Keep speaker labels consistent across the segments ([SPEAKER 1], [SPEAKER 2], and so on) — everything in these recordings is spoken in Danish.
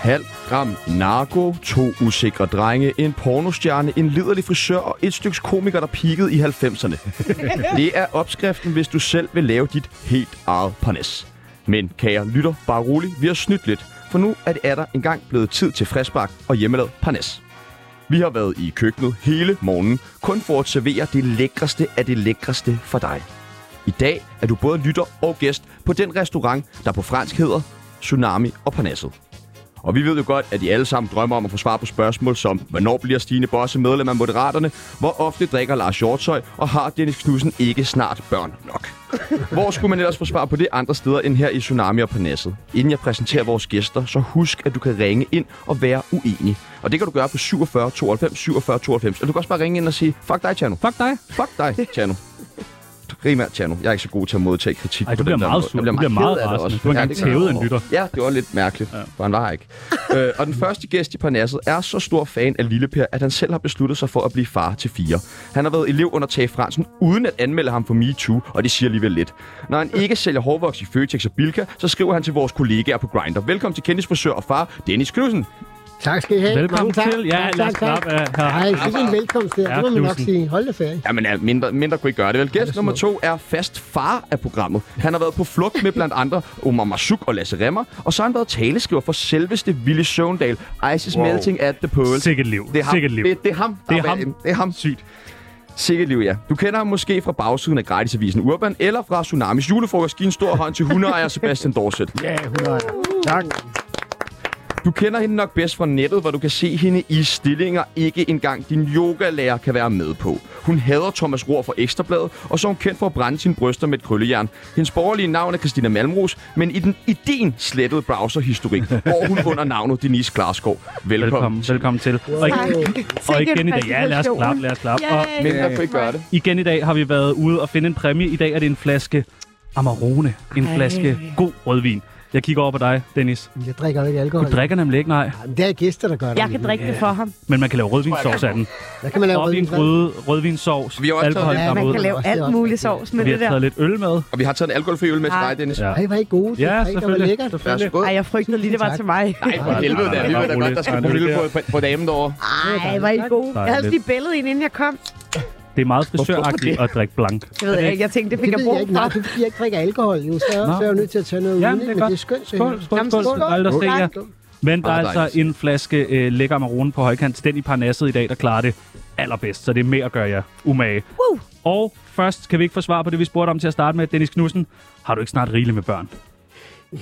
[SPEAKER 1] program Narko, to usikre drenge, en pornostjerne, en liderlig frisør og et stykke komiker, der peakede i 90'erne. det er opskriften, hvis du selv vil lave dit helt eget parnes. Men kære lytter, bare rolig, vi har snydt lidt, for nu er det er der engang blevet tid til friskbak og hjemmelavet parnes. Vi har været i køkkenet hele morgenen, kun for at servere det lækreste af det lækreste for dig. I dag er du både lytter og gæst på den restaurant, der på fransk hedder Tsunami og Parnasset. Og vi ved jo godt, at I alle sammen drømmer om at få svar på spørgsmål som, hvornår bliver Stine Bosse medlem af Moderaterne, hvor ofte drikker Lars Hjortøj, og har Dennis Knudsen ikke snart børn nok? Hvor skulle man ellers få svar på det andre steder end her i Tsunami og Parnasset? Inden jeg præsenterer vores gæster, så husk, at du kan ringe ind og være uenig. Og det kan du gøre på 47 92 47 92. Og du kan også bare ringe ind og sige, fuck dig, Tjano.
[SPEAKER 2] Fuck dig.
[SPEAKER 1] Fuck dig, Tjano. Primært Tjano. Jeg er ikke så god til at modtage kritik
[SPEAKER 2] Ej, du
[SPEAKER 1] på
[SPEAKER 2] bliver
[SPEAKER 1] den der
[SPEAKER 2] meget
[SPEAKER 1] måde.
[SPEAKER 2] sur.
[SPEAKER 1] Jeg bliver
[SPEAKER 2] Du bliver
[SPEAKER 1] meget,
[SPEAKER 2] meget
[SPEAKER 1] ked af det
[SPEAKER 2] rasende.
[SPEAKER 1] også.
[SPEAKER 2] Du
[SPEAKER 1] Ja, det kan jeg
[SPEAKER 2] har engang tævet
[SPEAKER 1] godt
[SPEAKER 2] en lytter.
[SPEAKER 1] Ja, det var lidt mærkeligt, ja. for han var her ikke. øh, og den første gæst i Parnasset er så stor fan af Lille Per, at han selv har besluttet sig for at blive far til fire. Han har været elev under Tage Fransen, uden at anmelde ham for MeToo, og det siger alligevel lidt. Når han ikke sælger hårvoks i Føtex og Bilka, så skriver han til vores kollegaer på Grindr. Velkommen til kendisfrisør og far, Dennis Knudsen.
[SPEAKER 3] Tak skal I have.
[SPEAKER 2] Velkommen
[SPEAKER 3] Mange tak.
[SPEAKER 2] til. Ja,
[SPEAKER 3] tak,
[SPEAKER 2] lad os
[SPEAKER 3] tak, tak.
[SPEAKER 2] klappe af her.
[SPEAKER 3] Nej, ikke en velkomst der.
[SPEAKER 2] Ja,
[SPEAKER 3] Det må man nok
[SPEAKER 2] Knudsen.
[SPEAKER 3] sige. Hold da ferie.
[SPEAKER 1] Jamen, ja, mindre, mindre kunne ikke gøre det, vel? Gæst nummer to er fast far af programmet. Han har været på flugt med blandt andre Omar Masuk og Lasse Remmer, og så har han været taleskriver for selveste Willy Søvndal, Ices wow. Melting at the Pearl.
[SPEAKER 2] Sikkert liv.
[SPEAKER 1] Det er ham.
[SPEAKER 2] Sikkert liv.
[SPEAKER 1] Det, det er ham.
[SPEAKER 2] Det er
[SPEAKER 1] der
[SPEAKER 2] ham.
[SPEAKER 1] bag- Det er ham.
[SPEAKER 2] Sygt.
[SPEAKER 1] Sikkert liv, ja. Du kender ham måske fra bagsiden af gratisavisen Urban, eller fra Tsunamis julefrokost. Giv en stor hånd til hundeejer Sebastian Dorset.
[SPEAKER 3] Ja, 100. Tak.
[SPEAKER 1] Du kender hende nok bedst fra nettet, hvor du kan se hende i stillinger, ikke engang din yogalærer kan være med på. Hun hader Thomas Rohr fra Ekstrabladet, og så er hun kendt for at brænde sine bryster med et krøllejern. Hendes borgerlige navn er Christina Malmros, men i, den, i din slettede browserhistorik går hun under navnet Denise Klarskov. Velkommen. Velkommen.
[SPEAKER 2] Velkommen, velkommen til. Og, og igen i dag. Ja, lad os klappe, lad os klappe. Og
[SPEAKER 4] Yay.
[SPEAKER 1] Men jeg kan ikke gøre det.
[SPEAKER 2] igen i dag har vi været ude og finde en præmie. I dag er det en flaske Amarone. En
[SPEAKER 4] Ej.
[SPEAKER 2] flaske god rødvin. Jeg kigger over på dig, Dennis.
[SPEAKER 3] Jeg drikker jo ikke alkohol.
[SPEAKER 2] Du drikker nemlig ikke, nej.
[SPEAKER 3] Jamen, Det er gæster, der gør det.
[SPEAKER 4] Jeg kan drikke det for ham.
[SPEAKER 2] Men man kan lave rødvinsovs af den.
[SPEAKER 3] Der kan man lave
[SPEAKER 2] Op i en
[SPEAKER 3] rødvin.
[SPEAKER 2] gryde, rødvinsovs,
[SPEAKER 1] Vi har også taget
[SPEAKER 2] alkohol
[SPEAKER 1] lidt-
[SPEAKER 4] Ja, man
[SPEAKER 2] frem ud.
[SPEAKER 4] kan lave
[SPEAKER 3] Det er
[SPEAKER 4] alt
[SPEAKER 3] også
[SPEAKER 4] muligt
[SPEAKER 3] rigtigt.
[SPEAKER 4] sovs med
[SPEAKER 2] Vi
[SPEAKER 4] det
[SPEAKER 2] har taget
[SPEAKER 4] der.
[SPEAKER 2] lidt øl med.
[SPEAKER 1] Og vi har taget en alkoholfri øl med til
[SPEAKER 4] Ej.
[SPEAKER 1] dig, Dennis.
[SPEAKER 2] Ja.
[SPEAKER 3] Ej, hvor er I gode. til
[SPEAKER 2] Ja,
[SPEAKER 3] at drikke, og hvor
[SPEAKER 2] selvfølgelig.
[SPEAKER 3] lækkert.
[SPEAKER 1] Vær så god.
[SPEAKER 4] Ej, jeg frygtede lige, det var
[SPEAKER 3] Tak.
[SPEAKER 4] til mig.
[SPEAKER 1] Nej, for
[SPEAKER 3] Ej,
[SPEAKER 1] helvede
[SPEAKER 2] nej,
[SPEAKER 1] der.
[SPEAKER 2] nej,
[SPEAKER 1] Vi ved da
[SPEAKER 2] bare
[SPEAKER 1] godt,
[SPEAKER 2] rolig.
[SPEAKER 1] der skal
[SPEAKER 2] Nej, det
[SPEAKER 1] promille
[SPEAKER 2] er-
[SPEAKER 1] på, på, på damen derovre.
[SPEAKER 4] Ej, var I gode. Jeg havde
[SPEAKER 2] Dejligt.
[SPEAKER 4] lige billedet ind, inden jeg kom.
[SPEAKER 2] Det er meget frisøragtigt at drikke blank.
[SPEAKER 4] Det ved jeg ikke. Jeg tænkte, det
[SPEAKER 3] Det
[SPEAKER 4] fik jeg
[SPEAKER 3] ved
[SPEAKER 4] brug
[SPEAKER 3] jeg ikke.
[SPEAKER 4] for.
[SPEAKER 3] Nej, det er fordi, jeg ikke drikker alkohol. Jo, så,
[SPEAKER 2] Nå.
[SPEAKER 3] så er jeg jo nødt til at tage noget
[SPEAKER 2] Jamen,
[SPEAKER 3] uden,
[SPEAKER 2] det er
[SPEAKER 3] ikke? men
[SPEAKER 2] godt.
[SPEAKER 3] det er skønt. det her.
[SPEAKER 2] Skål, skål,
[SPEAKER 4] Jamen,
[SPEAKER 2] skål.
[SPEAKER 4] skål.
[SPEAKER 2] Dejligt at se jer.
[SPEAKER 3] Skål.
[SPEAKER 2] Men der er
[SPEAKER 1] Meget
[SPEAKER 2] altså
[SPEAKER 1] dejligt.
[SPEAKER 2] en flaske øh, lækker marone på højkant. Den i parnasset i dag, der klarer det allerbedst. Så det er mere gør jeg umage.
[SPEAKER 4] Woo!
[SPEAKER 2] Og først kan vi ikke få svar på det, vi spurgte om til at starte med. Dennis Knudsen, har du ikke snart rigeligt med børn?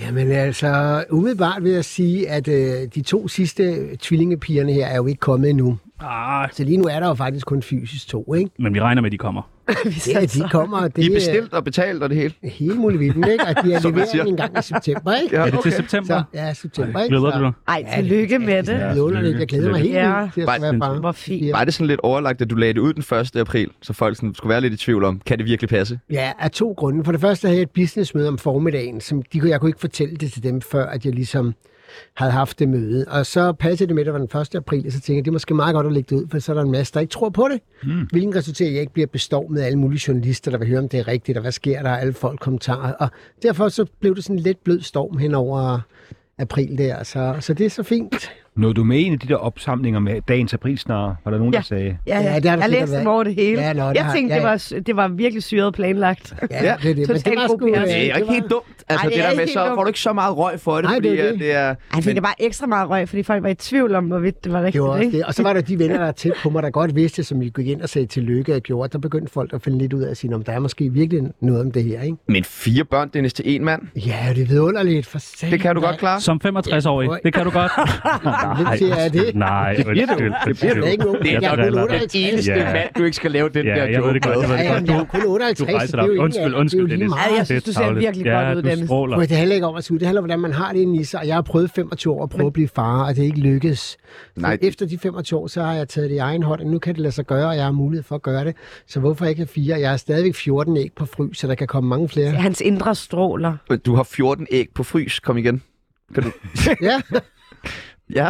[SPEAKER 3] Jamen altså, umiddelbart vil jeg sige, at øh, de to sidste tvillingepigerne her er jo ikke kommet endnu.
[SPEAKER 2] Ah,
[SPEAKER 3] Så lige nu er der jo faktisk kun fysisk to, ikke?
[SPEAKER 2] men vi regner med, at de kommer.
[SPEAKER 4] Vi
[SPEAKER 3] Det, at de kommer, og det
[SPEAKER 1] I er bestilt og betalt og det hele.
[SPEAKER 3] er hele muligheden, ikke? Og de er
[SPEAKER 1] Som man siger.
[SPEAKER 3] leveret en gang i september, ikke?
[SPEAKER 1] Ja.
[SPEAKER 2] Er det
[SPEAKER 1] Okay.
[SPEAKER 2] til september?
[SPEAKER 3] Så, ja, september, ikke?
[SPEAKER 2] Glæder
[SPEAKER 3] Så-
[SPEAKER 2] du dig?
[SPEAKER 4] Ej, tillykke med det.
[SPEAKER 3] Ja, underligt. Jeg glæder mig helt
[SPEAKER 4] Ja.
[SPEAKER 3] vildt til at skulle være far.
[SPEAKER 4] Hvor fint.
[SPEAKER 1] Var det sådan lidt overlagt, at du lagde det ud den 1. april, så folk sådan skulle være lidt i tvivl om, kan det virkelig passe?
[SPEAKER 3] Ja, af to grunde. For det første havde jeg et businessmøde om formiddagen, som de, kunne- jeg kunne ikke fortælle det til dem, før at jeg ligesom havde haft det møde. Og så passede det med, at det var den 1. april, og så tænkte jeg, det er måske meget godt at lægge det ud, for så er der en masse, der ikke tror på det.
[SPEAKER 2] Hmm.
[SPEAKER 3] Mm. Hvilken resulterer i, at jeg ikke bliver bestormet af alle mulige journalister, der vil høre, om det er rigtigt, og hvad sker der, og alle folk kommentarer. Og derfor så blev det sådan en lidt blød storm hen over april der, så, så det er så fint.
[SPEAKER 5] Nåede du med en af de der opsamlinger med dagens aprilsnare? Var der nogen, ja. der sagde,
[SPEAKER 3] Ja,
[SPEAKER 4] Ja, ja,
[SPEAKER 3] det har der
[SPEAKER 4] jeg
[SPEAKER 3] sikkert
[SPEAKER 4] læste dem
[SPEAKER 3] været.
[SPEAKER 4] over det hele.
[SPEAKER 3] Ja, nå, det
[SPEAKER 4] jeg
[SPEAKER 3] har-
[SPEAKER 4] tænkte,
[SPEAKER 3] ja,
[SPEAKER 4] det var, det var virkelig syret planlagt.
[SPEAKER 1] Ja,
[SPEAKER 3] det er det. Men det
[SPEAKER 4] totalt
[SPEAKER 3] var
[SPEAKER 4] god
[SPEAKER 3] sgu,
[SPEAKER 4] PR.
[SPEAKER 3] øh,
[SPEAKER 4] Det
[SPEAKER 1] Det er ikke
[SPEAKER 3] var-
[SPEAKER 1] helt dumt. Altså,
[SPEAKER 4] Ej,
[SPEAKER 1] det,
[SPEAKER 4] det er
[SPEAKER 1] der med,
[SPEAKER 4] ikke
[SPEAKER 1] så
[SPEAKER 4] helt dumt.
[SPEAKER 1] får du ikke så meget røg for det,
[SPEAKER 3] Nej,
[SPEAKER 1] fordi
[SPEAKER 3] det er
[SPEAKER 1] det.
[SPEAKER 3] det.
[SPEAKER 1] det er...
[SPEAKER 4] Ej, fordi der var ekstra meget røg, fordi folk var i tvivl om, hvorvidt det var
[SPEAKER 3] Det
[SPEAKER 4] rigtigt,
[SPEAKER 3] var også
[SPEAKER 4] ikke?
[SPEAKER 3] det. Og så var der de venner, der er tæt på mig, der godt vidste, som vi gik ind og sagde tillykke og gjorde. Der begyndte folk at finde lidt ud af at sige, om der er måske virkelig noget om det her, ikke?
[SPEAKER 1] Men fire børn, Dennis, til én mand.
[SPEAKER 3] Ja, det er vidunderligt. For satan,
[SPEAKER 1] Det kan du
[SPEAKER 3] mand.
[SPEAKER 1] godt klare.
[SPEAKER 2] Som 65-årig. Det kan du godt.
[SPEAKER 3] Hvem siger jeg det?
[SPEAKER 2] altså, Nej, undskyld. Det
[SPEAKER 3] Jeg er ikke nogen.
[SPEAKER 2] Det er
[SPEAKER 3] Jeg er kun
[SPEAKER 2] driller.
[SPEAKER 3] 58.
[SPEAKER 1] Den eneste
[SPEAKER 2] Ja.
[SPEAKER 1] mand, du ikke skal lave den
[SPEAKER 2] Ja,
[SPEAKER 1] der
[SPEAKER 2] jeg ved det
[SPEAKER 1] joke
[SPEAKER 2] godt, jeg ved
[SPEAKER 1] med.
[SPEAKER 2] det
[SPEAKER 3] Ja, jamen, jeg er kun 58.
[SPEAKER 2] Du rejser
[SPEAKER 3] det
[SPEAKER 2] dig
[SPEAKER 3] er
[SPEAKER 2] op.
[SPEAKER 3] jo egentlig-
[SPEAKER 2] Undskyld,
[SPEAKER 3] det er jo
[SPEAKER 2] undskyld,
[SPEAKER 3] lige
[SPEAKER 2] Dennis.
[SPEAKER 3] meget.
[SPEAKER 4] Ej, jeg
[SPEAKER 2] Det er
[SPEAKER 4] synes, du ser
[SPEAKER 2] tarveligt.
[SPEAKER 4] virkelig godt
[SPEAKER 2] ja,
[SPEAKER 4] ud,
[SPEAKER 2] du
[SPEAKER 4] Dennis.
[SPEAKER 2] stråler.
[SPEAKER 3] Prøv, Det handler ikke om at sige, det handler om, hvordan man har det inde i sig. Og jeg har prøvet 25 år at prøve at blive far, og det er ikke lykkedes.
[SPEAKER 1] Nej.
[SPEAKER 3] Nej. Efter de 25 år, så har jeg taget det i egen hånd, og nu kan det lade sig gøre, og jeg har mulighed for at gøre det. Så hvorfor ikke have fire? Jeg har stadigvæk 14 æg på frys, så der kan komme mange flere.
[SPEAKER 4] Hans indre stråler.
[SPEAKER 1] Du har 14 æg på frys. Kom igen. Kan du...
[SPEAKER 3] Ja,
[SPEAKER 1] Ja.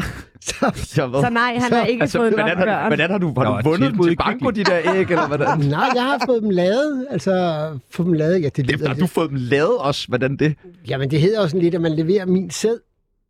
[SPEAKER 1] Jeg ved.
[SPEAKER 4] Så nej, han har ikke
[SPEAKER 3] altså,
[SPEAKER 4] fået nok
[SPEAKER 1] hvordan, har,
[SPEAKER 4] børn.
[SPEAKER 1] hvordan har du, har
[SPEAKER 5] Der
[SPEAKER 1] du
[SPEAKER 5] var
[SPEAKER 1] vundet
[SPEAKER 5] tit
[SPEAKER 1] dem
[SPEAKER 5] mod
[SPEAKER 1] til
[SPEAKER 5] i
[SPEAKER 1] banko, de der æg, eller hvordan?
[SPEAKER 3] Nej, jeg har fået dem lavet. Altså, fået dem lavet, ja, det
[SPEAKER 1] Efter
[SPEAKER 3] lyder...
[SPEAKER 1] har du fået dem lavet også, hvordan det?
[SPEAKER 3] Jamen, det hedder jo sådan lidt, at man leverer min sæd.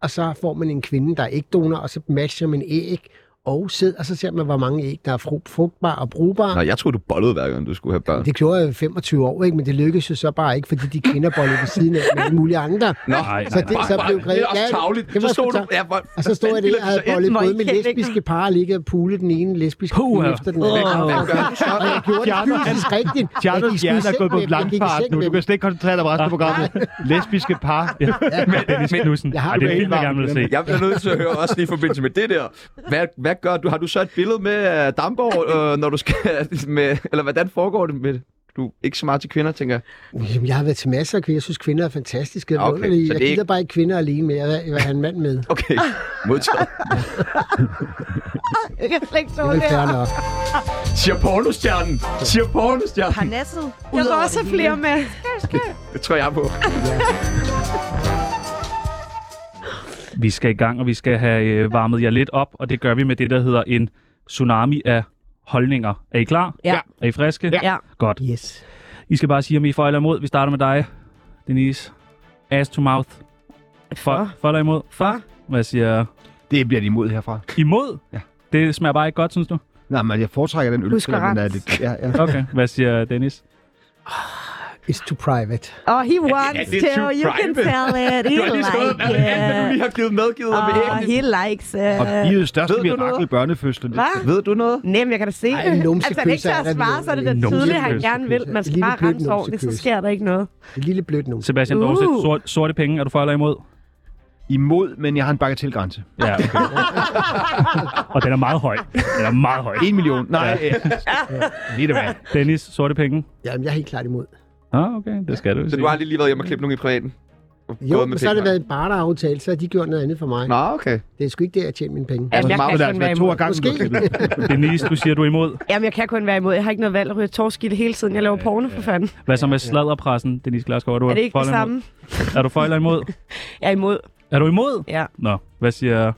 [SPEAKER 3] og så får man en kvinde, der er ægdonor, og så matcher man æg og sæd, og så ser man, hvor mange æg, der er fru- frugtbare og brugbare.
[SPEAKER 1] Nej, jeg troede, du bollede hver gang, du skulle have børn.
[SPEAKER 3] Det gjorde jeg i 25 år, ikke? men det lykkedes jo så bare ikke, fordi de kvinder bollede ved siden af med alle mulige andre.
[SPEAKER 1] Nå,
[SPEAKER 2] Nej,
[SPEAKER 3] Så
[SPEAKER 2] nej,
[SPEAKER 3] det,
[SPEAKER 2] nej.
[SPEAKER 3] så blev
[SPEAKER 1] det
[SPEAKER 3] Grete...
[SPEAKER 1] er også
[SPEAKER 3] ja,
[SPEAKER 1] tavligt.
[SPEAKER 3] det var
[SPEAKER 1] Så stod
[SPEAKER 3] sgu
[SPEAKER 1] du...
[SPEAKER 3] tav-
[SPEAKER 1] Ja, hvor...
[SPEAKER 3] Og så stod jeg der, og havde bollet
[SPEAKER 4] Må I
[SPEAKER 3] både med
[SPEAKER 4] kende ikke
[SPEAKER 3] lesbiske par, og ligge og pule den ene lesbiske
[SPEAKER 2] Puha.
[SPEAKER 3] pige efter den anden.
[SPEAKER 1] Hvad
[SPEAKER 3] Og
[SPEAKER 1] gør du så?
[SPEAKER 3] jeg gjorde det fysisk rigtigt. Jeg
[SPEAKER 5] Charlotte
[SPEAKER 3] gik sgu i
[SPEAKER 5] Hjerne er
[SPEAKER 3] seng
[SPEAKER 5] gået på
[SPEAKER 3] med dem, jeg gik i
[SPEAKER 5] blankfart
[SPEAKER 3] seng
[SPEAKER 5] nu.
[SPEAKER 3] med
[SPEAKER 5] Du
[SPEAKER 3] dem.
[SPEAKER 5] kan slet ikke koncentrere dig om resten af programmet. Lesbiske par.
[SPEAKER 2] Dennis Knudsen.
[SPEAKER 3] Jeg har
[SPEAKER 2] Ej, det er
[SPEAKER 3] jo
[SPEAKER 2] en film, jeg
[SPEAKER 5] elvarmen
[SPEAKER 2] gerne vil
[SPEAKER 5] i
[SPEAKER 2] se.
[SPEAKER 5] den
[SPEAKER 1] Jeg bliver nødt til at høre også lige i forbindelse med det der. Hvad, hvad gør du? Har du så et billede med uh, Damborg, øh, når du skal med... Eller hvordan foregår det med det? Du er ikke så meget til kvinder, tænker jeg.
[SPEAKER 3] Jamen, jeg har været til masser af kvinder. Jeg synes, kvinder er fantastiske og
[SPEAKER 1] Okay,
[SPEAKER 3] okay, underlige.
[SPEAKER 1] så
[SPEAKER 3] Jeg
[SPEAKER 1] det er
[SPEAKER 3] gider
[SPEAKER 1] ikke-
[SPEAKER 3] bare ikke kvinder alene mere. Jeg vil have en mand med.
[SPEAKER 1] Okay, modtaget.
[SPEAKER 4] Jeg kan slet ikke
[SPEAKER 3] Det
[SPEAKER 4] stå
[SPEAKER 3] er vel fair
[SPEAKER 4] der.
[SPEAKER 3] nok.
[SPEAKER 1] Siger pornostjernen. Siger pornostjernen.
[SPEAKER 6] Parnasset.
[SPEAKER 4] Jeg vil også have flere med.
[SPEAKER 1] Det tror jeg på.
[SPEAKER 2] Vi skal i gang, og vi skal have øh, varmet jer lidt op, og det gør vi med det, der hedder en tsunami af holdninger. Er I klar?
[SPEAKER 6] Ja.
[SPEAKER 2] Er I friske?
[SPEAKER 4] Ja.
[SPEAKER 2] Godt.
[SPEAKER 3] Yes.
[SPEAKER 2] I skal bare sige, om I er for eller imod. Vi starter med dig, Denise. Ass to mouth. For, for eller imod? For. Hvad siger
[SPEAKER 5] Det bliver de imod herfra.
[SPEAKER 2] Imod?
[SPEAKER 5] Ja.
[SPEAKER 2] Det smager bare ikke godt, synes du?
[SPEAKER 5] Nej, men jeg foretrækker den øl.
[SPEAKER 4] Husk
[SPEAKER 5] selvom
[SPEAKER 4] at
[SPEAKER 5] den er
[SPEAKER 4] rense.
[SPEAKER 5] lidt... Ja, ja.
[SPEAKER 2] Okay. Hvad siger Dennis?
[SPEAKER 3] It's too private.
[SPEAKER 6] Oh, he wants
[SPEAKER 1] det er
[SPEAKER 6] to.
[SPEAKER 1] too
[SPEAKER 6] You can
[SPEAKER 1] private.
[SPEAKER 6] tell it. He
[SPEAKER 1] Du har lige skrevet
[SPEAKER 6] likes
[SPEAKER 1] alt, alt, hvad du
[SPEAKER 6] it.
[SPEAKER 1] lige har givet medgivet og med
[SPEAKER 3] Ah.
[SPEAKER 6] Oh,
[SPEAKER 1] æggene.
[SPEAKER 6] he likes
[SPEAKER 5] Og
[SPEAKER 6] it.
[SPEAKER 5] livets største
[SPEAKER 1] Ved du
[SPEAKER 5] mirakel i
[SPEAKER 1] noget?
[SPEAKER 5] børnefødslen.
[SPEAKER 6] Hvad?
[SPEAKER 1] Ved du noget?
[SPEAKER 4] Nem, jeg kan da se
[SPEAKER 3] Ej,
[SPEAKER 4] det.
[SPEAKER 3] en numsekys
[SPEAKER 4] Altså, han ikke
[SPEAKER 3] er
[SPEAKER 4] tør at
[SPEAKER 3] der
[SPEAKER 4] svare,
[SPEAKER 3] vel
[SPEAKER 4] så er det
[SPEAKER 3] en
[SPEAKER 4] da tydeligt, at han
[SPEAKER 2] numsekys.
[SPEAKER 4] gerne vil. Man
[SPEAKER 3] Et
[SPEAKER 4] skal
[SPEAKER 3] lille
[SPEAKER 4] bare
[SPEAKER 3] blødt
[SPEAKER 4] rense ordentligt, så
[SPEAKER 3] numsekys.
[SPEAKER 4] sker der ikke noget.
[SPEAKER 3] Et lille blødt numse.
[SPEAKER 2] Sebastian
[SPEAKER 4] Uh.
[SPEAKER 2] uh. Dorset, sort, sorte penge. Er du for eller imod?
[SPEAKER 5] Imod, men jeg har en bagatelgrænse.
[SPEAKER 2] Ja, okay. og den er meget høj. Den er meget høj.
[SPEAKER 5] En million.
[SPEAKER 4] Ah.
[SPEAKER 5] Nej, ja. Lige det hvad.
[SPEAKER 2] Dennis, sorte penge.
[SPEAKER 3] Jamen, jeg er helt klart imod.
[SPEAKER 2] Ah, okay. Det skal du
[SPEAKER 1] Så
[SPEAKER 2] sige.
[SPEAKER 1] du har lige, lige været hjemme og klippet nogen i privaten? Og
[SPEAKER 3] Jo,
[SPEAKER 1] gået
[SPEAKER 3] men så har det
[SPEAKER 1] penge?
[SPEAKER 3] været en barter-aftale, så har de gjort noget andet for mig.
[SPEAKER 1] Nå, okay.
[SPEAKER 3] Det er sgu ikke der, jeg tjener mine penge.
[SPEAKER 4] Jamen, jeg
[SPEAKER 1] meget
[SPEAKER 4] kan
[SPEAKER 5] Men der
[SPEAKER 4] kun
[SPEAKER 5] altså
[SPEAKER 4] være
[SPEAKER 5] været to
[SPEAKER 4] imod.
[SPEAKER 5] af gangen.
[SPEAKER 3] Måske.
[SPEAKER 2] Denise, du siger, du er imod.
[SPEAKER 4] Jamen, jeg kan kun være imod. Jeg har ikke noget valg at ryge torskilde hele tiden. Jeg laver
[SPEAKER 3] Øh,
[SPEAKER 4] porno for fanden.
[SPEAKER 2] Hvad så med sladderpressen, Denise Glasgow? Er du
[SPEAKER 4] Er det ikke
[SPEAKER 2] for
[SPEAKER 4] det
[SPEAKER 2] eller imod?
[SPEAKER 4] samme?
[SPEAKER 2] Er du for eller imod?
[SPEAKER 4] Jeg er imod.
[SPEAKER 2] Er du imod?
[SPEAKER 4] Ja.
[SPEAKER 2] Nå, hvad siger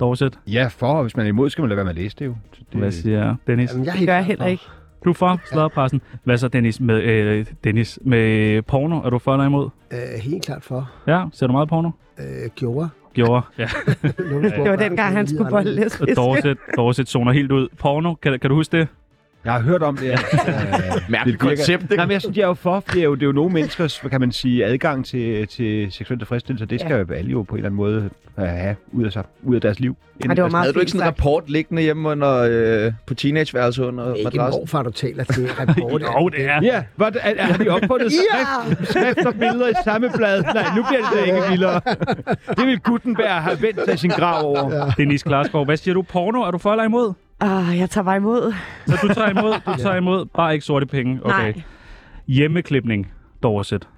[SPEAKER 2] Dorset?
[SPEAKER 5] Ja, for og hvis man er imod, skal man lade være med at læse det jo. Så det-
[SPEAKER 2] Hvad siger Dennis?
[SPEAKER 3] Jamen, jeg er
[SPEAKER 4] Det
[SPEAKER 3] helt
[SPEAKER 4] gør jeg
[SPEAKER 3] klar
[SPEAKER 4] heller
[SPEAKER 3] for.
[SPEAKER 4] ikke.
[SPEAKER 2] Du er for sladderpressen. Hvad så, Dennis, med, øh, Dennis, med porno? Er du for eller imod?
[SPEAKER 3] Øh, helt klart for.
[SPEAKER 2] Ja, ser du meget porno?
[SPEAKER 3] Øh, gjorde.
[SPEAKER 2] Gjorde. Ja.
[SPEAKER 4] Det var dengang, han skulle bolle lesbisk.
[SPEAKER 2] Dorset, Dorset zoner helt ud. Porno, kan, kan du huske det?
[SPEAKER 5] Jeg har hørt om det. Ja.
[SPEAKER 1] Mærkeligt
[SPEAKER 5] virker-
[SPEAKER 1] koncept, ikke?
[SPEAKER 5] Nej, men jeg synes, jeg er jo for, for det er jo, det er jo nogle menneskers, hvad kan man sige, adgang til, til seksuel tilfredsstillelse, og det skal jo alle jo på en eller anden måde øh, have ud af, sig, ud af deres liv. Altså,
[SPEAKER 4] Ej, det var meget
[SPEAKER 1] Havde du ikke
[SPEAKER 4] fint
[SPEAKER 1] sådan en
[SPEAKER 4] sagt.
[SPEAKER 1] rapport liggende hjemme under, øh, på teenageværelset under
[SPEAKER 3] Ikke en
[SPEAKER 1] madrassen?
[SPEAKER 3] morfar, du taler til. Rapport.
[SPEAKER 2] Jo, det er.
[SPEAKER 5] Ja, var det, er, er, har de opfundet skrift, skrift og billeder i samme blad? Nej, nu bliver det da ikke vildere. Det vil Gutenberg have vendt sig sin grav over. Ja.
[SPEAKER 2] Denise Klarskov, hvad siger du? Porno, er du for eller imod?
[SPEAKER 4] Ah, jeg tager bare imod.
[SPEAKER 2] Så du tager imod, du tager imod, bare ikke sorte penge. Okay.
[SPEAKER 4] Nej.
[SPEAKER 2] Hjemmeklipning, Dorset.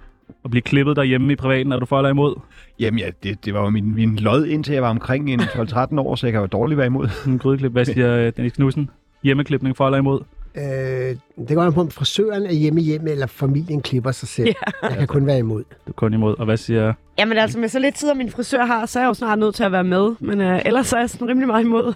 [SPEAKER 2] At blive klippet derhjemme i privaten, er du for eller imod?
[SPEAKER 5] Jamen ja, det, det var jo min, min lod, indtil jeg var omkring en 12-13 år, så jeg kan jo dårligt være imod.
[SPEAKER 2] En grydeklip, hvad siger øh, Dennis Knudsen? Hjemmeklipning, for eller imod?
[SPEAKER 3] Øh, det går an på, om frisøren er hjemme hjemme, eller familien klipper sig selv. Ja. Jeg kan kun være imod.
[SPEAKER 2] Du er kun imod, og hvad siger...
[SPEAKER 4] Jamen altså, med så lidt tid, min frisør har, så er jeg jo snart nødt til at være med. Men øh, ellers så er jeg sådan rimelig meget imod.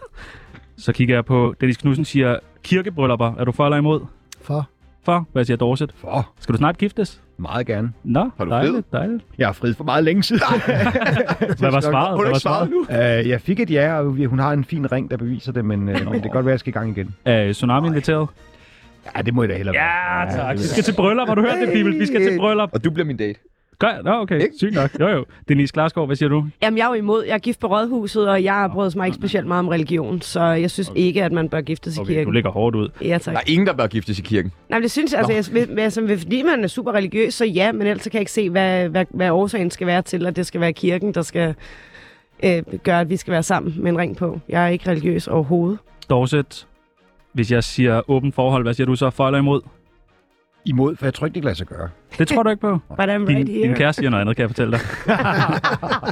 [SPEAKER 2] Så kigger jeg på, Dennis Knudsen siger, kirkebryllupper, er du for eller imod?
[SPEAKER 3] For
[SPEAKER 2] For, hvad siger Dorset?
[SPEAKER 5] For
[SPEAKER 2] Skal du snart giftes?
[SPEAKER 5] meget gerne.
[SPEAKER 2] Nå,
[SPEAKER 1] Har du
[SPEAKER 2] dejligt, dejligt.
[SPEAKER 5] Jeg har friet for meget længe siden.
[SPEAKER 2] Hvad var svaret?
[SPEAKER 1] Hun har
[SPEAKER 2] Hvad var
[SPEAKER 1] ikke svaret
[SPEAKER 2] svaret?
[SPEAKER 1] nu.
[SPEAKER 5] Uh, jeg fik et ja, og vi- hun har en fin ring, der beviser det, men, uh, men det kan godt være, at jeg skal i gang igen.
[SPEAKER 2] Er Tsunami inviteret?
[SPEAKER 5] Ja, det må jeg da hellere
[SPEAKER 2] Ja, tak. Vi skal til bryllup. Har du hørt det, Bibel? Vi skal til bryllup.
[SPEAKER 1] Og du bliver min date.
[SPEAKER 2] Gør jeg? Nå, okay. Sygt nok. Jo, jo. Denise Klarskov, hvad siger du?
[SPEAKER 4] Jamen, jeg er jo imod. Jeg er gift på rådhuset, og jeg brød mig ikke specielt meget om religion. Så jeg synes okay. ikke, at man bør giftes i
[SPEAKER 2] Okay,
[SPEAKER 4] kirken.
[SPEAKER 2] du ligger hårdt ud.
[SPEAKER 4] Ja, tak.
[SPEAKER 1] Der er ingen, der bør giftes i kirken.
[SPEAKER 4] Nej, men det synes jeg, altså, jeg, men altså, fordi man er super religiøs, så ja, men ellers så kan jeg ikke se, hvad, hvad, hvad årsagen skal være til, at det skal være kirken, der skal øh, gøre, at vi skal være sammen med en ring på. Jeg er ikke religiøs overhovedet.
[SPEAKER 2] Dorset, hvis jeg siger åbent forhold, hvad siger du så? For eller imod?
[SPEAKER 5] Imod, for jeg tror ikke, det kan lade sig gøre.
[SPEAKER 2] Det tror du ikke på.
[SPEAKER 4] But I'm
[SPEAKER 2] Din,
[SPEAKER 4] right here.
[SPEAKER 2] din kæreste siger noget andet, kan jeg fortælle dig.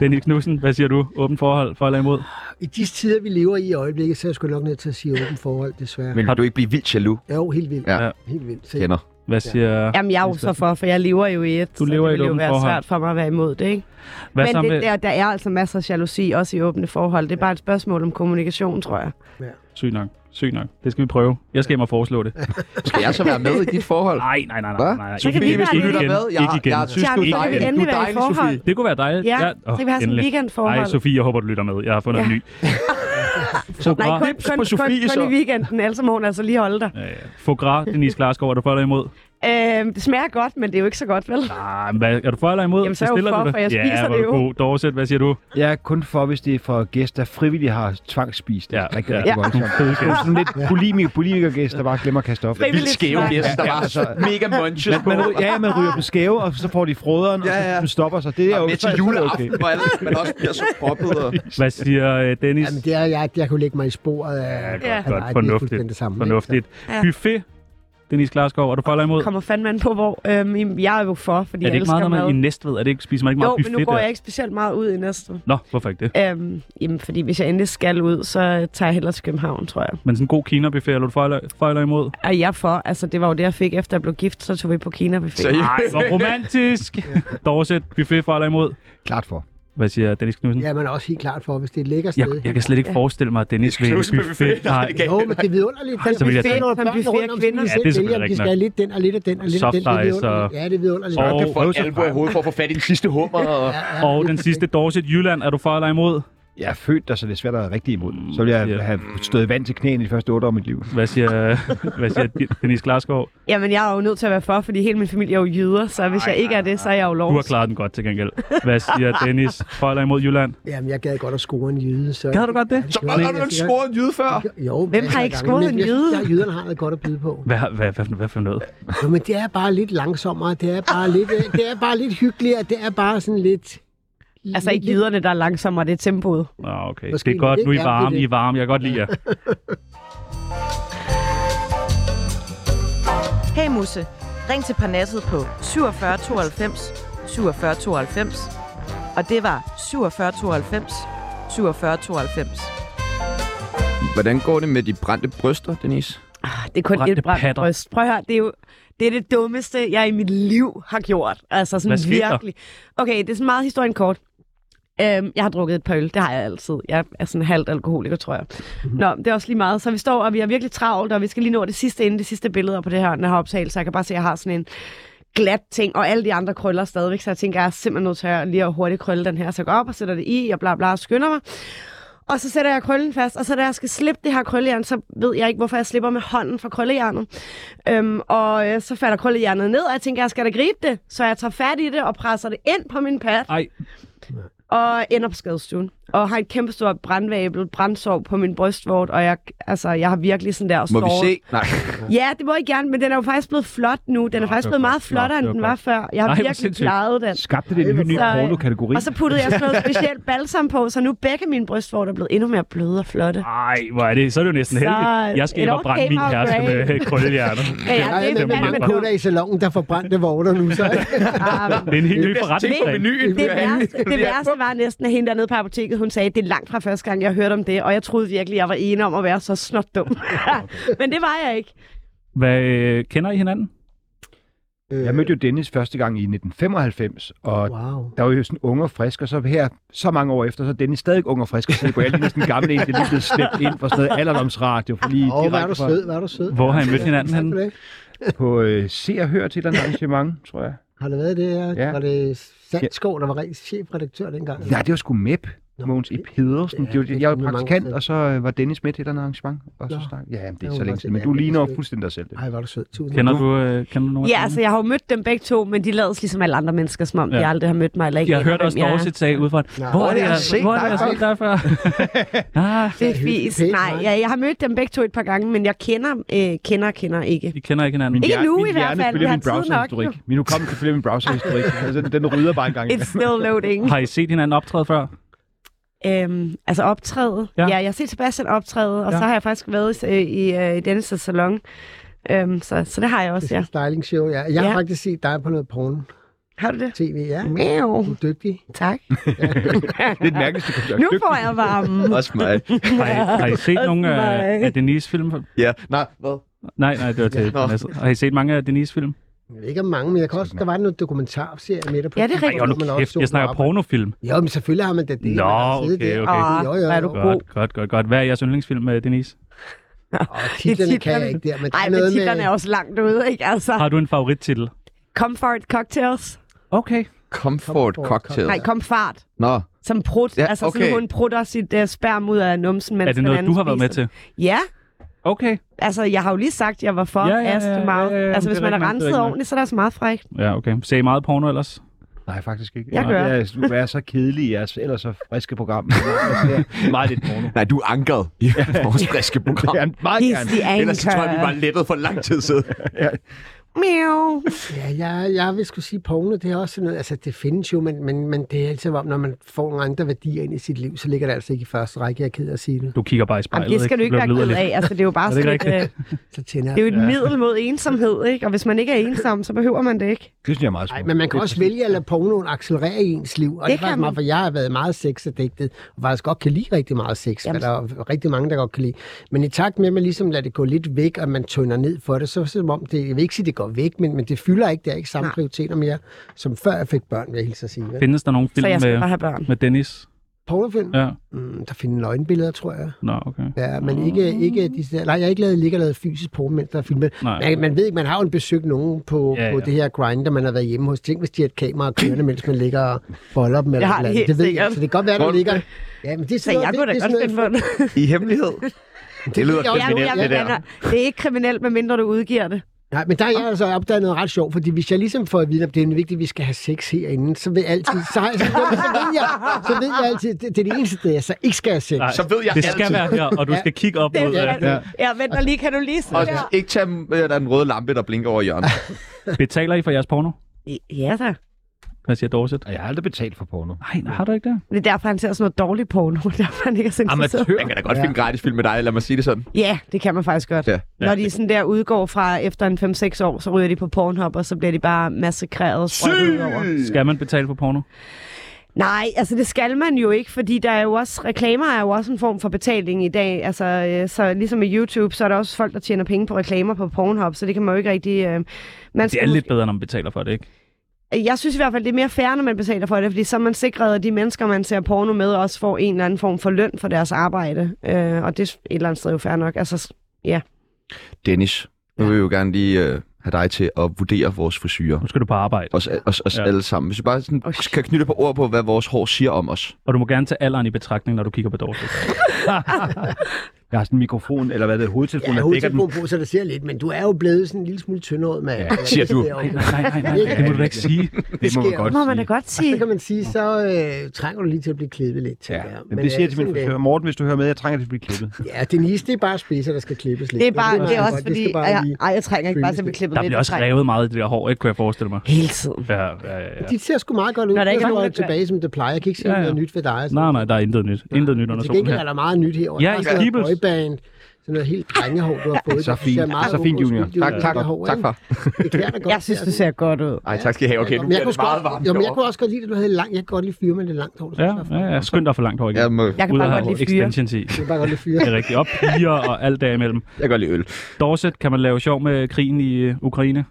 [SPEAKER 2] Dennis Knudsen, hvad siger du? Åbent forhold, for eller imod?
[SPEAKER 3] I de tider, vi lever i i øjeblikket, så er jeg sgu nok nødt til at sige åben forhold, desværre.
[SPEAKER 1] Men
[SPEAKER 2] Har
[SPEAKER 1] vil du ikke blive vildt jaloux?
[SPEAKER 3] Jo, helt vildt.
[SPEAKER 1] Ja.
[SPEAKER 3] Helt vildt. Så
[SPEAKER 1] Kender.
[SPEAKER 2] Hvad siger...
[SPEAKER 4] Jamen, jeg er jo så for, for jeg lever jo i et.
[SPEAKER 2] Du lever
[SPEAKER 4] så
[SPEAKER 2] i
[SPEAKER 4] det
[SPEAKER 2] et
[SPEAKER 4] vil jo
[SPEAKER 2] åbent
[SPEAKER 4] være
[SPEAKER 2] forhold.
[SPEAKER 4] svært for mig at være imod det, ikke?
[SPEAKER 2] Hvad så
[SPEAKER 4] Men
[SPEAKER 2] med...
[SPEAKER 4] det, der, der er altså masser af jalousi, også i åbne forhold. Det er bare et spørgsmål om kommunikation, tror jeg.
[SPEAKER 2] Sygt nok. Sygt nok. Det skal vi prøve. Jeg skal hjem og foreslå det.
[SPEAKER 6] Skal jeg så være med i dit forhold?
[SPEAKER 2] Nej, nej, nej, nej.
[SPEAKER 6] Hvad?
[SPEAKER 2] nej.
[SPEAKER 4] Så kan vi
[SPEAKER 6] Sofie, hvis du
[SPEAKER 4] være
[SPEAKER 6] lytter
[SPEAKER 2] igen.
[SPEAKER 6] med, jeg,
[SPEAKER 2] Ikke igen.
[SPEAKER 6] jeg synes,
[SPEAKER 4] Jamen,
[SPEAKER 6] du
[SPEAKER 4] så
[SPEAKER 6] er
[SPEAKER 4] kan vi
[SPEAKER 6] dejlig. Du
[SPEAKER 4] endelig
[SPEAKER 6] er
[SPEAKER 4] være i
[SPEAKER 6] dejlig,
[SPEAKER 4] forhold.
[SPEAKER 6] Sofie.
[SPEAKER 2] Det kunne være dejligt.
[SPEAKER 4] Ja, så kan vi have sådan et weekendforhold.
[SPEAKER 2] Nej, Sofie, jeg håber, du lytter med. Jeg har fundet
[SPEAKER 4] Ja.
[SPEAKER 2] en ny. Så
[SPEAKER 4] Nej, kun, kun,
[SPEAKER 1] på
[SPEAKER 4] kun,
[SPEAKER 1] Sofie,
[SPEAKER 4] kun,
[SPEAKER 1] så.
[SPEAKER 4] kun i weekenden, altså må hun altså lige holde dig.
[SPEAKER 2] Foie gras, Denise Klarskov, er du for eller imod?
[SPEAKER 4] Øh, det smager godt, men det er jo ikke så godt, vel?
[SPEAKER 2] Ah, men hvad, er du for eller imod?
[SPEAKER 4] Jamen, så er jeg jo
[SPEAKER 2] Bestiller du
[SPEAKER 4] for,
[SPEAKER 2] det?
[SPEAKER 4] for jeg spiser
[SPEAKER 2] ja,
[SPEAKER 4] det
[SPEAKER 2] hvor er du
[SPEAKER 4] jo.
[SPEAKER 2] god. Dorset, hvad siger du?
[SPEAKER 5] Jeg er kun for, hvis det er for gæster, der frivilligt har tvangsspist.
[SPEAKER 2] Ja,
[SPEAKER 5] Ja, rigtig,
[SPEAKER 2] ja.
[SPEAKER 5] rigtig voldsomt. Det er sådan lidt polemik, polemikergæst, der bare glemmer at kaste op.
[SPEAKER 4] Frivilligt
[SPEAKER 1] skæve
[SPEAKER 4] snak.
[SPEAKER 1] gæster, der var så mega munches på.
[SPEAKER 5] Man, ja, man ryger dem skæve, og så får de froderen, ja,
[SPEAKER 6] Ja,
[SPEAKER 5] ja.
[SPEAKER 6] ja.
[SPEAKER 5] og så stopper sig. Det er jo
[SPEAKER 1] Med
[SPEAKER 5] så er
[SPEAKER 1] til
[SPEAKER 5] det
[SPEAKER 1] juleaften, hvor alle, man også bliver så proppet. Og...
[SPEAKER 2] Hvad siger øh, Dennis?
[SPEAKER 3] Jamen, det er, jeg, jeg kunne lægge mig i sporet af...
[SPEAKER 2] Ja, godt,
[SPEAKER 4] Ja.
[SPEAKER 2] godt.
[SPEAKER 3] Nej, det er
[SPEAKER 2] Fornuftigt.
[SPEAKER 3] fuldstændig det samme, ikke?
[SPEAKER 2] Fornuftigt.
[SPEAKER 4] Ja.
[SPEAKER 2] Buffet, Denise Klarskov, er du for eller imod?
[SPEAKER 4] Kommer fandme an på, hvor... Øhm, jeg er jo for, fordi
[SPEAKER 2] Er det
[SPEAKER 4] jeg
[SPEAKER 2] ikke meget,
[SPEAKER 4] elsker
[SPEAKER 2] når man i
[SPEAKER 4] mad.
[SPEAKER 2] Næstved? Er det ikke, spiser man ikke
[SPEAKER 4] Jo,
[SPEAKER 2] meget
[SPEAKER 4] men nu
[SPEAKER 2] buffet
[SPEAKER 4] går
[SPEAKER 2] der?
[SPEAKER 4] jeg ikke specielt meget ud i næste.
[SPEAKER 2] Nå, hvorfor ikke det?
[SPEAKER 4] Øhm, jamen, fordi hvis jeg endelig skal ud, så øh, tager jeg hellere til København, tror jeg.
[SPEAKER 2] Men sådan en god kinabuffet, er du for eller, for eller imod?
[SPEAKER 4] Og jeg er for, altså det var jo det, jeg fik efter jeg blev gift, så tog vi på Kina buffet.
[SPEAKER 1] Så
[SPEAKER 2] Nej, hvor romantisk. Dorset, buffet for eller imod?
[SPEAKER 5] Klart for.
[SPEAKER 2] Hvad siger Dennis Knudsen?
[SPEAKER 3] Ja, man er også helt klart for, hvis det er et lækkert
[SPEAKER 2] Jeg,
[SPEAKER 3] sted.
[SPEAKER 2] jeg kan slet ikke forestille mig, at Dennis vil en
[SPEAKER 1] Knudsen med
[SPEAKER 2] buffet.
[SPEAKER 1] buffet. Nej,
[SPEAKER 2] Nej,
[SPEAKER 1] det kan
[SPEAKER 3] Jo, men det er vidunderligt.
[SPEAKER 2] Ej, så vil jeg
[SPEAKER 3] Der er
[SPEAKER 2] tænke-
[SPEAKER 3] nogle
[SPEAKER 4] Som
[SPEAKER 3] børn
[SPEAKER 4] buffet
[SPEAKER 3] rundt om, så
[SPEAKER 4] kvinder.
[SPEAKER 3] de
[SPEAKER 4] Ja,
[SPEAKER 2] det er
[SPEAKER 3] selv
[SPEAKER 2] selvfølgelig
[SPEAKER 3] vælger, om de
[SPEAKER 2] rigtigt
[SPEAKER 3] skal have lidt den og lidt af den og lidt af den. Det er
[SPEAKER 2] Softice
[SPEAKER 3] vidunderligt.
[SPEAKER 2] og-
[SPEAKER 3] Ja, det er vidunderligt.
[SPEAKER 2] Og-
[SPEAKER 1] Og du får
[SPEAKER 2] Prøv
[SPEAKER 1] en
[SPEAKER 2] så
[SPEAKER 1] albu i hovedet for at få fat i den sidste hummer. Og...
[SPEAKER 2] og den sidste Dorset Jylland, er du for eller imod?
[SPEAKER 5] Jeg er født der, så det er svært at være rigtig imod. Så vil jeg
[SPEAKER 2] Ja.
[SPEAKER 5] have stået i vand til knæene de første otte år af mit liv.
[SPEAKER 2] Hvad siger, hvad siger Dennis Klarskov?
[SPEAKER 4] Jamen, jeg er jo nødt til at være for, fordi hele min familie er jo jyder, så hvis jeg ikke er det, så er jeg
[SPEAKER 2] Du
[SPEAKER 4] jo
[SPEAKER 2] har
[SPEAKER 4] lov.
[SPEAKER 2] klaret den godt til gengæld. Hvad siger Dennis? For eller imod Jylland?
[SPEAKER 3] Jamen, jeg gad godt at score en jyde. Så...
[SPEAKER 2] Gad du godt det?
[SPEAKER 3] Ja,
[SPEAKER 1] Så
[SPEAKER 3] gjorde
[SPEAKER 1] har
[SPEAKER 3] jeg.
[SPEAKER 1] du en
[SPEAKER 3] Altså, jeg-
[SPEAKER 1] scoret en jyde før.
[SPEAKER 3] Jo,
[SPEAKER 4] Hvem har
[SPEAKER 3] masser af
[SPEAKER 4] ikke
[SPEAKER 3] gange,
[SPEAKER 4] scoret
[SPEAKER 3] men altså, jeg
[SPEAKER 4] en
[SPEAKER 3] synes,
[SPEAKER 4] jyde?
[SPEAKER 3] at Jyderne har noget godt at byde på.
[SPEAKER 2] Hvad, hvad, hvad, for- hvad for noget?
[SPEAKER 3] Jo, men det er bare lidt langsommere. Det er bare lidt, øh, det er bare lidt hyggeligere. Det er bare sådan lidt...
[SPEAKER 4] Altså ikke jyderne, der er langsommere, det er tempoet.
[SPEAKER 2] Nå, okay.
[SPEAKER 3] Måske
[SPEAKER 2] det er godt,
[SPEAKER 3] lidt
[SPEAKER 2] nu er I
[SPEAKER 3] ærgerligt,
[SPEAKER 2] varme, I
[SPEAKER 3] ikke?
[SPEAKER 2] er varme. Jeg kan godt lide jer.
[SPEAKER 7] Hey Musse, ring til Parnasset på 47 92 47 92. Og det var 47 92 47 92.
[SPEAKER 1] Hvordan går det med de brændte bryster, Denise?
[SPEAKER 4] Ah, Det er kun
[SPEAKER 2] Brændte
[SPEAKER 4] et brændt
[SPEAKER 2] patter.
[SPEAKER 4] bryst. Prøv at høre, det er jo det, er det dummeste, jeg i mit liv har gjort. Altså sådan
[SPEAKER 2] Hvad skete der?
[SPEAKER 4] virkelig. Okay, det er sådan meget historien kort. Øhm, jeg har drukket et par øl, det har jeg altid. Jeg er sådan halvt alkoholiker, tror jeg.
[SPEAKER 2] Mhm.
[SPEAKER 4] Nå, det er også lige meget. Så vi står, og vi er virkelig travlt, og vi skal lige nå det sidste inden det sidste billede på det her, den her optagelse. Jeg kan bare se, at jeg har sådan en glat ting, og alle de andre krøller stadigvæk, så jeg tænker, jeg er simpelthen nødt til at lige at hurtigt krølle den her, så jeg går op og sætter det i, og bla bla, og skynder mig. Og så sætter jeg krøllen fast, og så da jeg skal slippe det her krøllejern, så ved jeg ikke, hvorfor jeg slipper med hånden fra krøllejernet. Øhm, og øh, så falder krøllejernet ned, og jeg tænker, jeg skal da gribe det. Så jeg tager fat i det og presser det ind på min pad,
[SPEAKER 2] Ej,
[SPEAKER 4] og ender på skadestuen. Og har et kæmpe stort brandvabel, brandsår på min brystvort, og jeg, altså, jeg har virkelig sådan der og
[SPEAKER 1] Må vi se? Nej.
[SPEAKER 4] Ja, det må I gerne, men den er jo faktisk blevet flot nu. Den er faktisk
[SPEAKER 2] det var
[SPEAKER 4] blevet meget
[SPEAKER 2] godt. Nå,
[SPEAKER 4] flottere,
[SPEAKER 2] det
[SPEAKER 4] end
[SPEAKER 2] var
[SPEAKER 4] den var
[SPEAKER 2] godt.
[SPEAKER 4] før. Jeg har
[SPEAKER 2] Nej, hvor
[SPEAKER 4] virkelig
[SPEAKER 2] sindssygt.
[SPEAKER 4] klaret den.
[SPEAKER 5] Skabte det en helt ny
[SPEAKER 4] Så, øh,
[SPEAKER 5] porno-kategori?
[SPEAKER 4] Og så puttede jeg sådan noget specielt balsam på, så nu er begge mine brystvorter blevet endnu mere bløde og flotte.
[SPEAKER 2] ej, hvor er det? Så er det jo næsten
[SPEAKER 4] Så,
[SPEAKER 2] heldigt. Jeg skal
[SPEAKER 4] it
[SPEAKER 2] hjem og
[SPEAKER 4] all
[SPEAKER 2] brænde
[SPEAKER 4] came
[SPEAKER 2] min
[SPEAKER 4] out
[SPEAKER 2] kæreste
[SPEAKER 4] great.
[SPEAKER 2] med krøllehjerner.
[SPEAKER 4] Ja,
[SPEAKER 3] Jeg
[SPEAKER 4] ja, det
[SPEAKER 3] regner
[SPEAKER 4] er
[SPEAKER 3] med,
[SPEAKER 2] Dem
[SPEAKER 3] at
[SPEAKER 2] hjælper.
[SPEAKER 3] man
[SPEAKER 4] fandme
[SPEAKER 3] kunder i salongen, der får brændte vorter nu. Så.
[SPEAKER 4] Ah,
[SPEAKER 2] Det er en helt ny
[SPEAKER 1] Tænk på
[SPEAKER 2] forretningsplan.
[SPEAKER 1] menuen.
[SPEAKER 4] Det værste, det værste var næsten, at hende dernede på apoteket, hun sagde, det er langt fra første gang, jeg hørte om det, og jeg troede virkelig, jeg var enig om at være så snot dum. Men det var jeg ikke.
[SPEAKER 2] Hvad, øh, kender I hinanden?
[SPEAKER 5] Jeg mødte jo Dennis første gang i 1995, og
[SPEAKER 3] Øh, Wow.
[SPEAKER 5] der var jo sådan ung og frisk, og så her, så mange år efter, så er Dennis stadig ung og frisk, og så går jeg lige næsten gammel en, det er lige blevet slæbt ind fra sådan noget alderdomsradio, for lige
[SPEAKER 3] Åh, oh, hvor er du
[SPEAKER 5] direkte fra,
[SPEAKER 3] sød, hvor er du sød.
[SPEAKER 2] Hvor har I mødt hinanden
[SPEAKER 3] Tak for
[SPEAKER 2] henne?
[SPEAKER 3] det.
[SPEAKER 5] på øh, Se og Hør til et eller andet arrangement, tror jeg.
[SPEAKER 3] Har det været det her?
[SPEAKER 5] Ja.
[SPEAKER 3] Ja. Var det Sandskov, der var rent chefredaktør dengang?
[SPEAKER 5] Nej, det var sgu Mep,
[SPEAKER 3] Nå,
[SPEAKER 5] Mogens E.
[SPEAKER 3] okay.
[SPEAKER 5] Pedersen.
[SPEAKER 3] Ja,
[SPEAKER 5] Det var,
[SPEAKER 3] det
[SPEAKER 5] jeg var
[SPEAKER 3] er mange
[SPEAKER 5] praktikant,
[SPEAKER 3] år
[SPEAKER 5] og så øh, var Dennis med til et eller andet arrangement, og så
[SPEAKER 3] Nå.
[SPEAKER 5] snakkede Ja, jamen, det
[SPEAKER 3] Det
[SPEAKER 5] er
[SPEAKER 3] var
[SPEAKER 5] så længe
[SPEAKER 3] nok
[SPEAKER 5] siden,
[SPEAKER 3] det,
[SPEAKER 5] men du
[SPEAKER 3] ja, det
[SPEAKER 5] ligner
[SPEAKER 3] er sødt.
[SPEAKER 5] fuldstændig dig selv.
[SPEAKER 3] Ej, hvor er du sød. Tusind
[SPEAKER 2] Kender
[SPEAKER 3] tak.
[SPEAKER 2] du, øh, kender du nogen? af
[SPEAKER 4] Ja,
[SPEAKER 2] dem?
[SPEAKER 4] altså, jeg har jo mødt dem begge to, men de lades ligesom alle andre mennesker, som om
[SPEAKER 2] Ja.
[SPEAKER 4] ja. de aldrig har mødt mig. Eller ikke
[SPEAKER 2] Jeg har
[SPEAKER 4] aner,
[SPEAKER 2] hørt
[SPEAKER 4] hvem
[SPEAKER 2] også
[SPEAKER 4] jeg er.
[SPEAKER 2] Dorset sige ud fra,
[SPEAKER 3] Nej.
[SPEAKER 2] hvor er det,
[SPEAKER 1] Jeg
[SPEAKER 2] jeg
[SPEAKER 1] har set
[SPEAKER 2] hvor er det,
[SPEAKER 1] dig
[SPEAKER 2] jeg har set dig før? ah,
[SPEAKER 4] Det er
[SPEAKER 3] Ja, hyggeligt.
[SPEAKER 4] fisk.
[SPEAKER 3] Pænt,
[SPEAKER 4] Nej,
[SPEAKER 3] nej.
[SPEAKER 4] ja, jeg har mødt dem begge to et par gange, men jeg kender, øh, kender, kender ikke.
[SPEAKER 2] Ah, I kender ikke hinanden.
[SPEAKER 5] Min
[SPEAKER 4] Ikke
[SPEAKER 5] hjerne-
[SPEAKER 4] nu
[SPEAKER 5] min
[SPEAKER 4] i hvert
[SPEAKER 5] hjerne
[SPEAKER 4] fald,
[SPEAKER 5] følger
[SPEAKER 4] vi har
[SPEAKER 5] min
[SPEAKER 4] tid nok,
[SPEAKER 5] browserhistorik. Min hukommelse følger min browserhistorik. altså, den, den rydder bare en gang.
[SPEAKER 4] It's still loading.
[SPEAKER 2] Har I set hinanden optræde før?
[SPEAKER 4] Øhm, altså optræde.
[SPEAKER 2] Ja.
[SPEAKER 4] Ja. ja, jeg har set Sebastian optræde, og
[SPEAKER 2] Ja.
[SPEAKER 4] ja. så har jeg faktisk været i, øh, i, øh, i Dennis' salon. Øhm, så, så det har jeg også,
[SPEAKER 3] Det er
[SPEAKER 4] ja.
[SPEAKER 3] et stylingshow, ja. Jeg har
[SPEAKER 4] Ja. Mm.
[SPEAKER 3] faktisk set dig på noget porno-tv,
[SPEAKER 4] Har du det?
[SPEAKER 3] ja.
[SPEAKER 4] Miau.
[SPEAKER 3] Du er dygtig.
[SPEAKER 4] Tak.
[SPEAKER 5] Det er den mærkeligste koncept.
[SPEAKER 4] Nu får jeg varmen.
[SPEAKER 1] Også mig.
[SPEAKER 2] Har I, har I set nogle
[SPEAKER 4] Nej.
[SPEAKER 2] af, af Denise' film?
[SPEAKER 1] Ja, nej, hvad?
[SPEAKER 2] Nej, nej, det var til
[SPEAKER 1] Nå.
[SPEAKER 2] Parnasset. Har I set mange af Denise' film?
[SPEAKER 3] Jeg ved ikke om mange, men jeg kan også, der var noget dokumentarserie med dig på.
[SPEAKER 4] Ja, det er
[SPEAKER 3] tidspunkt,
[SPEAKER 4] rigtigt.
[SPEAKER 2] Jo,
[SPEAKER 3] hvor man
[SPEAKER 2] nu
[SPEAKER 3] også
[SPEAKER 2] kæft,
[SPEAKER 3] så
[SPEAKER 2] jeg snakker
[SPEAKER 3] på arbejde.
[SPEAKER 2] pornofilm.
[SPEAKER 3] Jo, men selvfølgelig har man da det.
[SPEAKER 2] Nå,
[SPEAKER 3] man har siddet
[SPEAKER 2] okay,
[SPEAKER 3] der.
[SPEAKER 2] okay.
[SPEAKER 4] Ah,
[SPEAKER 3] Jo, jo, jo.
[SPEAKER 4] hvor er du god.
[SPEAKER 2] Godt, godt, godt, godt. Hvad er jeres yndlingsfilm, øh, Denise?
[SPEAKER 3] Og titlerne kan jeg
[SPEAKER 4] titlerne.
[SPEAKER 3] ikke der, men der
[SPEAKER 4] Nej,
[SPEAKER 3] er
[SPEAKER 4] men
[SPEAKER 3] noget med...
[SPEAKER 4] titlerne er også langt ude, ikke? Altså,
[SPEAKER 2] Har du en favorittitel?
[SPEAKER 4] Comfort Cocktails.
[SPEAKER 2] Okay.
[SPEAKER 6] Comfort cocktail.
[SPEAKER 4] Nej, Comfort.
[SPEAKER 6] Nå,
[SPEAKER 4] Som prut. Ja,
[SPEAKER 6] Ja,
[SPEAKER 4] altså, sådan,
[SPEAKER 6] okay.
[SPEAKER 4] hun prutter sit uh, sperm ud af numsen, mens
[SPEAKER 2] Er det
[SPEAKER 4] den
[SPEAKER 2] noget,
[SPEAKER 4] anden
[SPEAKER 2] du har været med
[SPEAKER 4] spiser.
[SPEAKER 2] til?
[SPEAKER 4] Ja,
[SPEAKER 2] Okay.
[SPEAKER 4] altså, jeg har jo lige sagt, jeg var for
[SPEAKER 2] Ja,
[SPEAKER 4] ja,
[SPEAKER 2] ja, ja,
[SPEAKER 4] ja, ass to
[SPEAKER 2] ja,
[SPEAKER 4] mouth.
[SPEAKER 2] ja,
[SPEAKER 4] Ja,
[SPEAKER 2] ja,
[SPEAKER 4] ja, altså,
[SPEAKER 2] det
[SPEAKER 4] hvis
[SPEAKER 2] er
[SPEAKER 4] man
[SPEAKER 2] rigtig
[SPEAKER 4] er
[SPEAKER 2] nok, det er
[SPEAKER 4] renset
[SPEAKER 2] rigtig nok.
[SPEAKER 4] ordentligt, så er det altså meget frækt.
[SPEAKER 2] Ja, okay. Ser I meget porno ellers?
[SPEAKER 5] Nej, faktisk ikke.
[SPEAKER 4] Jeg
[SPEAKER 5] Nej,
[SPEAKER 4] gør.
[SPEAKER 5] det er- Nu er jeg så kedelig i jeres ellers så friske program. Jeg ser meget lidt porno.
[SPEAKER 1] Nej, du er ankeret i vores friske program.
[SPEAKER 5] Ja, meget
[SPEAKER 4] He's
[SPEAKER 5] gerne.
[SPEAKER 4] the
[SPEAKER 1] Ellers så tror jeg, vi var
[SPEAKER 4] anchor.
[SPEAKER 1] lettet for lang tid siden.
[SPEAKER 4] Miau.
[SPEAKER 3] Ja, jeg, jeg vil skulle sige, porno, det er også sådan noget, altså det findes jo, men, men, men det er altid om, når man får nogle andre værdier ind i sit liv, så ligger det altså ikke i første række, jeg er ked af at sige det.
[SPEAKER 2] Du kigger bare i
[SPEAKER 4] Jamen,
[SPEAKER 2] spejlet.
[SPEAKER 4] det skal du ikke
[SPEAKER 2] bliver
[SPEAKER 4] være ked
[SPEAKER 2] liderlig.
[SPEAKER 4] af. Altså, det er jo bare
[SPEAKER 2] Er det
[SPEAKER 4] sådan
[SPEAKER 2] ikke
[SPEAKER 4] et, øh,
[SPEAKER 3] Så tænder
[SPEAKER 4] det er
[SPEAKER 3] jeg.
[SPEAKER 4] jo et middel mod ensomhed, ikke? Og hvis man ikke er ensom, så behøver man det ikke.
[SPEAKER 5] Det synes jeg er meget
[SPEAKER 3] Nej,
[SPEAKER 5] smukt.
[SPEAKER 3] men man kan også vælge at lade pornoen accelerere i ens liv, og det,
[SPEAKER 4] Det
[SPEAKER 3] det er faktisk
[SPEAKER 4] kan
[SPEAKER 3] meget,
[SPEAKER 4] man.
[SPEAKER 3] for jeg har været meget sexaddiktet, og faktisk godt kan lide rigtig meget sex, Jamen.
[SPEAKER 4] Jamen.
[SPEAKER 3] der er rigtig mange, der godt kan lide. Men i takt med, at man ligesom lader det gå lidt væk, og man tønder ned for det, så er det som om, det, jeg vil ikke sige, det går væk, men, men det fylder ikke, der er ikke samme
[SPEAKER 4] Nej.
[SPEAKER 3] prioriteter mere, som før jeg fik børn, vil jeg hilse at sige. vel?
[SPEAKER 2] Findes der nogen film
[SPEAKER 4] Så jeg skal bare
[SPEAKER 2] med,
[SPEAKER 4] have børn.
[SPEAKER 2] med Dennis?
[SPEAKER 3] Pornofilm? Ja.
[SPEAKER 2] Ja.
[SPEAKER 3] Mm, der findes nøgenbilleder, tror jeg.
[SPEAKER 2] Nå, okay.
[SPEAKER 3] Ja,
[SPEAKER 4] Mm.
[SPEAKER 3] men ikke, ikke de der, nej, jeg har ikke lavet, ligger lavet fysisk på, mens der er filmet.
[SPEAKER 2] Nej.
[SPEAKER 3] Man, man, ved ikke, man har jo en besøgt nogen på,
[SPEAKER 2] Ja,
[SPEAKER 3] ja, på
[SPEAKER 2] ja.
[SPEAKER 3] det her grinder, man har været hjemme hos. Tænk, hvis de har et kamera kørende, mens man ligger og boller dem. Eller
[SPEAKER 4] har
[SPEAKER 3] noget
[SPEAKER 4] det
[SPEAKER 3] andet.
[SPEAKER 4] helt
[SPEAKER 3] ved jeg.
[SPEAKER 4] sikkert.
[SPEAKER 3] Så det kan godt være,
[SPEAKER 6] Tror
[SPEAKER 3] der
[SPEAKER 6] du
[SPEAKER 3] ligger... Ja, men det er
[SPEAKER 4] Så
[SPEAKER 3] sådan
[SPEAKER 4] jeg kunne da
[SPEAKER 3] noget, det, er sådan
[SPEAKER 4] godt finde på
[SPEAKER 3] noget,
[SPEAKER 4] det.
[SPEAKER 1] I hemmelighed. Det lyder
[SPEAKER 3] Jo,
[SPEAKER 4] Ja, men
[SPEAKER 1] kriminelt,
[SPEAKER 4] jeg
[SPEAKER 1] det der.
[SPEAKER 4] mener, det er ikke kriminelt, medmindre du udgiver det.
[SPEAKER 3] Nej, men der er jeg altså opdaget noget ret sjovt, fordi hvis jeg ligesom får at vide, at det er vigtigt, at vi skal have sex herinde, så vil jeg altid... Så, har jeg, så, ved, så, ved, jeg, så ved jeg altid... Det, det er det eneste, sted, jeg så ikke skal have sex.
[SPEAKER 2] Nej,
[SPEAKER 1] Så ved jeg
[SPEAKER 2] det
[SPEAKER 1] altid.
[SPEAKER 2] skal være her, og du skal kigge op mod...
[SPEAKER 4] Ja,
[SPEAKER 2] øh,
[SPEAKER 4] ja. ja venter lige, kan du lige
[SPEAKER 1] Og
[SPEAKER 4] sidde der?
[SPEAKER 1] ikke tage øh, der er en rød lampe, der blinker over hjørnet.
[SPEAKER 2] Betaler I for jeres porno?
[SPEAKER 4] Ja, da.
[SPEAKER 2] Hvad siger Dorset?
[SPEAKER 5] Og jeg har aldrig betalt for porno.
[SPEAKER 2] Nej, nej, har du ikke det?
[SPEAKER 4] Det er derfor, han ser sådan noget dårligt porno. Det er Derfor, han ikke er så interesseret.
[SPEAKER 1] Man kan da godt finde en gratis film med dig, lad mig sige det sådan.
[SPEAKER 4] Ja, det kan man faktisk godt.
[SPEAKER 1] Ja.
[SPEAKER 4] Ja. Når de sådan der udgår fra efter en 5-6 år, så ryger de på Pornhub, og så bliver de bare massakreret og sprøjtet ud over.
[SPEAKER 2] Skal man betale for porno?
[SPEAKER 4] Nej, altså det skal man jo ikke, fordi der er jo også, reklamer er jo også en form for betaling i dag. Altså, øh, så ligesom i YouTube, så er der også folk, der tjener penge på reklamer på Pornhub, så det kan man jo ikke rigtig... Øh, man
[SPEAKER 2] Det er lidt bedre, når man betaler for det, ikke?
[SPEAKER 4] Jeg synes i hvert fald, det er mere fair, når man betaler for det, fordi så er man sikret, at de mennesker, man ser porno med, også får en eller anden form for løn for deres arbejde. Øh, og det er et eller andet sted jo fair nok. Altså, s-
[SPEAKER 1] Dennis, nu vil vi jo gerne lige øh, have dig til at vurdere vores frisyrer.
[SPEAKER 2] Nu skal du på arbejde,
[SPEAKER 1] Os, os, os
[SPEAKER 2] Ja.
[SPEAKER 1] ja. alle sammen. Hvis vi bare sådan,
[SPEAKER 4] Okay.
[SPEAKER 1] kan knytte på ord på, hvad vores hår siger om os.
[SPEAKER 2] og du må gerne tage alderen i betragtning, når du kigger på Dorset.
[SPEAKER 5] Jeg har sådan en mikrofon, eller hvad det er, hovedtelefon,
[SPEAKER 3] Ja,
[SPEAKER 5] der dækker den.
[SPEAKER 3] hovedtelefon på, så det ser lidt, men du er jo blevet sådan en lille smule tyndhåret, mand. Altså, Ja,
[SPEAKER 1] siger du.
[SPEAKER 2] Nej, nej, nej, nej, nej, det må du da ikke sige.
[SPEAKER 5] Det må man
[SPEAKER 3] sker.
[SPEAKER 5] godt
[SPEAKER 4] må man da
[SPEAKER 5] sige.
[SPEAKER 4] godt
[SPEAKER 3] Så
[SPEAKER 4] sige.
[SPEAKER 3] kan man sige, så øh, trænger du lige til at blive klippet lidt, tænker
[SPEAKER 5] Ja,
[SPEAKER 3] jeg.
[SPEAKER 5] men det siger jeg til min
[SPEAKER 3] sådan, øh,
[SPEAKER 5] frisør. Morten, hvis du hører med, jeg trænger til at blive klippet.
[SPEAKER 3] Ja, Denise, det er bare spidser, der skal klippes lidt.
[SPEAKER 4] Det er, bare,
[SPEAKER 3] meget
[SPEAKER 4] det er også
[SPEAKER 3] godt.
[SPEAKER 4] fordi,
[SPEAKER 3] skal bare
[SPEAKER 4] ej,
[SPEAKER 3] lige-
[SPEAKER 4] ej, jeg trænger ikke bare til at
[SPEAKER 3] føles
[SPEAKER 4] blive klippet
[SPEAKER 2] Der
[SPEAKER 4] lidt.
[SPEAKER 2] bliver også
[SPEAKER 4] Jeg trænger-
[SPEAKER 2] revet meget i det der hår, ikke? Kunne jeg forestille mig.
[SPEAKER 4] Hele tiden.
[SPEAKER 2] Ja, ja, ja, ja.
[SPEAKER 3] De ser sgu meget godt ud. Når
[SPEAKER 4] Når der
[SPEAKER 3] der
[SPEAKER 4] ikke er nogen, der gør-
[SPEAKER 3] tilbage, som det plejer. Jeg kan ikke se
[SPEAKER 2] Ja, ja.
[SPEAKER 3] noget nyt ved dig. Altså.
[SPEAKER 2] Nej, nej, der er intet nyt. Intet nyt under
[SPEAKER 3] Til
[SPEAKER 2] solen
[SPEAKER 3] gengæld er
[SPEAKER 2] her.
[SPEAKER 3] der meget nyt her.
[SPEAKER 2] Ja,
[SPEAKER 3] der er sådan
[SPEAKER 2] Skibbles.
[SPEAKER 3] noget boyband. Sådan noget helt drengehår, du har fået.
[SPEAKER 5] Så
[SPEAKER 3] Det ser
[SPEAKER 5] fint.
[SPEAKER 3] meget
[SPEAKER 5] Så fint, Junior.
[SPEAKER 3] uskyldigt ud,
[SPEAKER 1] Tak,
[SPEAKER 3] det
[SPEAKER 1] tak,
[SPEAKER 3] der hår,
[SPEAKER 1] tak
[SPEAKER 3] ikke?
[SPEAKER 1] for.
[SPEAKER 3] Det klæder dig godt.
[SPEAKER 4] Jeg synes, det ser godt ud.
[SPEAKER 1] Ej, tak skal I have. Okay, nu
[SPEAKER 3] Men jeg
[SPEAKER 1] bliver
[SPEAKER 3] kunne
[SPEAKER 1] det meget
[SPEAKER 3] sgu-
[SPEAKER 1] varmt
[SPEAKER 3] Jo, men jeg
[SPEAKER 1] herovre.
[SPEAKER 3] kunne også godt lide, at du havde langt. Jeg kan godt lide fyre med det langt hår. Det synes
[SPEAKER 2] Ja,
[SPEAKER 3] jeg er flot.
[SPEAKER 2] ja, ja. Skynd dig for langt hår igen.
[SPEAKER 1] Jeg, må,
[SPEAKER 4] Jeg kan
[SPEAKER 2] Ud af
[SPEAKER 4] bare
[SPEAKER 2] at have
[SPEAKER 4] godt lide fyre.
[SPEAKER 2] extensions i.
[SPEAKER 3] Jeg kan bare godt lide fyre.
[SPEAKER 2] Det er rigtigt. Op piger og alt derimellem.
[SPEAKER 1] jeg kan godt lide øl.
[SPEAKER 2] Dorset, kan man lave sjov med krigen i øh, Ukraine?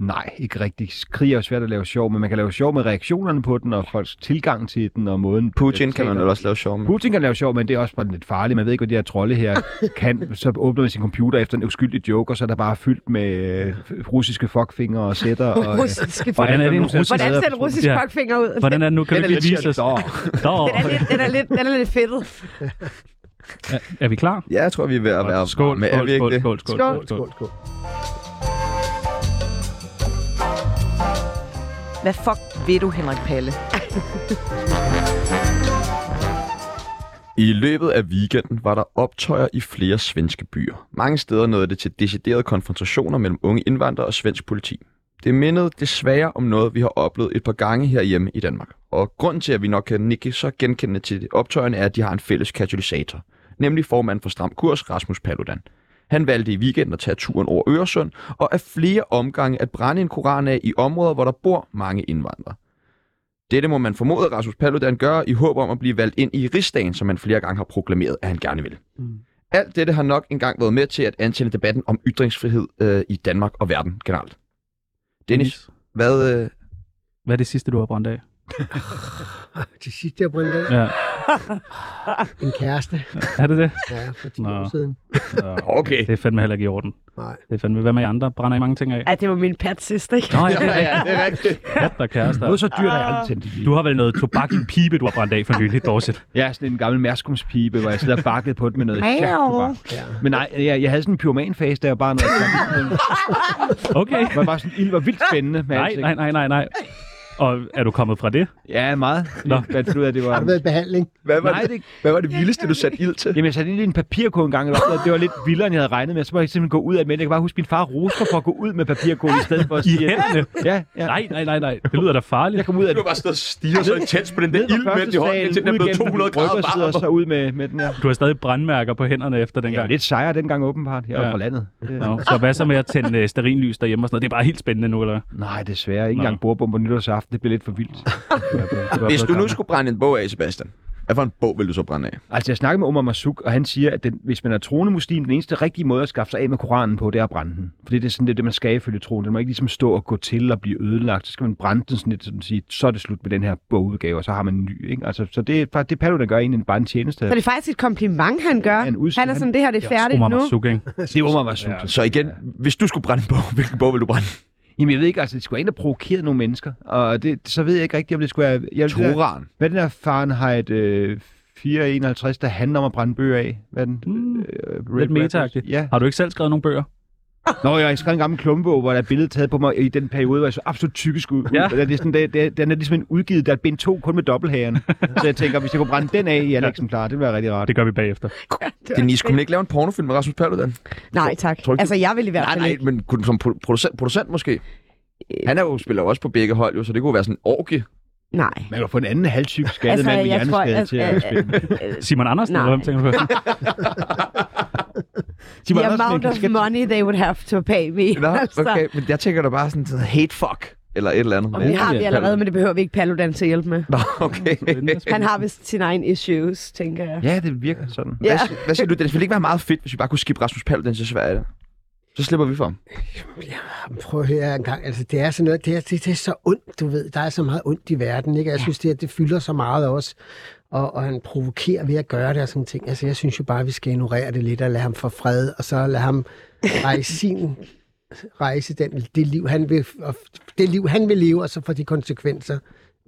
[SPEAKER 5] Nej, ikke rigtig. Krig er jo svært at lave sjov, men man kan lave sjov med reaktionerne på den, og folks tilgang til den, og måden...
[SPEAKER 1] Putin kan man vel også lave sjov med.
[SPEAKER 5] Mm. Putin kan lave sjov, men det er også bare lidt farligt. Man ved ikke, hvad de her trolde her kan. Så åbner man sin computer efter en uskyldig joke, og så er der bare fyldt med øh, russiske fuckfinger og sætter. Og, øh,
[SPEAKER 4] Russiske
[SPEAKER 5] og
[SPEAKER 2] Hvordan er det en russisk-
[SPEAKER 4] Hvordan ser en russisk
[SPEAKER 2] Ja.
[SPEAKER 4] fuckfinger ud?
[SPEAKER 2] Hvordan er det nu? Kan
[SPEAKER 1] Den
[SPEAKER 2] du
[SPEAKER 1] er
[SPEAKER 2] ikke lige
[SPEAKER 1] lidt
[SPEAKER 2] vise os? Dår.
[SPEAKER 4] Den er lidt, den er lidt, den er lidt fedtet.
[SPEAKER 2] Er vi klar?
[SPEAKER 1] Ja, jeg tror, vi er ved at være
[SPEAKER 2] Skål,
[SPEAKER 1] med. Er
[SPEAKER 2] skål,
[SPEAKER 1] vi ikke
[SPEAKER 2] skål,
[SPEAKER 1] det?
[SPEAKER 2] skål, skål, skål, skål.
[SPEAKER 7] Hvad fuck ved du, Henrik Palle?
[SPEAKER 1] I løbet af weekenden var der optøjer i flere svenske byer. Mange steder nåede det til deciderede konfrontationer mellem unge indvandrere og svensk politi. Det mindede desværre om noget, vi har oplevet et par gange herhjemme i Danmark. Og grunden til, at vi nok kan nikke så genkendende til optøjerne, er, at de har en fælles katalysator. Nemlig formand for Stram Kurs, Rasmus Paludan. Han valgte i weekenden at tage turen over Øresund, og af flere omgange at brænde en koran af i områder, hvor der bor mange indvandrere. Dette må man formode, at Rasmus Paludan gør i håb om at blive valgt ind i rigsdagen, som han flere gange har proklameret, at han gerne vil. Mm. Alt dette har nok engang været med til at antænde debatten om ytringsfrihed øh, i Danmark og verden generelt. Dennis, hvad... Øh,
[SPEAKER 2] Hvad er det sidste, du har brændt af?
[SPEAKER 3] Til sidst, jeg brændte af.
[SPEAKER 2] Ja.
[SPEAKER 3] En kæreste.
[SPEAKER 2] Er det det?
[SPEAKER 3] Ja, for 10
[SPEAKER 2] Nå.
[SPEAKER 3] år siden.
[SPEAKER 2] Nå,
[SPEAKER 1] okay.
[SPEAKER 2] Det er fandme heller ikke i orden.
[SPEAKER 3] Nej.
[SPEAKER 2] Det er fandme, hvad med jer andre? Brænder I mange ting af?
[SPEAKER 4] Ja, det var min pat sidst, ikke?
[SPEAKER 2] Nå, ja, det er
[SPEAKER 1] Ja, det er rigtigt.
[SPEAKER 2] rigtigt. Der er kærester.
[SPEAKER 5] Noget så dyrt er jeg aldrig tændt i
[SPEAKER 2] Du har vel noget tobak i en pibe, du har brændt af for nylig, Dorset.
[SPEAKER 5] Jeg er sådan en gammel mærskumspibe, hvor jeg sidder og bakket på den med noget
[SPEAKER 4] Ej,
[SPEAKER 5] tobak.
[SPEAKER 3] Ja.
[SPEAKER 5] Men nej, jeg, jeg havde sådan en pyromanfase, der var bare noget...
[SPEAKER 2] Okay.
[SPEAKER 5] Hvor bare sådan, ild var vildt spændende. Med
[SPEAKER 2] Nej,
[SPEAKER 5] alting.
[SPEAKER 2] nej, nej, nej, nej. Og er du kommet fra det?
[SPEAKER 5] Ja, meget.
[SPEAKER 2] Nå.
[SPEAKER 5] Nå. Jeg fandt ud af, at det var...
[SPEAKER 3] Har du været i behandling?
[SPEAKER 1] Hvad var,
[SPEAKER 5] Nej,
[SPEAKER 1] det,
[SPEAKER 5] det,
[SPEAKER 1] hvad var det vildeste, du satte ild til?
[SPEAKER 5] jamen, jeg satte ind i en papirkål en gang, og opdagede, at det var lidt vildere, end jeg havde regnet med. Så må jeg simpelthen gå ud af det, men jeg kan bare huske, at min far roste mig for at gå ud med papirkål i stedet for at
[SPEAKER 2] I
[SPEAKER 5] sige... at-
[SPEAKER 2] hændene?
[SPEAKER 5] Ja, ja.
[SPEAKER 2] Nej, nej, nej, nej. Det lyder da farligt.
[SPEAKER 5] Jeg kom ud af
[SPEAKER 1] Du har
[SPEAKER 5] det.
[SPEAKER 1] bare stået og stirret så intens på den der
[SPEAKER 5] Ned
[SPEAKER 1] ild
[SPEAKER 5] fra
[SPEAKER 1] mellem i
[SPEAKER 5] første
[SPEAKER 1] hånden,
[SPEAKER 5] sal,
[SPEAKER 1] indtil den er
[SPEAKER 5] ud
[SPEAKER 1] blevet
[SPEAKER 5] igen på
[SPEAKER 1] 200
[SPEAKER 5] min
[SPEAKER 1] grader
[SPEAKER 5] rygside, og
[SPEAKER 1] varm.
[SPEAKER 5] så ud med, med den her.
[SPEAKER 2] Du har stadig brandmærker på hænderne efter
[SPEAKER 5] Jeg var
[SPEAKER 2] dengang.
[SPEAKER 5] lidt sejere dengang åbenbart. Jeg var
[SPEAKER 2] Ja.
[SPEAKER 5] fra landet. Det-
[SPEAKER 2] Nå, så hvad så med at tænde øh, stearinlys derhjemme og sådan noget? Det er bare helt spændende nu, eller hvad?
[SPEAKER 5] Nej, desværre.
[SPEAKER 2] Nå.
[SPEAKER 5] Ikke engang bordbom på nytårsaften. Det blev lidt for vildt.
[SPEAKER 2] Du
[SPEAKER 1] Hvis
[SPEAKER 2] er blevet
[SPEAKER 1] du nu
[SPEAKER 2] gammel.
[SPEAKER 1] skulle brænde en bog af, Sebastian, hvad for en bog vil du så brænde af?
[SPEAKER 5] Altså, jeg snakkede med Omar Masuk, og han siger, at den, hvis man er troende muslim, den eneste rigtige måde at skaffe sig af med Koranen på, det er at brænde den. Fordi det er sådan det, er det man skal ifølge troen. Den må ikke ligesom stå og gå til og blive ødelagt. Så skal man brænde den sådan lidt, sådan sige, så er det slut med den her bogudgave, og så har man en ny. Ikke? Altså, så det er faktisk det, Paludan gør egentlig bare en tjeneste.
[SPEAKER 4] Så det er faktisk et kompliment, han gør.
[SPEAKER 5] Han
[SPEAKER 4] Han,
[SPEAKER 5] udskyder-
[SPEAKER 4] han er sådan, det her det er færdigt
[SPEAKER 2] Omar
[SPEAKER 4] nu.
[SPEAKER 2] Marzouk, ikke?
[SPEAKER 5] Det er Omar Masuk. Ja.
[SPEAKER 1] Så igen, hvis du skulle brænde en bog, hvilken bog vil du brænde?
[SPEAKER 5] Jamen, jeg ved ikke, altså, det skulle ind og provokere nogle mennesker. Og det, så ved jeg ikke rigtigt, om det skulle være... Jeg, det der,
[SPEAKER 1] Toran.
[SPEAKER 5] hvad er den der Fahrenheit øh, 451, der handler om at brænde bøger af? Hvad er den?
[SPEAKER 2] Mm,
[SPEAKER 5] Øh,
[SPEAKER 2] Lidt
[SPEAKER 5] Red
[SPEAKER 2] meta
[SPEAKER 5] Records? Ja,
[SPEAKER 2] Har du ikke selv skrevet nogle bøger?
[SPEAKER 5] Nå, jeg skrev en gammel klumbog, hvor der er et billede taget på mig i den periode, hvor jeg så absolut tykkes ud. Ja. Det er sådan, det, det, den er ligesom en udgivet, der er bind 2 kun med dobbelthagerne. så jeg tænker, hvis jeg kunne brænde den af i alle ja. eksemplarer, det ville være rigtig rart.
[SPEAKER 2] Det gør vi bagefter.
[SPEAKER 1] Denise, kunne man ikke lave en pornofilm med Rasmus Paludan?
[SPEAKER 4] Nej, tak.
[SPEAKER 1] Tror ikke,
[SPEAKER 4] Altså, jeg vil i hvert
[SPEAKER 1] Nej,
[SPEAKER 4] fald
[SPEAKER 1] nej,
[SPEAKER 4] ikke.
[SPEAKER 1] men kunne, som pro- producent, producent måske?
[SPEAKER 4] Øh.
[SPEAKER 1] Han er jo, spiller jo også på begge hold, jo, så det kunne være sådan en orgie.
[SPEAKER 4] Nej.
[SPEAKER 5] Man kan få en anden halvsyg skattet altså, mand med
[SPEAKER 4] jeg tror,
[SPEAKER 5] hjerneskade
[SPEAKER 4] altså,
[SPEAKER 5] til at
[SPEAKER 4] øh,
[SPEAKER 5] spille.
[SPEAKER 2] Simon Andersen,
[SPEAKER 4] Nej.
[SPEAKER 2] eller hvem tænker du på?
[SPEAKER 5] De
[SPEAKER 4] The amount of money they would have to pay me.
[SPEAKER 1] Nå, okay, men jeg tænker da bare sådan noget hate fuck, eller et eller andet.
[SPEAKER 4] altså. Og det har vi allerede, men det behøver vi ikke Paludan til at hjælpe med.
[SPEAKER 1] Nå, okay.
[SPEAKER 4] Han har vist sine egne issues, tænker jeg.
[SPEAKER 5] Ja, det virker sådan.
[SPEAKER 4] Ja.
[SPEAKER 1] Hvad, si- hvad siger du? Dennis? Det ville ikke være meget fedt, hvis vi bare kunne skippe Rasmus Paludan til Sverige. Så slipper vi for ham.
[SPEAKER 3] Jamen, Prøv at høre en gang. Altså, det er sådan noget, det er, det, det er så ondt, du ved. Der er så meget ondt i verden, ikke? Og Jeg synes, det, her, det fylder så meget også. Og, og han provokerer ved at gøre det og sådan ting. Altså, jeg synes jo bare, vi skal ignorere det lidt og lade ham få fred, og så lade ham rejse sin rejse den, det, liv, han vil, og det liv, han vil leve, og så få de konsekvenser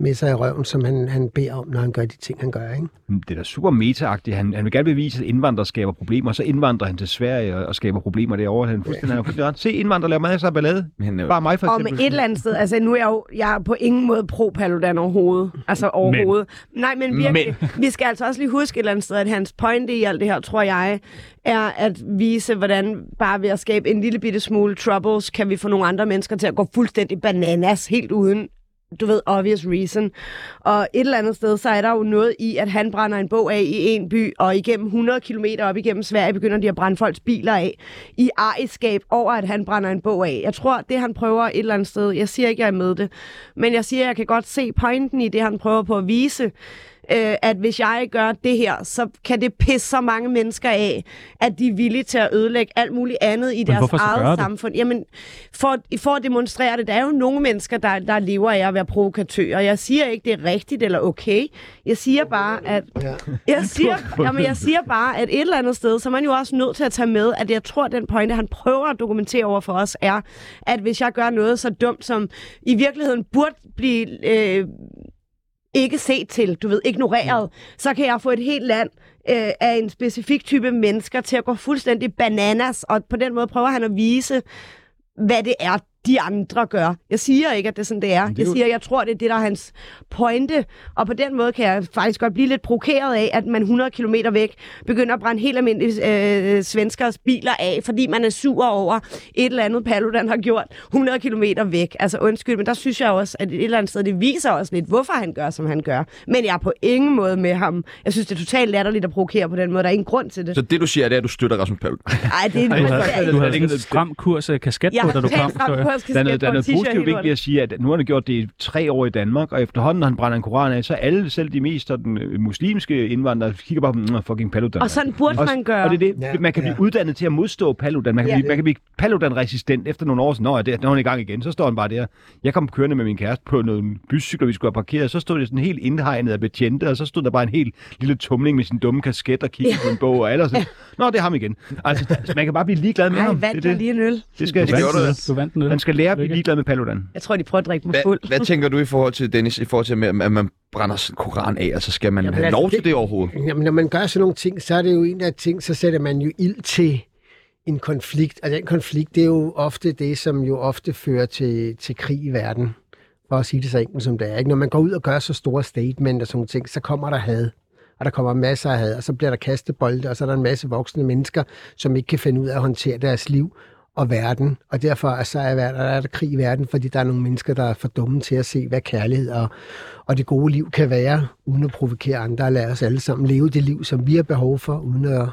[SPEAKER 3] med sig i røven, som han, han beder om, når han gør de ting, han gør. Ikke?
[SPEAKER 5] Hm, Det er da super meta-agtigt. Han, han vil gerne bevise, at indvandrere skaber problemer, så indvandrer han til Sverige og, og skaber problemer derovre. Han er fuldstændig, han er fuldstændig ret. Se, indvandrere laver masser af ballade.
[SPEAKER 1] Men, øh,
[SPEAKER 5] Bare mig for
[SPEAKER 4] Og med
[SPEAKER 5] eksempel.
[SPEAKER 4] et eller andet sted, altså nu er jeg jo jeg er på ingen måde pro-Paludan overhovedet. Altså overhovedet. Men. Nej, men virkelig. Men. Vi skal altså også lige huske et eller andet sted, at hans pointe i alt det her, tror jeg, er at vise, hvordan bare ved at skabe en lille bitte smule troubles, kan vi få nogle andre mennesker til at gå fuldstændig bananas, helt uden du ved, obvious reason. Og et eller andet sted, så er der jo noget i, at han brænder en bog af i en by, og igennem 100 km op igennem Sverige begynder de at brænde folks biler af i ariskab over, at han brænder en bog af. Jeg tror, det han prøver et eller andet sted, jeg siger ikke, jeg er med det, men jeg siger, jeg kan godt se pointen i det, han prøver på at vise, øh, at hvis jeg gør det her, så kan det pisse så mange mennesker af, at de er villige til at ødelægge alt muligt andet i deres
[SPEAKER 2] hvorfor så gøre
[SPEAKER 4] eget
[SPEAKER 2] det?
[SPEAKER 4] samfund. Jamen, for, for at demonstrere det, der er jo nogle mennesker, der, der lever af at være provokatører. Jeg siger ikke, det er rigtigt eller okay. Jeg siger bare, at... Jeg siger, jamen, jeg siger bare, at et eller andet sted, så er man jo også nødt til at tage med, at jeg tror, at den pointe, han prøver at dokumentere over for os, er, at hvis jeg gør noget så dumt, som i virkeligheden burde blive... Øh, ikke set til, du ved, ignoreret, så kan jeg få et helt land øh, af en specifik type mennesker til at gå fuldstændig bananas, og på den måde prøver han at vise, hvad det er, de andre gør. Jeg siger ikke, at det er sådan, det er. Jeg siger, at jeg tror, det er det, der er hans pointe. Og på den måde kan jeg faktisk godt blive lidt provokeret af, at man 100 km væk begynder at brænde helt almindelige øh, svenskers biler af, fordi man er sur over et eller andet Paludan har gjort 100 km væk. Altså undskyld, men der synes jeg også, at et eller andet sted, det viser også lidt, hvorfor han gør, som han gør. Men jeg er på ingen måde med ham. Jeg synes, det er totalt latterligt at provokere på den måde. Der er ingen grund til det.
[SPEAKER 1] Så det, du siger, det er, at du støtter Rasmus Paludan.
[SPEAKER 4] Ej, det er
[SPEAKER 2] Du havde,
[SPEAKER 4] det er-
[SPEAKER 2] du havde sådan en stram kurs øh, kasket
[SPEAKER 4] jeg
[SPEAKER 2] på, da
[SPEAKER 4] har
[SPEAKER 2] du kom.
[SPEAKER 4] talt frem
[SPEAKER 2] så jeg.
[SPEAKER 4] på, hollandske
[SPEAKER 5] der er noget,
[SPEAKER 4] skat
[SPEAKER 5] der
[SPEAKER 4] på en
[SPEAKER 5] er noget
[SPEAKER 4] t-shirt
[SPEAKER 5] positivt
[SPEAKER 4] hele
[SPEAKER 5] vigtigt ved at sige, at nu har han gjort det i tre år i Danmark, og efterhånden, når han brænder en koran af, så alle, selv de mest sådan, øh, muslimske indvandrere, kigger bare på "Mm, fucking Paludan.
[SPEAKER 4] Og sådan burde man gøre.
[SPEAKER 5] Og det er det,
[SPEAKER 3] Ja,
[SPEAKER 5] ja, man kan
[SPEAKER 3] ja.
[SPEAKER 5] blive uddannet til at modstå Paludan. Man kan,
[SPEAKER 4] Ja.
[SPEAKER 5] ja, blive, man kan blive Paludan-resistent efter nogle år. Så, Nå, ja, det, når han er i gang igen, så står han bare der. Jeg kom kørende med min kæreste på noget bycykler, vi skulle have parkeret, så stod det sådan helt indhegnet af betjente, og så stod der bare en helt lille tumling med sin dumme kasket og kiggede på en bog, og alle var sådan, Nå, det er ham igen. Altså, man kan bare blive ligeglad med
[SPEAKER 7] Ej,
[SPEAKER 5] ham.
[SPEAKER 7] vandt
[SPEAKER 5] det, er
[SPEAKER 7] jeg lige en øl.
[SPEAKER 5] det skal
[SPEAKER 1] Det gjorde du.
[SPEAKER 5] jeg
[SPEAKER 2] Du vandt den øl.
[SPEAKER 5] Man skal lære at blive
[SPEAKER 2] Lykke.
[SPEAKER 5] ligeglad med Paludan.
[SPEAKER 4] Jeg tror, de prøver at drikke mig fuld.
[SPEAKER 1] Hvad, hvad tænker du i forhold til, Dennis, i forhold til, med, at man brænder sin koran af, altså skal man
[SPEAKER 3] Jamen,
[SPEAKER 1] have
[SPEAKER 3] altså,
[SPEAKER 1] lov til
[SPEAKER 3] det-
[SPEAKER 1] det overhovedet?
[SPEAKER 3] Jamen, når man gør sådan nogle ting, så er det jo en af ting, så sætter man jo ild til en konflikt, og den konflikt, det er jo ofte det, som jo ofte fører til, til krig i verden, for at sige det så enkelt som det er. Ikke? Når man går ud og gør så store statement og sådan nogle ting, så kommer der had, og der kommer masser af had, og så bliver der kastebolde, og så er der en masse voksne mennesker, som ikke kan finde ud af at håndtere deres liv og verden, og derfor er, så er, verden, er der krig i verden, fordi der er nogle mennesker, der er for dumme til at se, hvad kærlighed og, og det gode liv kan være, uden at provokere andre, og lade os alle sammen leve det liv, som vi har behov for, uden at...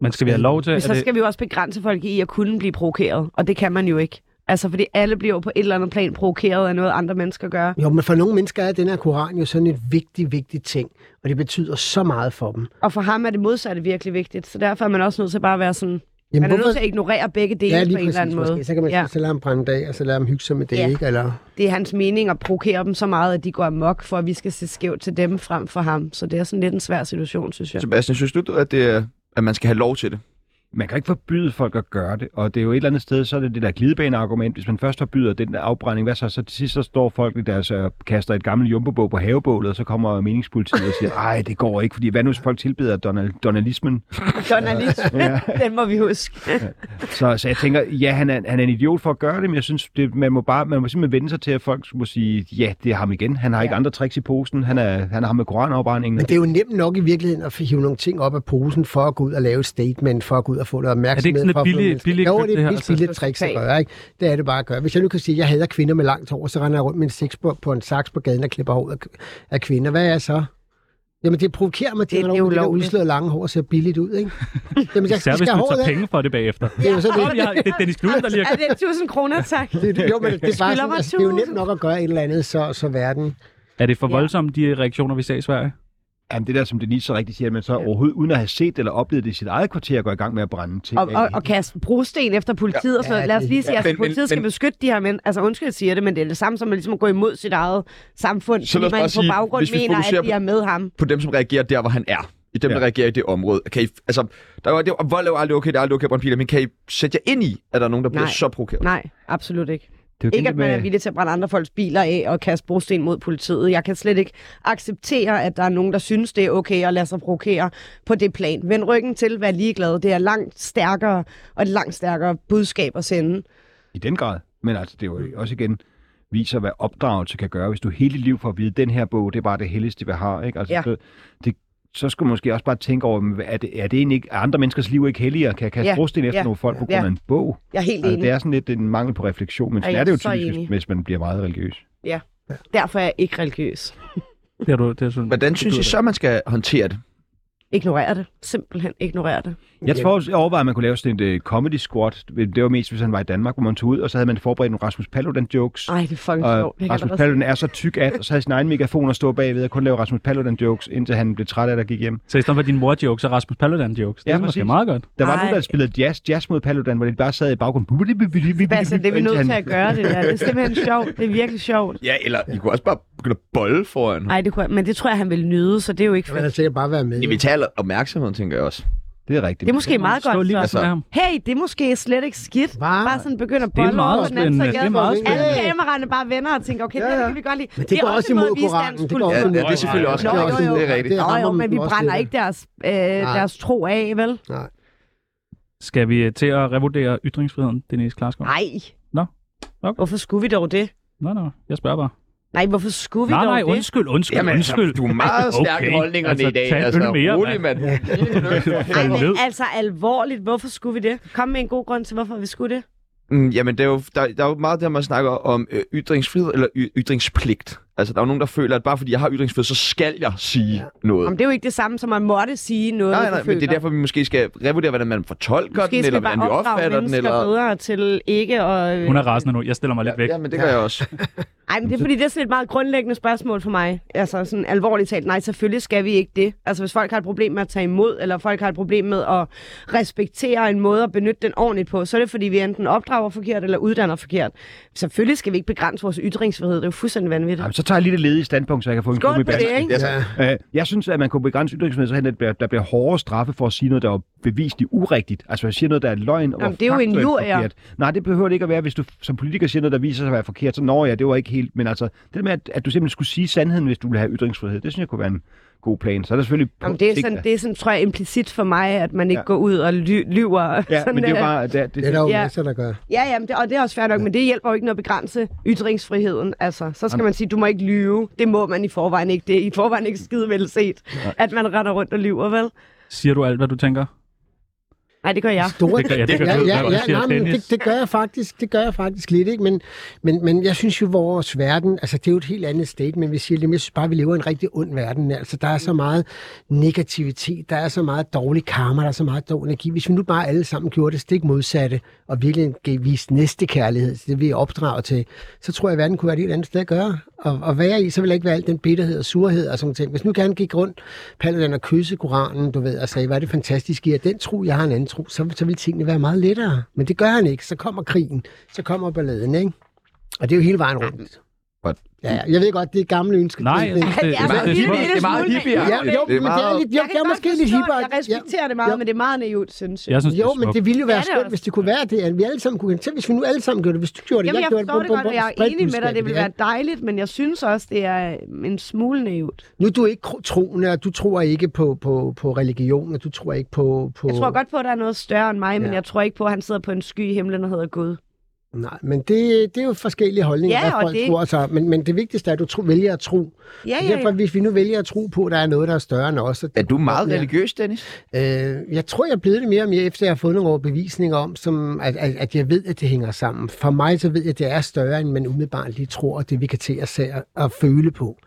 [SPEAKER 2] Men skal vi have lov til,
[SPEAKER 4] Men
[SPEAKER 2] at
[SPEAKER 4] så
[SPEAKER 2] det,
[SPEAKER 4] skal vi jo også begrænse folk i at kunne blive provokeret, og det kan man jo ikke. Altså, fordi alle bliver jo på et eller andet plan provokeret af noget, andre mennesker gør.
[SPEAKER 3] Jo, men for nogle mennesker er den her koran jo sådan et vigtig, vigtig ting, og det betyder så meget for dem.
[SPEAKER 4] Og for ham er det modsatte virkelig vigtigt, så derfor er man også nødt til bare at være sådan...
[SPEAKER 3] Jamen,
[SPEAKER 4] man er nødt til at ignorere begge dele
[SPEAKER 3] Ja, lige
[SPEAKER 4] på en eller anden måde.
[SPEAKER 3] måske. Så kan man
[SPEAKER 4] ja.
[SPEAKER 3] ja. så lade ham brænde af, og så lade ham hygge sig med det,
[SPEAKER 4] Ja.
[SPEAKER 3] ja. ikke? Eller...
[SPEAKER 4] Det er hans mening at provokere dem så meget, at de går amok, for at vi skal se skævt til dem frem for ham. Så det er sådan lidt en svær situation, synes jeg.
[SPEAKER 1] Sebastian, synes du, at, det er, at man skal have lov til det?
[SPEAKER 5] man kan jo ikke forbyde folk at gøre det, og det er jo et eller andet sted, så er det det der glidebaneargument. Hvis man først forbyder den der afbrænding, hvad så? Så til sidst så står folk i deres og kaster et gammelt jumbobog på havebålet, og så kommer meningspolitiet og siger, nej, det går ikke, fordi hvad nu hvis folk tilbeder Donald, donalismen?
[SPEAKER 4] Journalisme, den må vi huske.
[SPEAKER 5] Så, så jeg tænker, ja, han er, han er en idiot for at gøre det, men jeg synes, det, man, må bare, man må simpelthen vende sig til, at folk må sige, ja, det er ham igen. Han har ikke andre tricks i posen. Han er, han er ham med koranafbrændingen.
[SPEAKER 3] Men det er jo nemt nok i virkeligheden at hive nogle ting op af posen for at gå ud og lave et statement, for at gå ud og få noget opmærksomhed.
[SPEAKER 2] sådan et
[SPEAKER 3] for at få
[SPEAKER 2] billigt-
[SPEAKER 3] mennesker-
[SPEAKER 2] billigt
[SPEAKER 3] Jo,
[SPEAKER 2] købt,
[SPEAKER 3] det
[SPEAKER 2] det her,
[SPEAKER 3] er et billigt,
[SPEAKER 2] altså?
[SPEAKER 3] billigt trick at gøre, ikke? Det er det bare at gøre. Hvis jeg nu kan sige, at jeg hader kvinder med langt hår, så render jeg rundt med en seks på, på en saks på gaden og klipper håret af- af kvinder. Hvad er jeg så? Jamen, det provokerer mig til,
[SPEAKER 4] Det-
[SPEAKER 3] at
[SPEAKER 4] det er
[SPEAKER 3] nogle af de der
[SPEAKER 4] ulovligt.
[SPEAKER 3] udslåede lange hår ser billigt ud, ikke? Jamen, jeg
[SPEAKER 2] især
[SPEAKER 3] skal
[SPEAKER 2] hvis
[SPEAKER 3] have
[SPEAKER 2] du
[SPEAKER 3] håret
[SPEAKER 2] tager
[SPEAKER 3] af.
[SPEAKER 2] penge for det bagefter?
[SPEAKER 3] Det er jo så det.
[SPEAKER 2] Kom, jeg, det er Dennis Knudsen, der lige har
[SPEAKER 4] Er det 1000 kroner, tak?
[SPEAKER 3] Det, det, jo, men det, er bare
[SPEAKER 4] Skylder
[SPEAKER 3] sådan,
[SPEAKER 4] mig
[SPEAKER 3] altså, det er jo nemt
[SPEAKER 4] 1000.
[SPEAKER 3] nok at gøre et eller andet, så, så verden
[SPEAKER 2] Er det for
[SPEAKER 4] Ja.
[SPEAKER 2] voldsomme, de reaktioner, vi ser i Sverige?
[SPEAKER 5] Jamen, det der, som Denise så rigtigt siger, at man så overhovedet, uden at have set eller oplevet det i sit eget kvarter, går i gang med at brænde ting
[SPEAKER 4] Og,
[SPEAKER 5] af.
[SPEAKER 4] og, og kaste brosten efter politiet ja, og sådan noget.
[SPEAKER 3] Ja,
[SPEAKER 4] Lad os
[SPEAKER 3] det-
[SPEAKER 4] lige sige, at
[SPEAKER 1] men-
[SPEAKER 4] altså,
[SPEAKER 1] men-
[SPEAKER 4] politiet skal
[SPEAKER 1] men-
[SPEAKER 4] beskytte de her mænd. Altså undskyld, jeg siger det, men det er det samme som at ligesom at gå imod sit eget samfund,
[SPEAKER 1] Så lad
[SPEAKER 4] fordi
[SPEAKER 1] os
[SPEAKER 4] man
[SPEAKER 1] bare
[SPEAKER 4] på
[SPEAKER 1] sige,
[SPEAKER 4] baggrund
[SPEAKER 1] hvis vi
[SPEAKER 4] mener,
[SPEAKER 1] fokuserer
[SPEAKER 4] at de
[SPEAKER 1] på-
[SPEAKER 4] er med ham.
[SPEAKER 1] På dem, som reagerer der, hvor han er. I dem, ja.
[SPEAKER 5] Ja.
[SPEAKER 1] der reagerer i det område. Kan I, altså, der er, det, og vold er jo aldrig okay, det er aldrig okay at brænde biler, men kan I sætte jer ind i, at der er nogen, der bliver
[SPEAKER 4] Nej.
[SPEAKER 1] så provokeret?
[SPEAKER 4] Nej, absolut ikke.
[SPEAKER 5] det er jo
[SPEAKER 4] Ikke,
[SPEAKER 5] det
[SPEAKER 4] at man er
[SPEAKER 5] med-
[SPEAKER 4] villig til at brænde andre folks biler af og kaste brosten mod politiet. Jeg kan slet ikke acceptere, at der er nogen, der synes, det er okay at lade sig provokere på det plan. Vend ryggen til, vær ligeglad. Det er langt stærkere og et langt stærkere budskab at sende.
[SPEAKER 5] I den grad. Men altså, det er jo også igen viser, hvad opdragelse kan gøre. Hvis du hele dit liv får at vide, at den her bog, det er bare det helligste, vi har. Ikke? Altså,
[SPEAKER 4] Ja.
[SPEAKER 5] så, det, så skulle man måske også bare tænke over, men er det, er det egentlig, ikke- er andre menneskers liv ikke helligere? Kan jeg kaste
[SPEAKER 4] Ja.
[SPEAKER 5] ja. brosten efter
[SPEAKER 4] Ja.
[SPEAKER 5] ja. nogle folk på grund
[SPEAKER 4] Ja.
[SPEAKER 5] af en bog?
[SPEAKER 4] Jeg er helt
[SPEAKER 5] Altså,
[SPEAKER 4] enig.
[SPEAKER 5] det er sådan lidt en mangel på refleksion, men
[SPEAKER 4] Ej,
[SPEAKER 5] sådan er det jo
[SPEAKER 4] så
[SPEAKER 5] typisk,
[SPEAKER 4] enig.
[SPEAKER 5] hvis, hvis man bliver meget religiøs.
[SPEAKER 4] Derfor er jeg ikke religiøs.
[SPEAKER 2] Det er du, det er sådan,
[SPEAKER 1] Hvordan synes I så, man skal håndtere det?
[SPEAKER 4] Ignorer det. Simpelthen ignorer det.
[SPEAKER 5] Jeg tror også, jeg overvejede, at man kunne lave sådan et uh, comedy squat. Det var mest, hvis han var i Danmark, hvor man tog ud, og så havde man forberedt nogle Rasmus Paludan-jokes.
[SPEAKER 4] Ej, det er fucking
[SPEAKER 5] Og
[SPEAKER 4] sjovt. Det kan jeg
[SPEAKER 5] Rasmus
[SPEAKER 4] godt
[SPEAKER 5] Paludan er så tyk, at så havde sin egen megafon at stå bagved og kun lave Rasmus Paludan-jokes, indtil han blev træt af det og gik hjem.
[SPEAKER 2] Så i stedet for dine mor-jokes og Rasmus Paludan-jokes, det
[SPEAKER 5] Ja,
[SPEAKER 2] er måske
[SPEAKER 5] præcis.
[SPEAKER 2] meget godt.
[SPEAKER 5] Der var
[SPEAKER 4] Ej.
[SPEAKER 5] nogen, der spillede jazz, jazz mod Paludan, hvor de bare sad i baggrunden.
[SPEAKER 4] Basse, det er vi nødt til at gøre det der. Det er simpelthen sjovt. Det er virkelig sjovt.
[SPEAKER 1] Ja, eller I kunne også bare begynde at bolle foran.
[SPEAKER 4] Nej, det kunne jeg, men det tror jeg, han ville nyde, så det er jo ikke
[SPEAKER 3] kan man da
[SPEAKER 4] fedt.
[SPEAKER 3] sikkert bare være med.
[SPEAKER 1] Det vil tale opmærksomheden, tænker jeg også.
[SPEAKER 5] Det er
[SPEAKER 4] Det
[SPEAKER 5] rigtigt.
[SPEAKER 4] er måske meget
[SPEAKER 2] Stå
[SPEAKER 4] godt
[SPEAKER 2] lige ved
[SPEAKER 4] så.
[SPEAKER 1] Altså-
[SPEAKER 2] siden af ham.
[SPEAKER 4] Hey, det er måske slet ikke skidt.
[SPEAKER 3] Hva?
[SPEAKER 4] Bare sådan begynder at
[SPEAKER 2] Det er
[SPEAKER 4] bolle
[SPEAKER 2] meget
[SPEAKER 4] over den anden
[SPEAKER 2] spændende.
[SPEAKER 4] side.
[SPEAKER 2] Det er meget
[SPEAKER 4] Alle
[SPEAKER 3] spændende.
[SPEAKER 4] kameraerne bare vender og tænker, okay, ja,
[SPEAKER 3] Ja,
[SPEAKER 4] det
[SPEAKER 3] ja.
[SPEAKER 4] kan vi godt lide.
[SPEAKER 3] Men det går også
[SPEAKER 4] en måde
[SPEAKER 3] imod
[SPEAKER 4] at vise
[SPEAKER 3] Koranen.
[SPEAKER 4] dansk
[SPEAKER 3] Det går
[SPEAKER 4] kultur.
[SPEAKER 3] også
[SPEAKER 1] Ja,
[SPEAKER 3] imod
[SPEAKER 1] det er selvfølgelig også
[SPEAKER 4] Nå,
[SPEAKER 1] klart.
[SPEAKER 4] jo, jo.
[SPEAKER 1] Det er rigtigt.
[SPEAKER 3] Det
[SPEAKER 4] Nå,
[SPEAKER 3] rammer
[SPEAKER 4] jo, men
[SPEAKER 3] man
[SPEAKER 4] vi
[SPEAKER 3] også
[SPEAKER 4] brænder
[SPEAKER 3] lidt af.
[SPEAKER 4] ikke deres, øh, deres tro af, vel?
[SPEAKER 3] Nej.
[SPEAKER 2] Skal vi øh, til at revurdere ytringsfriheden, Denise Klarskov?
[SPEAKER 4] Nej.
[SPEAKER 2] Nå. Okay.
[SPEAKER 4] Hvorfor skulle vi dog det?
[SPEAKER 2] Nej, nej, jeg spørger bare.
[SPEAKER 4] Nej, hvorfor skulle vi
[SPEAKER 2] Nej,
[SPEAKER 4] dog
[SPEAKER 2] nej,
[SPEAKER 4] det?
[SPEAKER 2] undskyld, undskyld,
[SPEAKER 1] Jamen,
[SPEAKER 2] undskyld.
[SPEAKER 1] undskyld. du er meget stærk okay. i holdningerne
[SPEAKER 2] altså,
[SPEAKER 1] i dag.
[SPEAKER 2] Tag
[SPEAKER 1] Altså,
[SPEAKER 2] altså, mere,
[SPEAKER 1] rolig,
[SPEAKER 2] rolig,
[SPEAKER 1] mand.
[SPEAKER 4] Ej,
[SPEAKER 2] Faldet
[SPEAKER 4] men
[SPEAKER 2] ned.
[SPEAKER 4] altså alvorligt, hvorfor skulle vi det? Kom med en god grund til, hvorfor vi skulle det.
[SPEAKER 1] Mm, jamen, det er jo, der, der er jo meget der, man snakker om øh, ytringsfrihed eller y- ytringspligt. Altså, der er jo nogen, der føler, at bare fordi jeg har ytringsfrihed, så skal jeg sige ja. noget.
[SPEAKER 4] Om det er jo ikke det samme, som man måtte sige noget.
[SPEAKER 1] Nej,
[SPEAKER 4] man
[SPEAKER 1] nej, men det er
[SPEAKER 4] føler.
[SPEAKER 1] derfor, vi måske skal revurdere, hvordan man fortolker
[SPEAKER 4] Måske
[SPEAKER 1] den,
[SPEAKER 4] skal
[SPEAKER 1] eller
[SPEAKER 4] vi bare
[SPEAKER 1] hvordan vi
[SPEAKER 4] opdrage
[SPEAKER 1] opfatter den,
[SPEAKER 4] mennesker
[SPEAKER 1] eller...
[SPEAKER 4] bedre til ikke at... øh,
[SPEAKER 2] Hun er rasende nu. Jeg stiller mig lidt væk.
[SPEAKER 1] Ja, men det gør jeg også.
[SPEAKER 4] Ej, men det er fordi, det er sådan et meget grundlæggende spørgsmål for mig. Altså sådan alvorligt talt, nej, selvfølgelig skal vi ikke det. Altså hvis folk har et problem med at tage imod, eller folk har et problem med at respektere en måde at benytte den ordentligt på, så er det fordi, vi enten opdrager forkert eller uddanner forkert. Selvfølgelig skal vi ikke begrænse vores ytringsfrihed, det er jo fuldstændig vanvittigt.
[SPEAKER 5] Jamen, så tager jeg lige det ledige standpunkt, så jeg kan få en
[SPEAKER 4] Skål
[SPEAKER 5] gummi
[SPEAKER 4] på det, ikke?
[SPEAKER 1] Ja, tak.
[SPEAKER 3] Ja.
[SPEAKER 5] Øh, jeg synes, at man kunne begrænse ytringsfriheden, så hen, at der bliver- der bliver hårdere straffe for at sige noget, der er bevisligt urigtigt. Altså, jeg siger noget, der er løgn og
[SPEAKER 4] Jamen,
[SPEAKER 5] hvor
[SPEAKER 4] det er jo
[SPEAKER 5] faktuelt
[SPEAKER 4] injurier.
[SPEAKER 5] forkert. Nej, det behøver det ikke at være, hvis du som politiker siger noget, der viser sig at være forkert. Så når ja, det var ikke helt... Men altså, det der med, at, at du simpelthen skulle sige sandheden, hvis du ville have ytryngsfrihed, det synes jeg kunne være en god plan. Så er der selvfølgelig... på
[SPEAKER 4] Jamen, det, er
[SPEAKER 5] sigt,
[SPEAKER 4] sådan,
[SPEAKER 5] at-
[SPEAKER 4] det er sådan, tror jeg, implicit for mig, at man ikke
[SPEAKER 5] Ja.
[SPEAKER 4] ja. går ud og ly- lyver.
[SPEAKER 5] Ja,
[SPEAKER 4] sådan,
[SPEAKER 5] men det er jo
[SPEAKER 4] øh,
[SPEAKER 5] bare... Det, det,
[SPEAKER 3] Det er der jo
[SPEAKER 4] Ja.
[SPEAKER 3] masser, der gør.
[SPEAKER 4] Ja, ja, men det, og det er også fair nok, men det hjælper jo ikke noget at begrænse ytringsfriheden. Altså, så skal man sige, du må ikke lyve. Det må man i forvejen ikke. Det er i forvejen ikke skide vel set, at man render rundt og lyver, vel?
[SPEAKER 2] Siger du alt, hvad du tænker?
[SPEAKER 4] Nej, det gør jeg.
[SPEAKER 3] Stort.
[SPEAKER 2] Det gør- ja, det gør
[SPEAKER 3] ja,
[SPEAKER 2] du,
[SPEAKER 3] ja,
[SPEAKER 2] når du
[SPEAKER 3] ja,
[SPEAKER 2] siger
[SPEAKER 3] nej, men
[SPEAKER 2] tennis.
[SPEAKER 3] det, det, gør jeg faktisk, det gør jeg faktisk lidt, ikke? Men, men, men jeg synes jo, vores verden, altså det er jo et helt andet state, men vi siger lige, jeg synes bare, vi lever i en rigtig ond verden. Altså der er så meget negativitet, der er så meget dårlig karma, der er så meget dårlig energi. Hvis vi nu bare alle sammen gjorde det stik modsatte, og virkelig gav- viste næste kærlighed til det, vi er opdraget til, så tror jeg, at verden kunne være et helt andet sted at gøre. Og, og være i, så ville der ikke være al den bitterhed og surhed og sådan ting. Hvis nu gerne gik rundt, Paludan og kysse Koranen, du ved, og sagde, hvad er det fantastisk i, at den tro, jeg har en anden tro, så, så ville tingene være meget lettere. Men det gør han ikke. Så kommer krigen, så kommer balladen, ikke? Og det er jo hele vejen rundt.
[SPEAKER 1] Godt.
[SPEAKER 3] Ja, ja, jeg ved godt, det er gamle ønsker.
[SPEAKER 2] Nej, jeg synes, det,
[SPEAKER 4] Det er altså
[SPEAKER 2] jeg synes,
[SPEAKER 4] bare
[SPEAKER 2] det er smukt.
[SPEAKER 4] vildt.
[SPEAKER 1] det er meget hippie.
[SPEAKER 3] Ja, jo, men det er, lidt, jo,
[SPEAKER 4] Jeg
[SPEAKER 3] det
[SPEAKER 4] kan
[SPEAKER 3] er
[SPEAKER 4] godt
[SPEAKER 3] måske lidt
[SPEAKER 4] forstå det.
[SPEAKER 3] hippere.
[SPEAKER 4] Jeg respekterer det meget,
[SPEAKER 3] Ja.
[SPEAKER 4] men det er meget naivt, synes jeg.
[SPEAKER 2] Jeg synes, det
[SPEAKER 3] Jo,
[SPEAKER 2] er
[SPEAKER 3] men
[SPEAKER 2] smukt.
[SPEAKER 3] det ville jo
[SPEAKER 4] Det
[SPEAKER 3] være
[SPEAKER 4] er det
[SPEAKER 3] skønt,
[SPEAKER 4] også.
[SPEAKER 3] hvis det kunne være det, at vi alle sammen kunne... Selv hvis vi nu alle sammen gjorde det, hvis du gjorde det,
[SPEAKER 4] Jamen, jeg
[SPEAKER 3] gjorde
[SPEAKER 4] forstår det
[SPEAKER 3] bum, bum,
[SPEAKER 4] godt, og
[SPEAKER 3] bum,
[SPEAKER 4] jeg er
[SPEAKER 3] spred
[SPEAKER 4] enig med dig, det
[SPEAKER 3] budskabet,
[SPEAKER 4] ville
[SPEAKER 3] ja.
[SPEAKER 4] være dejligt, men jeg synes også, det er mm, en smule naivt.
[SPEAKER 3] Nu er du ikke kro- troende, og du tror ikke på, på, på religion, og du tror ikke på... på...
[SPEAKER 4] Jeg tror godt på, at der er noget større end mig, men
[SPEAKER 3] Ja.
[SPEAKER 4] jeg tror ikke på, at han sidder på en sky i himlen og hedder Gud.
[SPEAKER 3] Nej, men det, det er jo forskellige holdninger,
[SPEAKER 4] Ja,
[SPEAKER 3] hvad
[SPEAKER 4] og
[SPEAKER 3] folk
[SPEAKER 4] det-
[SPEAKER 3] tror sig. Men, men det vigtigste er, at du tro, vælger at tro.
[SPEAKER 4] Ja, ja,
[SPEAKER 3] Derfor,
[SPEAKER 4] ja.
[SPEAKER 3] hvis vi nu vælger at tro på, at der er noget, der er større end os... og-
[SPEAKER 1] Er du meget
[SPEAKER 3] Ja.
[SPEAKER 1] religiøs, Dennis?
[SPEAKER 3] Øh, jeg tror, jeg er blevet det mere og mere, efter jeg har fået nogle overbevisninger om, som, at, at, at jeg ved, at det hænger sammen. For mig så ved jeg, at det er større, end man umiddelbart lige tror, og det vi kan til at, se- at føle på.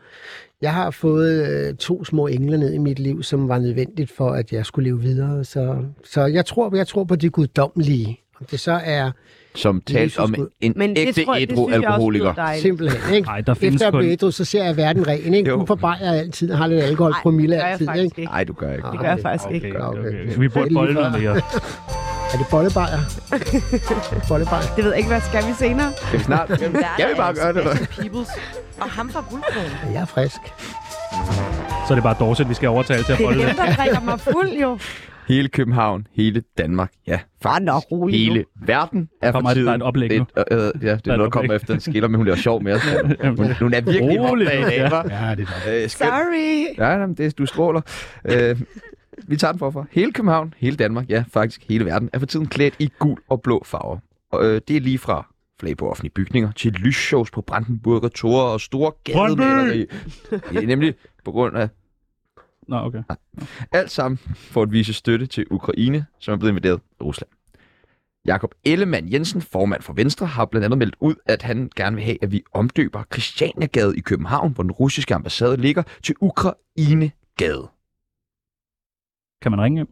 [SPEAKER 3] Jeg har fået øh, to små engler ned i mit liv, som var nødvendigt for, at jeg skulle leve videre. Så, så jeg, tror, jeg tror på det guddommelige. Om det så er
[SPEAKER 1] Som talt
[SPEAKER 3] Jesus
[SPEAKER 1] om
[SPEAKER 3] Gud.
[SPEAKER 1] en
[SPEAKER 4] Men det,
[SPEAKER 1] ægte
[SPEAKER 4] tror jeg, det synes jeg også lyder
[SPEAKER 1] ædru-alkoholiker.
[SPEAKER 4] dejligt.
[SPEAKER 3] simpelthen, ikke?
[SPEAKER 2] Ej, der findes
[SPEAKER 3] Efter jeg
[SPEAKER 2] kun-
[SPEAKER 3] blev ædru, så ser jeg verden ren, ikke?
[SPEAKER 1] Jo.
[SPEAKER 3] Nu forbejer jeg altid, og har lidt alkohol på mille
[SPEAKER 4] det gør jeg
[SPEAKER 3] altid,
[SPEAKER 4] faktisk
[SPEAKER 3] ikke?
[SPEAKER 4] ikke.
[SPEAKER 1] Nej, du gør ikke.
[SPEAKER 4] Det gør jeg faktisk ikke.
[SPEAKER 2] Okay, okay,
[SPEAKER 3] Okay.
[SPEAKER 2] okay. Så vi burde bolle noget mere.
[SPEAKER 3] Er det bollebajer? bollebajer.
[SPEAKER 4] Det ved jeg ikke, hvad skal vi senere?
[SPEAKER 1] Skal vi snart? Skal vi, skal vi bare gøre det? eller hvad?
[SPEAKER 7] altså Peoples. Og ham fra Guldkronen.
[SPEAKER 3] Jeg er frisk.
[SPEAKER 2] Så er det bare Dorset, vi skal overtale til at
[SPEAKER 4] Det er
[SPEAKER 2] bolle
[SPEAKER 4] dem,
[SPEAKER 2] det.
[SPEAKER 4] der drikker mig fuld, jo.
[SPEAKER 1] Hele København, hele Danmark, ja.
[SPEAKER 4] Bare nok rolig
[SPEAKER 1] Hele verden er
[SPEAKER 2] kommer
[SPEAKER 1] for
[SPEAKER 2] et-
[SPEAKER 1] tiden.
[SPEAKER 2] der er et oplæg nu.
[SPEAKER 1] et, øh, øh, ja, det
[SPEAKER 2] et
[SPEAKER 1] er noget, der kommer
[SPEAKER 2] oplæg.
[SPEAKER 1] efter en skiller, men hun er sjov med os. Hun, hun er virkelig
[SPEAKER 2] Rolig
[SPEAKER 1] opdaget
[SPEAKER 2] nu,
[SPEAKER 1] af,
[SPEAKER 2] ja.
[SPEAKER 1] hva'?
[SPEAKER 5] Ja, det er godt.
[SPEAKER 1] Øh, skønt.
[SPEAKER 4] Sorry.
[SPEAKER 1] Ja, jamen, det, du stråler. Øh, vi tager den forfra. Hele København, hele Danmark, ja faktisk hele verden, er for tiden klædt i gul og blå farver. Og, øh, det er lige fra flag på offentlige bygninger til lysshows på Brandenburger Tor og store gademaleri. Ja, nemlig på grund af
[SPEAKER 2] Nå, okay.
[SPEAKER 1] alt sammen for at vise støtte til Ukraine, som er blevet invaderet af Rusland. Jakob Ellemann Jensen, formand for Venstre, har blandt andet meldt ud, at han gerne vil have, at vi omdøber Christianiagade i København, hvor den russiske ambassade ligger, til Ukrainegade.
[SPEAKER 2] Kan man ringe hjem?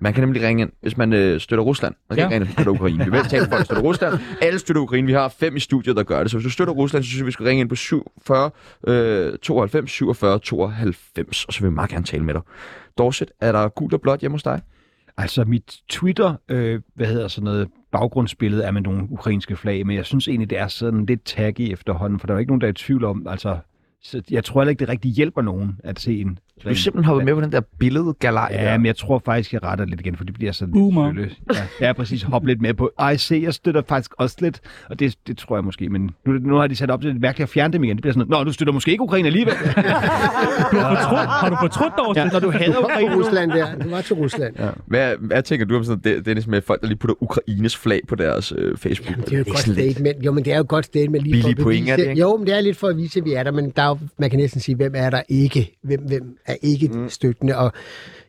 [SPEAKER 1] Man kan nemlig ringe ind, hvis man øh, støtter Rusland. Man kan
[SPEAKER 2] Ja.
[SPEAKER 1] ja. ikke ringe, ind, hvis man støtter Ukraine. Vi vil helst tale for, at støtter Rusland. Alle støtter Ukraine. Vi har fem i studiet, der gør det. Så hvis du støtter Rusland, så synes jeg, vi skal ringe ind på 47 øh, 92 47 92, og så vil vi meget gerne tale med dig. Dorset, er der gult og blåt hjemme hos dig?
[SPEAKER 5] Altså mit Twitter, øh, hvad hedder sådan noget, baggrundsbillede er med nogle ukrainske flag, men jeg synes egentlig, det er sådan lidt taggy efterhånden, for der er jo ikke nogen, der er i tvivl om, altså, så jeg tror heller ikke, det rigtig hjælper nogen at se en.
[SPEAKER 1] Du er simpelthen hoppet med på den der billedgalej.
[SPEAKER 5] Ja, men jeg tror faktisk, jeg retter lidt igen, for det bliver sådan
[SPEAKER 2] Boomer.
[SPEAKER 5] lidt sølle. Ja, jeg er præcis hoppet lidt med på. Ej, se, jeg støtter faktisk også lidt, og det, det tror jeg måske, men nu, nu har de sat op til det mærkeligt at fjerne dem igen. Det bliver sådan, noget, nå, du støtter måske ikke Ukraine alligevel.
[SPEAKER 2] Du har, fortrudt, har du fortrudt, Dorset?
[SPEAKER 5] Ja, når du hader
[SPEAKER 3] Kom til
[SPEAKER 5] Ukraine. nu.
[SPEAKER 3] Rusland der. Du var til Rusland. Ja.
[SPEAKER 1] Hvad, hvad tænker du om sådan noget, Dennis, med folk, der lige putter Ukraines flag på deres øh, Facebook?
[SPEAKER 3] Jamen, det er jo et godt statement. Jo, men det er jo et godt statement lige
[SPEAKER 1] Billige
[SPEAKER 3] for at
[SPEAKER 1] point
[SPEAKER 3] bevise.
[SPEAKER 1] er det, ikke?
[SPEAKER 3] Jo, men det er lidt for at vise, at vi er der, men der er jo, man kan næsten sige, hvem er der ikke? Hvem, hvem er ikke mm. støttende og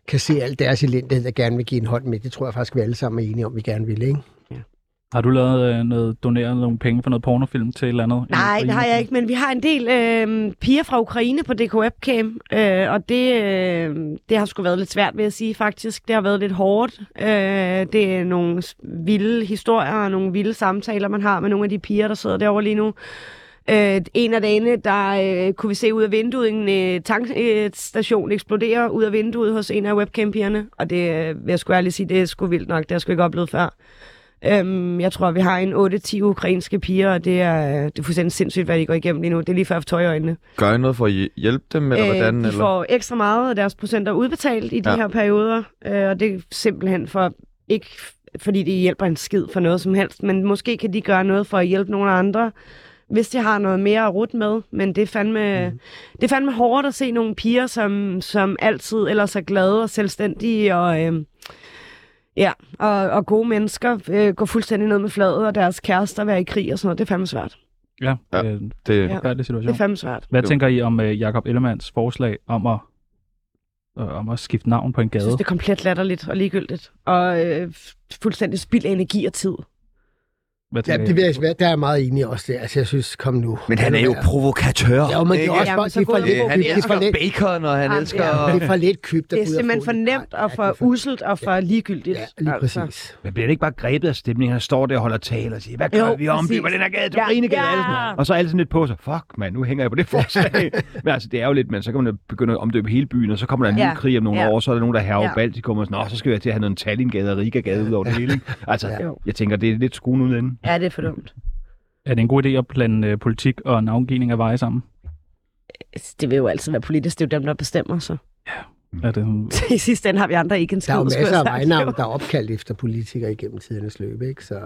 [SPEAKER 3] kan se alt deres elendighed og gerne vil give en hånd med? Det tror jeg faktisk, vi alle sammen er enige om, vi gerne vil, ikke?
[SPEAKER 2] Har du lavet øh, noget, doneret nogle penge for noget pornofilm til et eller andet?
[SPEAKER 4] Nej, det har jeg ikke, men vi har en del øh, piger fra Ukraine på DK Webcam, øh, og det, øh, det har sgu været lidt svært, vil jeg sige faktisk. Det har været lidt hårdt. Øh, det er nogle s- vilde historier og nogle vilde samtaler, man har med nogle af de piger, der sidder derovre lige nu. Øh, en af dagene, der øh, kunne vi se ud af vinduet, en øh, tankstation eksplodere ud af vinduet hos en af webcam-pigerne, og det øh, vil jeg sgu ærligt sige, det er sgu vildt nok, det har jeg sgu ikke oplevet før. Øhm, jeg tror, vi har en 8-10 ukrainske piger, og det er, det er fuldstændig sindssygt, hvad de går igennem lige nu. Det er lige før jeg får tøj i øjnene.
[SPEAKER 1] Gør I noget for at hj- hjælpe dem, eller øh, hvordan?
[SPEAKER 4] de
[SPEAKER 1] eller?
[SPEAKER 4] får ekstra meget af deres procenter udbetalt i de
[SPEAKER 1] Ja.
[SPEAKER 4] ja. her perioder, øh, og det er simpelthen for ikke fordi det hjælper en skid for noget som helst, men måske kan de gøre noget for at hjælpe nogle andre, hvis de har noget mere at rute med, men det er fandme,
[SPEAKER 1] Mhm.
[SPEAKER 4] mm. det er fandme hårdt at se nogle piger, som, som altid ellers er glade og selvstændige og... Øh, Ja, og, og gode mennesker øh, går fuldstændig ned med fladet, og deres kærester være i krig og sådan noget. Det er fandme svært.
[SPEAKER 2] Ja,
[SPEAKER 1] Ja.
[SPEAKER 2] ja. Øh, en
[SPEAKER 1] Det,
[SPEAKER 4] Ja.
[SPEAKER 2] forfærdelig
[SPEAKER 4] Det
[SPEAKER 2] situation.
[SPEAKER 4] er fandme svært.
[SPEAKER 2] Hvad
[SPEAKER 1] Jo.
[SPEAKER 2] tænker I om øh, Jakob Ellemands forslag om at, øh, om at skifte navn på en
[SPEAKER 4] Jeg
[SPEAKER 2] gade?
[SPEAKER 4] synes, det er komplet latterligt og ligegyldigt. Og øh, fuldstændig spild af energi og tid.
[SPEAKER 2] Hvad
[SPEAKER 3] Ja,
[SPEAKER 2] tænker
[SPEAKER 3] det vil
[SPEAKER 2] I?
[SPEAKER 3] jeg svært. Der er jeg meget enig også. Det. Altså, jeg synes, kom nu.
[SPEAKER 1] Men han er jo provokatør.
[SPEAKER 3] Ja, men det er
[SPEAKER 1] ikke?
[SPEAKER 3] også
[SPEAKER 4] Jamen,
[SPEAKER 3] bare,
[SPEAKER 4] så
[SPEAKER 3] det er for
[SPEAKER 4] god-
[SPEAKER 3] lidt,
[SPEAKER 1] Øh, han
[SPEAKER 3] det er
[SPEAKER 1] elsker
[SPEAKER 3] for lidt,
[SPEAKER 1] bacon, og han
[SPEAKER 4] Jamen,
[SPEAKER 1] elsker...
[SPEAKER 4] ja.
[SPEAKER 3] det er for lidt købt, der
[SPEAKER 4] Det er
[SPEAKER 3] bryder
[SPEAKER 4] simpelthen
[SPEAKER 3] foden.
[SPEAKER 4] for nemt
[SPEAKER 3] Nej,
[SPEAKER 4] og
[SPEAKER 3] ja,
[SPEAKER 4] for
[SPEAKER 3] det er
[SPEAKER 4] uselt og for ligegyldigt.
[SPEAKER 3] Ja, lige
[SPEAKER 4] altså.
[SPEAKER 3] præcis.
[SPEAKER 5] Men bliver det ikke bare grebet af stemningen? Han står der og holder tale og siger, hvad
[SPEAKER 4] Jo,
[SPEAKER 5] gør jo, vi om? Det var
[SPEAKER 4] præcis.
[SPEAKER 5] den her gade, du
[SPEAKER 4] Ja.
[SPEAKER 5] ja. griner
[SPEAKER 4] Ja.
[SPEAKER 5] ja. Og så er alle sådan lidt på sig, fuck mand, nu hænger jeg på det forslag. men altså, det er jo lidt, men så kan man jo begynde at omdøbe hele byen, og så kommer der en ny
[SPEAKER 7] Ja.
[SPEAKER 5] krig om nogle
[SPEAKER 7] Ja.
[SPEAKER 5] år, så er der nogen, der herrer
[SPEAKER 7] Ja.
[SPEAKER 5] ja. Baltikum, og sådan, Nå, så skal jeg til at have noget Tallinn-gade og Riga-gade ud over det hele. ikke? Altså,
[SPEAKER 4] Jo.
[SPEAKER 5] jeg tænker, det er lidt skruen uden ende.
[SPEAKER 4] Ja, det er for dumt.
[SPEAKER 2] Er det en god idé at blande øh, politik og navngivning af veje sammen?
[SPEAKER 4] Altså, Det vil jo altid være politisk. Det er jo dem, der bestemmer sig.
[SPEAKER 2] Er det,
[SPEAKER 4] I sidste ende har vi andre ikke en
[SPEAKER 3] Der
[SPEAKER 4] skid.
[SPEAKER 3] er jo
[SPEAKER 4] skulle jeg
[SPEAKER 3] masser af
[SPEAKER 4] sagt, jo.
[SPEAKER 3] vejnavn, der er opkaldt efter politikere igennem tidernes løb, ikke? Så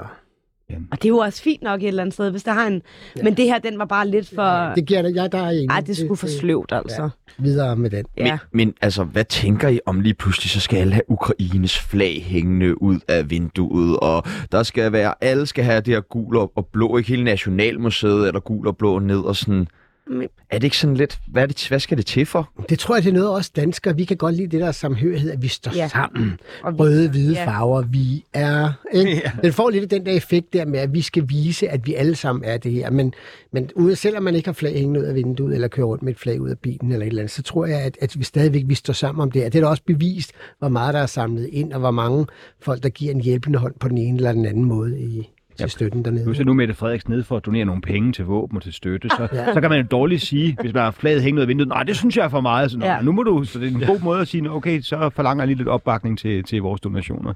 [SPEAKER 4] Og det er jo også fint nok et eller andet sted, hvis der har en... Men det her, den var bare lidt for...
[SPEAKER 3] det giver det, jeg der er enig.
[SPEAKER 4] Ej, det skulle for sløvt, altså.
[SPEAKER 3] Videre med den.
[SPEAKER 4] Ja.
[SPEAKER 1] Men, men altså, hvad tænker I om lige pludselig, så skal alle have Ukraines flag hængende ud af vinduet, og der skal være, alle skal have det her gul og, og blå, ikke hele Nationalmuseet eller gul og blå ned, og sådan...
[SPEAKER 4] Men-
[SPEAKER 1] Er det ikke sådan lidt, hvad, er det, hvad skal det til for?
[SPEAKER 3] Det tror jeg, det er noget også danskere. Vi kan godt lide det der samhørighed, at vi står
[SPEAKER 4] Ja.
[SPEAKER 3] ja. sammen.
[SPEAKER 4] Og vi-
[SPEAKER 3] Røde, hvide
[SPEAKER 4] Ja.
[SPEAKER 3] ja. farver, vi er. Ikke? Ja. Den får lidt den der effekt der med, at vi skal vise, at vi alle sammen er det her. Men, men ude, selvom man ikke har flag hængende ud af vinduet, eller kører rundt med et flag ud af bilen, eller et eller andet, så tror jeg, at, at vi stadigvæk vi står sammen om det her. Det er da også bevist, hvor meget der er samlet ind, og hvor mange folk, der giver en hjælpende hånd på den ene eller den anden måde i, til støtten dernede.
[SPEAKER 5] Nu ser nu Mette Frederiksen ned for at donere nogle penge til våben og til støtte, så, så kan man jo dårligt sige, hvis man har flaget hængende ud af vinduet, nej, det synes jeg er for meget. Så, nå,
[SPEAKER 4] Ja.
[SPEAKER 5] ja. nu må du, så det er en god måde at sige, "Nå, okay, så forlanger jeg lige lidt opbakning til, til vores donationer.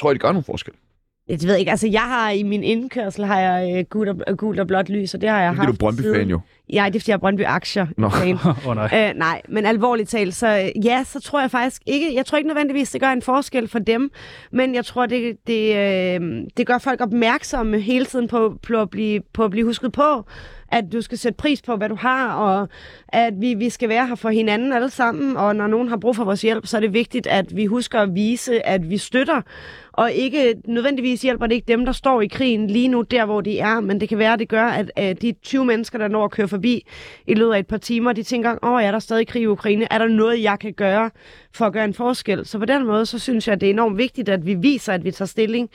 [SPEAKER 1] Tror I, det gør nogen forskel?
[SPEAKER 4] Jeg ved ikke, altså jeg har i min indkørsel har jeg øh, gult, og, gult og blåt lys, og det har jeg
[SPEAKER 1] Det er
[SPEAKER 4] haft
[SPEAKER 1] du Brøndby-fan
[SPEAKER 4] siden-
[SPEAKER 1] jo.
[SPEAKER 4] Ja, det er fordi jeg er Brøndby-aktier.
[SPEAKER 1] Nå.
[SPEAKER 4] Fan.
[SPEAKER 2] oh, nej.
[SPEAKER 4] Øh, nej, men alvorligt talt, så øh, ja, så tror jeg faktisk ikke, jeg tror ikke nødvendigvis, det gør en forskel for dem, men jeg tror, det, det, øh, det gør folk opmærksomme hele tiden på, på, at blive, på at blive husket på, at du skal sætte pris på, hvad du har, og at vi, vi skal være her for hinanden alle sammen, og når nogen har brug for vores hjælp, så er det vigtigt, at vi husker at vise, at vi støtter, og ikke nødvendigvis hjælper det ikke dem, der står i krigen lige nu, der hvor de er, men det kan være, at det gør, at øh, de 20 mennesker, der når at køre forbi i løbet af et par timer, de tænker, åh, oh, er der stadig krig i Ukraine? Er der noget, jeg kan gøre for at gøre en forskel? Så på den måde, så synes jeg, det er enormt vigtigt, at vi viser, at vi tager stilling.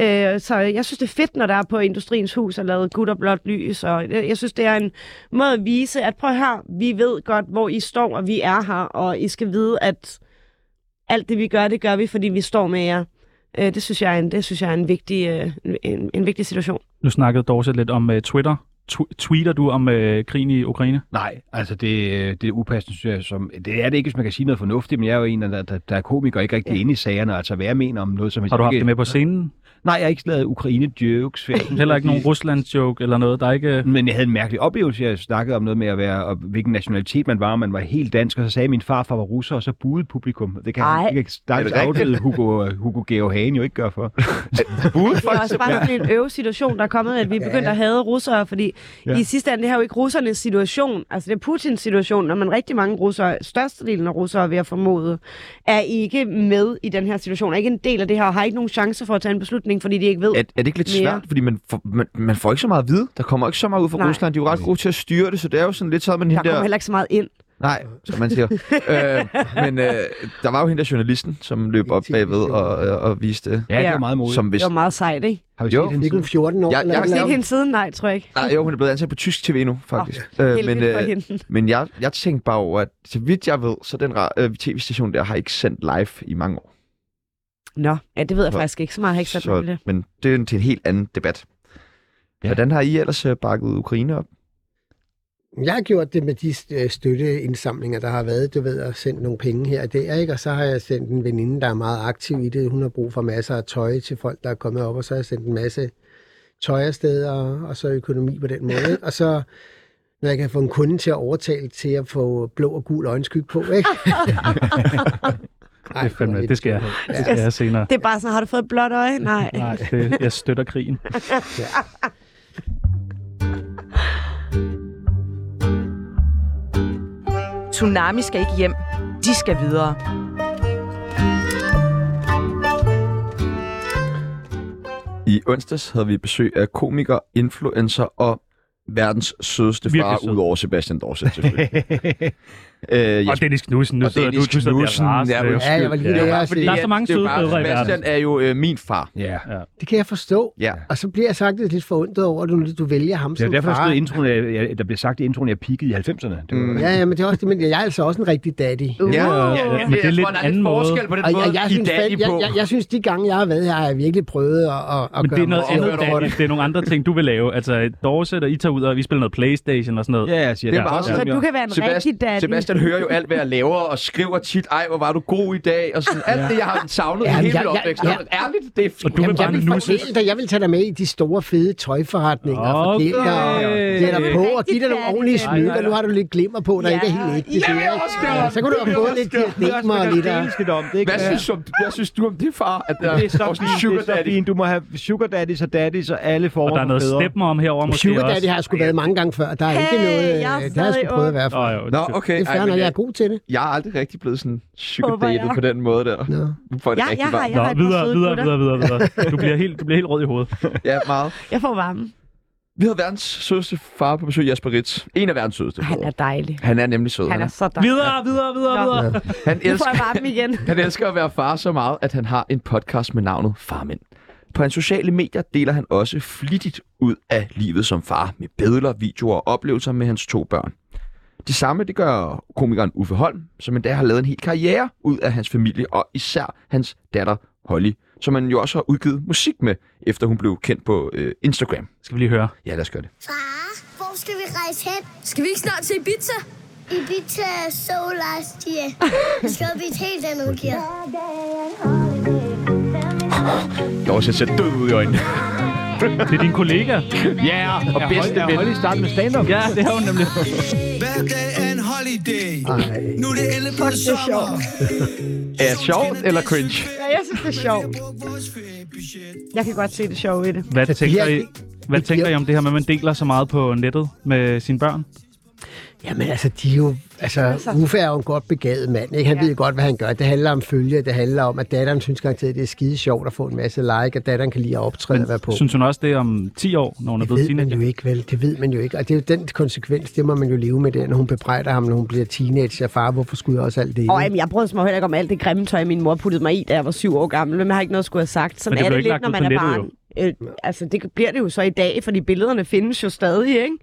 [SPEAKER 4] Øh, så jeg synes, det er fedt, når der er på Industriens Hus og lavet gud og blåt lys, og jeg jeg synes, det er en måde at vise, at prøv her, vi ved godt, hvor I står, og vi er her, og I skal vide, at alt det, vi gør, det gør vi, fordi vi står med jer. Øh, det synes jeg er en, det synes jeg er en, vigtig, øh, en, en vigtig situation.
[SPEAKER 2] Nu snakkede Dorset lidt om øh, Twitter. Tw- tweeter du om øh, krigen i Ukraine?
[SPEAKER 5] Nej, altså det, øh, det er upassende, synes jeg. Som, det er det ikke, hvis man kan sige noget fornuftigt, men jeg er jo en, der, der, der er komiker og ikke rigtig ja. inde i sagerne. Altså, hvad jeg mener om noget, som...
[SPEAKER 2] Har du haft
[SPEAKER 5] ikke,
[SPEAKER 2] det med på scenen?
[SPEAKER 5] Nej, jeg har ikke lavet Ukraine-jokes. for jeg synes,
[SPEAKER 2] Heller ikke
[SPEAKER 5] at
[SPEAKER 2] nogen
[SPEAKER 5] de-
[SPEAKER 2] Ruslands-joke eller noget? Der er ikke... Øh...
[SPEAKER 5] men jeg havde en mærkelig oplevelse. Jeg snakkede om noget med at være, og hvilken nationalitet man var. og Man var helt dansk, og så sagde min farfar var russer, og så buede publikum. Det kan
[SPEAKER 4] Ej.
[SPEAKER 5] han ikke stakkels
[SPEAKER 1] Er det rigtigt?
[SPEAKER 5] afdøde Hugo, Hugo Georg Hagen jo ikke gøre for.
[SPEAKER 4] Det er også bare sådan en øvesituation, der er kommet, at vi er begyndt at have russere, fordi ja. i sidste ende, det her er jo ikke russernes situation, altså det er Putins situation, når man rigtig mange russere, størstedelen af russere, vil jeg formode, er ikke med i den her situation, er ikke en del af det her, og har ikke nogen chance for at tage en beslutning, fordi de ikke ved.
[SPEAKER 1] Er, er det ikke lidt
[SPEAKER 4] Mere.
[SPEAKER 1] svært? Fordi man får, man, man får ikke så meget at vide. Der kommer ikke så meget ud fra
[SPEAKER 4] Nej.
[SPEAKER 1] Rusland. De er jo ret gode til at styre det, så det er jo sådan lidt sådan, man
[SPEAKER 4] der
[SPEAKER 1] hende
[SPEAKER 4] kommer
[SPEAKER 1] der...
[SPEAKER 4] heller ikke så meget ind.
[SPEAKER 1] Nej, som man siger. øh, men øh, der var jo hende der journalisten, som løb op bagved og, øh, og viste det.
[SPEAKER 5] Ja, det
[SPEAKER 4] Ja.
[SPEAKER 5] er meget modigt.
[SPEAKER 1] Som
[SPEAKER 4] Det
[SPEAKER 1] hvis...
[SPEAKER 4] var meget sejt, ikke?
[SPEAKER 5] Har vi
[SPEAKER 1] Jo.
[SPEAKER 5] set hende
[SPEAKER 3] Ikke
[SPEAKER 5] siden?
[SPEAKER 3] hun 14 år?
[SPEAKER 1] Jeg-
[SPEAKER 3] eller
[SPEAKER 1] jeg-
[SPEAKER 4] Har du
[SPEAKER 3] hvad?
[SPEAKER 4] set hende siden? Nej, tror jeg ikke.
[SPEAKER 1] Nej, jo, hun er blevet ansat på tysk tv nu, faktisk.
[SPEAKER 4] Øh,
[SPEAKER 1] men
[SPEAKER 4] men, for hende.
[SPEAKER 1] men jeg, jeg tænkte bare over, at så vidt jeg ved, så den ra- øh, tv-station der har ikke sendt live i mange år.
[SPEAKER 4] Nå, ja, det ved jeg
[SPEAKER 1] så-
[SPEAKER 4] faktisk ikke så meget. Jeg har ikke sat mig på det.
[SPEAKER 1] men det er en- til en helt anden debat. Ja.
[SPEAKER 5] Ja.
[SPEAKER 1] Hvordan har I ellers øh, bakket Ukraine op?
[SPEAKER 3] Jeg har gjort det med de øh, støtteindsamlinger, der har været. Du ved, at sendt nogle penge her og der, ikke? Og så har jeg sendt en veninde, der er meget aktiv i det. Hun har brug for masser af tøj til folk, der er kommet op, og så har jeg sendt en masse tøj afsted, og, og så økonomi på den måde. Ikke? Og så, når jeg kan få en kunde til at overtale til at få blå og gul øjenskyg på, ikke? Ej,
[SPEAKER 2] Det, er fandme,
[SPEAKER 3] hvor
[SPEAKER 2] det skal jeg, det skal jeg senere.
[SPEAKER 4] Det er bare sådan, har du fået et blåt øje? Nej.
[SPEAKER 2] Nej, det, jeg støtter krigen.
[SPEAKER 7] Tsunami skal ikke hjem. De skal videre.
[SPEAKER 1] I onsdags havde vi besøg af komiker, influencer og verdens sødeste
[SPEAKER 2] Virkelig
[SPEAKER 1] far,
[SPEAKER 2] sød.
[SPEAKER 1] udover Sebastian Dorset, selvfølgelig. øh,
[SPEAKER 2] Og Dennis Knudsen, nu
[SPEAKER 1] Og
[SPEAKER 2] sidder
[SPEAKER 1] Dennis
[SPEAKER 2] du, du sidder og
[SPEAKER 1] Knudsen,
[SPEAKER 2] bliver rasende.
[SPEAKER 1] ja, undskyld.
[SPEAKER 3] Ja, jeg var lige
[SPEAKER 2] Ja.
[SPEAKER 3] ved at
[SPEAKER 1] fordi
[SPEAKER 3] sige,
[SPEAKER 2] Der er så mange
[SPEAKER 1] det jo
[SPEAKER 2] søde
[SPEAKER 1] bare-
[SPEAKER 2] fædre i verden.
[SPEAKER 1] Sebastian er jo øh, min far.
[SPEAKER 5] Ja.
[SPEAKER 3] det kan jeg forstå.
[SPEAKER 1] Ja.
[SPEAKER 3] Og så bliver jeg faktisk lidt forundret over, at du, du vælger ham
[SPEAKER 5] Det er
[SPEAKER 3] som
[SPEAKER 5] derfor, der,
[SPEAKER 3] far.
[SPEAKER 5] stod i introen, jeg, jeg, der blev sagt i introen, at jeg peakede i 90'erne. Det
[SPEAKER 1] Mm.
[SPEAKER 5] var, mm.
[SPEAKER 3] Ja, ja, men det er også det, men jeg er altså også en rigtig daddy.
[SPEAKER 1] Ja,
[SPEAKER 2] ja, men det er
[SPEAKER 1] jeg
[SPEAKER 2] lidt
[SPEAKER 1] tror, der
[SPEAKER 2] en anden
[SPEAKER 1] lidt
[SPEAKER 2] måde.
[SPEAKER 1] forskel på den
[SPEAKER 3] Og
[SPEAKER 1] måde,
[SPEAKER 3] jeg, jeg,
[SPEAKER 1] I
[SPEAKER 3] synes,
[SPEAKER 1] daddy
[SPEAKER 3] fandme- jeg,
[SPEAKER 1] på.
[SPEAKER 3] jeg, jeg synes, de gange, jeg har været her, har jeg virkelig prøvet at, at, at
[SPEAKER 2] Men
[SPEAKER 3] gøre
[SPEAKER 2] det er noget
[SPEAKER 3] mig
[SPEAKER 2] andet,
[SPEAKER 3] sjov over
[SPEAKER 2] Daniel. Det er nogle andre ting, du vil lave. Altså, Dorset og I tager ud, og vi spiller noget Playstation og sådan noget.
[SPEAKER 5] Ja, jeg siger,
[SPEAKER 1] Det er
[SPEAKER 5] der
[SPEAKER 1] bare
[SPEAKER 5] også
[SPEAKER 1] sådan,
[SPEAKER 4] Så
[SPEAKER 5] sådan,
[SPEAKER 4] du kan være en rigtig daddy.
[SPEAKER 1] Sebastian hører jo alt, hvad jeg laver, og skriver tit, ej, hvor var du god i dag, og sådan alt det, jeg har savnet ja,
[SPEAKER 3] Ja,
[SPEAKER 1] i hele
[SPEAKER 3] jeg-
[SPEAKER 1] min
[SPEAKER 3] jeg-
[SPEAKER 1] opvækst.
[SPEAKER 3] jeg-
[SPEAKER 1] Ja, ja. Ærligt, det er
[SPEAKER 2] Og du vil
[SPEAKER 1] Jamen,
[SPEAKER 2] bare
[SPEAKER 1] jeg vil
[SPEAKER 2] nusse.
[SPEAKER 1] faktisk-
[SPEAKER 3] Fortæl dig, jeg vil tage dig med i de store, fede tøjforretninger okay. og fordele dig og klæde dig på og give dig nogle
[SPEAKER 4] Rigtig
[SPEAKER 3] ordentlige
[SPEAKER 4] daddy.
[SPEAKER 3] smykker. Nu har du lidt glimmer på, der
[SPEAKER 4] Ja.
[SPEAKER 3] ikke er helt ægte.
[SPEAKER 1] Jeg vil
[SPEAKER 3] Det er-
[SPEAKER 1] også gerne.
[SPEAKER 3] Ja, Så kunne du
[SPEAKER 1] Jeg
[SPEAKER 3] have
[SPEAKER 1] vil
[SPEAKER 3] fået
[SPEAKER 1] også
[SPEAKER 3] lidt diademer og lidt øh, af...
[SPEAKER 5] lidt om det, ikke?
[SPEAKER 1] Hvad synes, om, hvad synes du om det, far? At der
[SPEAKER 5] Det er så
[SPEAKER 1] også en
[SPEAKER 5] fint,
[SPEAKER 1] sugar
[SPEAKER 5] det er så
[SPEAKER 1] daddy?
[SPEAKER 5] fint. Du må have sugar daddies og daddies og alle former
[SPEAKER 2] Og der er noget
[SPEAKER 5] for fædre.
[SPEAKER 2] stepmer om herovre måske
[SPEAKER 3] Sugar daddy
[SPEAKER 2] også.
[SPEAKER 3] har jeg sgu været mange gange før. Der er
[SPEAKER 4] Hey,
[SPEAKER 3] ikke noget... øh,
[SPEAKER 4] jeg er
[SPEAKER 3] Det har jeg sgu
[SPEAKER 4] stadig
[SPEAKER 3] prøvet at være for.
[SPEAKER 2] Nå, jo,
[SPEAKER 1] Nå,
[SPEAKER 2] undskyld.
[SPEAKER 1] okay.
[SPEAKER 3] Det er fair,
[SPEAKER 1] Ej,
[SPEAKER 3] når
[SPEAKER 1] men
[SPEAKER 3] jeg
[SPEAKER 1] jeg,
[SPEAKER 3] er god til det.
[SPEAKER 1] jeg har aldrig rigtig blevet sådan sugar
[SPEAKER 4] Håber jeg.
[SPEAKER 1] dated på den måde der.
[SPEAKER 3] Nå.
[SPEAKER 1] Nu får jeg det
[SPEAKER 4] Ja,
[SPEAKER 1] rigtig
[SPEAKER 4] jeg har,
[SPEAKER 1] varmt.
[SPEAKER 4] jeg har
[SPEAKER 2] Nå,
[SPEAKER 4] et par
[SPEAKER 2] videre,
[SPEAKER 4] søde
[SPEAKER 2] videre,
[SPEAKER 4] gutter.
[SPEAKER 2] videre, videre, videre. Du bliver helt, du bliver helt rød i hovedet.
[SPEAKER 1] Ja, meget.
[SPEAKER 4] Jeg får varme.
[SPEAKER 1] Vi havde verdens sødeste far på besøg, Jasper Ritz. En af verdens sødeste.
[SPEAKER 4] Han er dejlig.
[SPEAKER 1] Han er nemlig sød.
[SPEAKER 4] Han
[SPEAKER 1] Han,
[SPEAKER 4] er så dejlig.
[SPEAKER 2] Videre, videre, videre,
[SPEAKER 4] Nå.
[SPEAKER 2] videre.
[SPEAKER 1] han
[SPEAKER 4] Nu får
[SPEAKER 1] elsker
[SPEAKER 4] jeg varme igen.
[SPEAKER 1] Han elsker at være far så meget, at han har en podcast med navnet Farmænd. På hans sociale medier deler han også flittigt ud af livet som far med billeder, videoer og oplevelser med hans to børn. Det samme det gør komikeren Uffe Holm, som endda har lavet en hel karriere ud af hans familie og især hans datter Holly, som han jo også har udgivet musik med, efter hun blev kendt på øh, Instagram.
[SPEAKER 2] Skal vi lige høre.
[SPEAKER 1] Ja, lad os gøre det.
[SPEAKER 8] Far, hvor skal vi rejse hen?
[SPEAKER 9] Skal vi ikke snart til Ibiza?
[SPEAKER 8] Ibiza er så last year. Vi skal op i et helt andet gear.
[SPEAKER 1] Dorset ser død ud i øjnene.
[SPEAKER 2] Det er din kollega.
[SPEAKER 1] Ja, yeah, og bedste
[SPEAKER 5] Jeg
[SPEAKER 1] ven.
[SPEAKER 5] holdt i starten med stand-up.
[SPEAKER 2] Ja, det er hun nemlig.
[SPEAKER 10] Hver dag er en holiday.
[SPEAKER 3] Ej.
[SPEAKER 10] Nu er det endelig blevet
[SPEAKER 3] det er
[SPEAKER 10] sommer.
[SPEAKER 1] Er det sjovt eller cringe?
[SPEAKER 4] Ja, jeg synes, det er sjovt. Jeg kan godt se det sjove i det.
[SPEAKER 2] Hvad tænker I, hvad
[SPEAKER 3] det
[SPEAKER 2] tænker I
[SPEAKER 3] bliver-
[SPEAKER 2] om det her med, at man deler så meget på nettet med sine børn?
[SPEAKER 3] Jamen altså, de er jo, altså, Uffe er jo en godt begavet mand. Ikke? Han ja. ved godt, hvad han gør. Det handler om følge, det handler om, at datteren synes garanteret, det er skide sjovt at få en masse like, og datteren kan lide at optræde og være på.
[SPEAKER 2] Synes hun også det om 10 år, når hun er
[SPEAKER 3] Det
[SPEAKER 2] blevet
[SPEAKER 3] ved man
[SPEAKER 2] teenager?
[SPEAKER 3] jo ikke, vel? Det ved man jo ikke. Og det er jo den konsekvens, det må man jo leve med der, når hun bebrejder ham, når hun bliver teenager. Far, hvorfor skulle jeg også alt det?
[SPEAKER 4] Og jamen, jeg brød mig heller ikke om alt det grimme tøj, min mor puttede mig i, da jeg var syv år gammel. Men jeg har ikke noget at skulle have sagt. Sådan
[SPEAKER 2] Men det
[SPEAKER 4] er
[SPEAKER 2] blev
[SPEAKER 4] det
[SPEAKER 2] ikke lagt
[SPEAKER 4] lidt, når
[SPEAKER 2] ud
[SPEAKER 4] man
[SPEAKER 2] på
[SPEAKER 4] er
[SPEAKER 2] nettet,
[SPEAKER 4] barn. Øh, altså, det bliver det jo så i dag, fordi billederne findes jo stadig, ikke?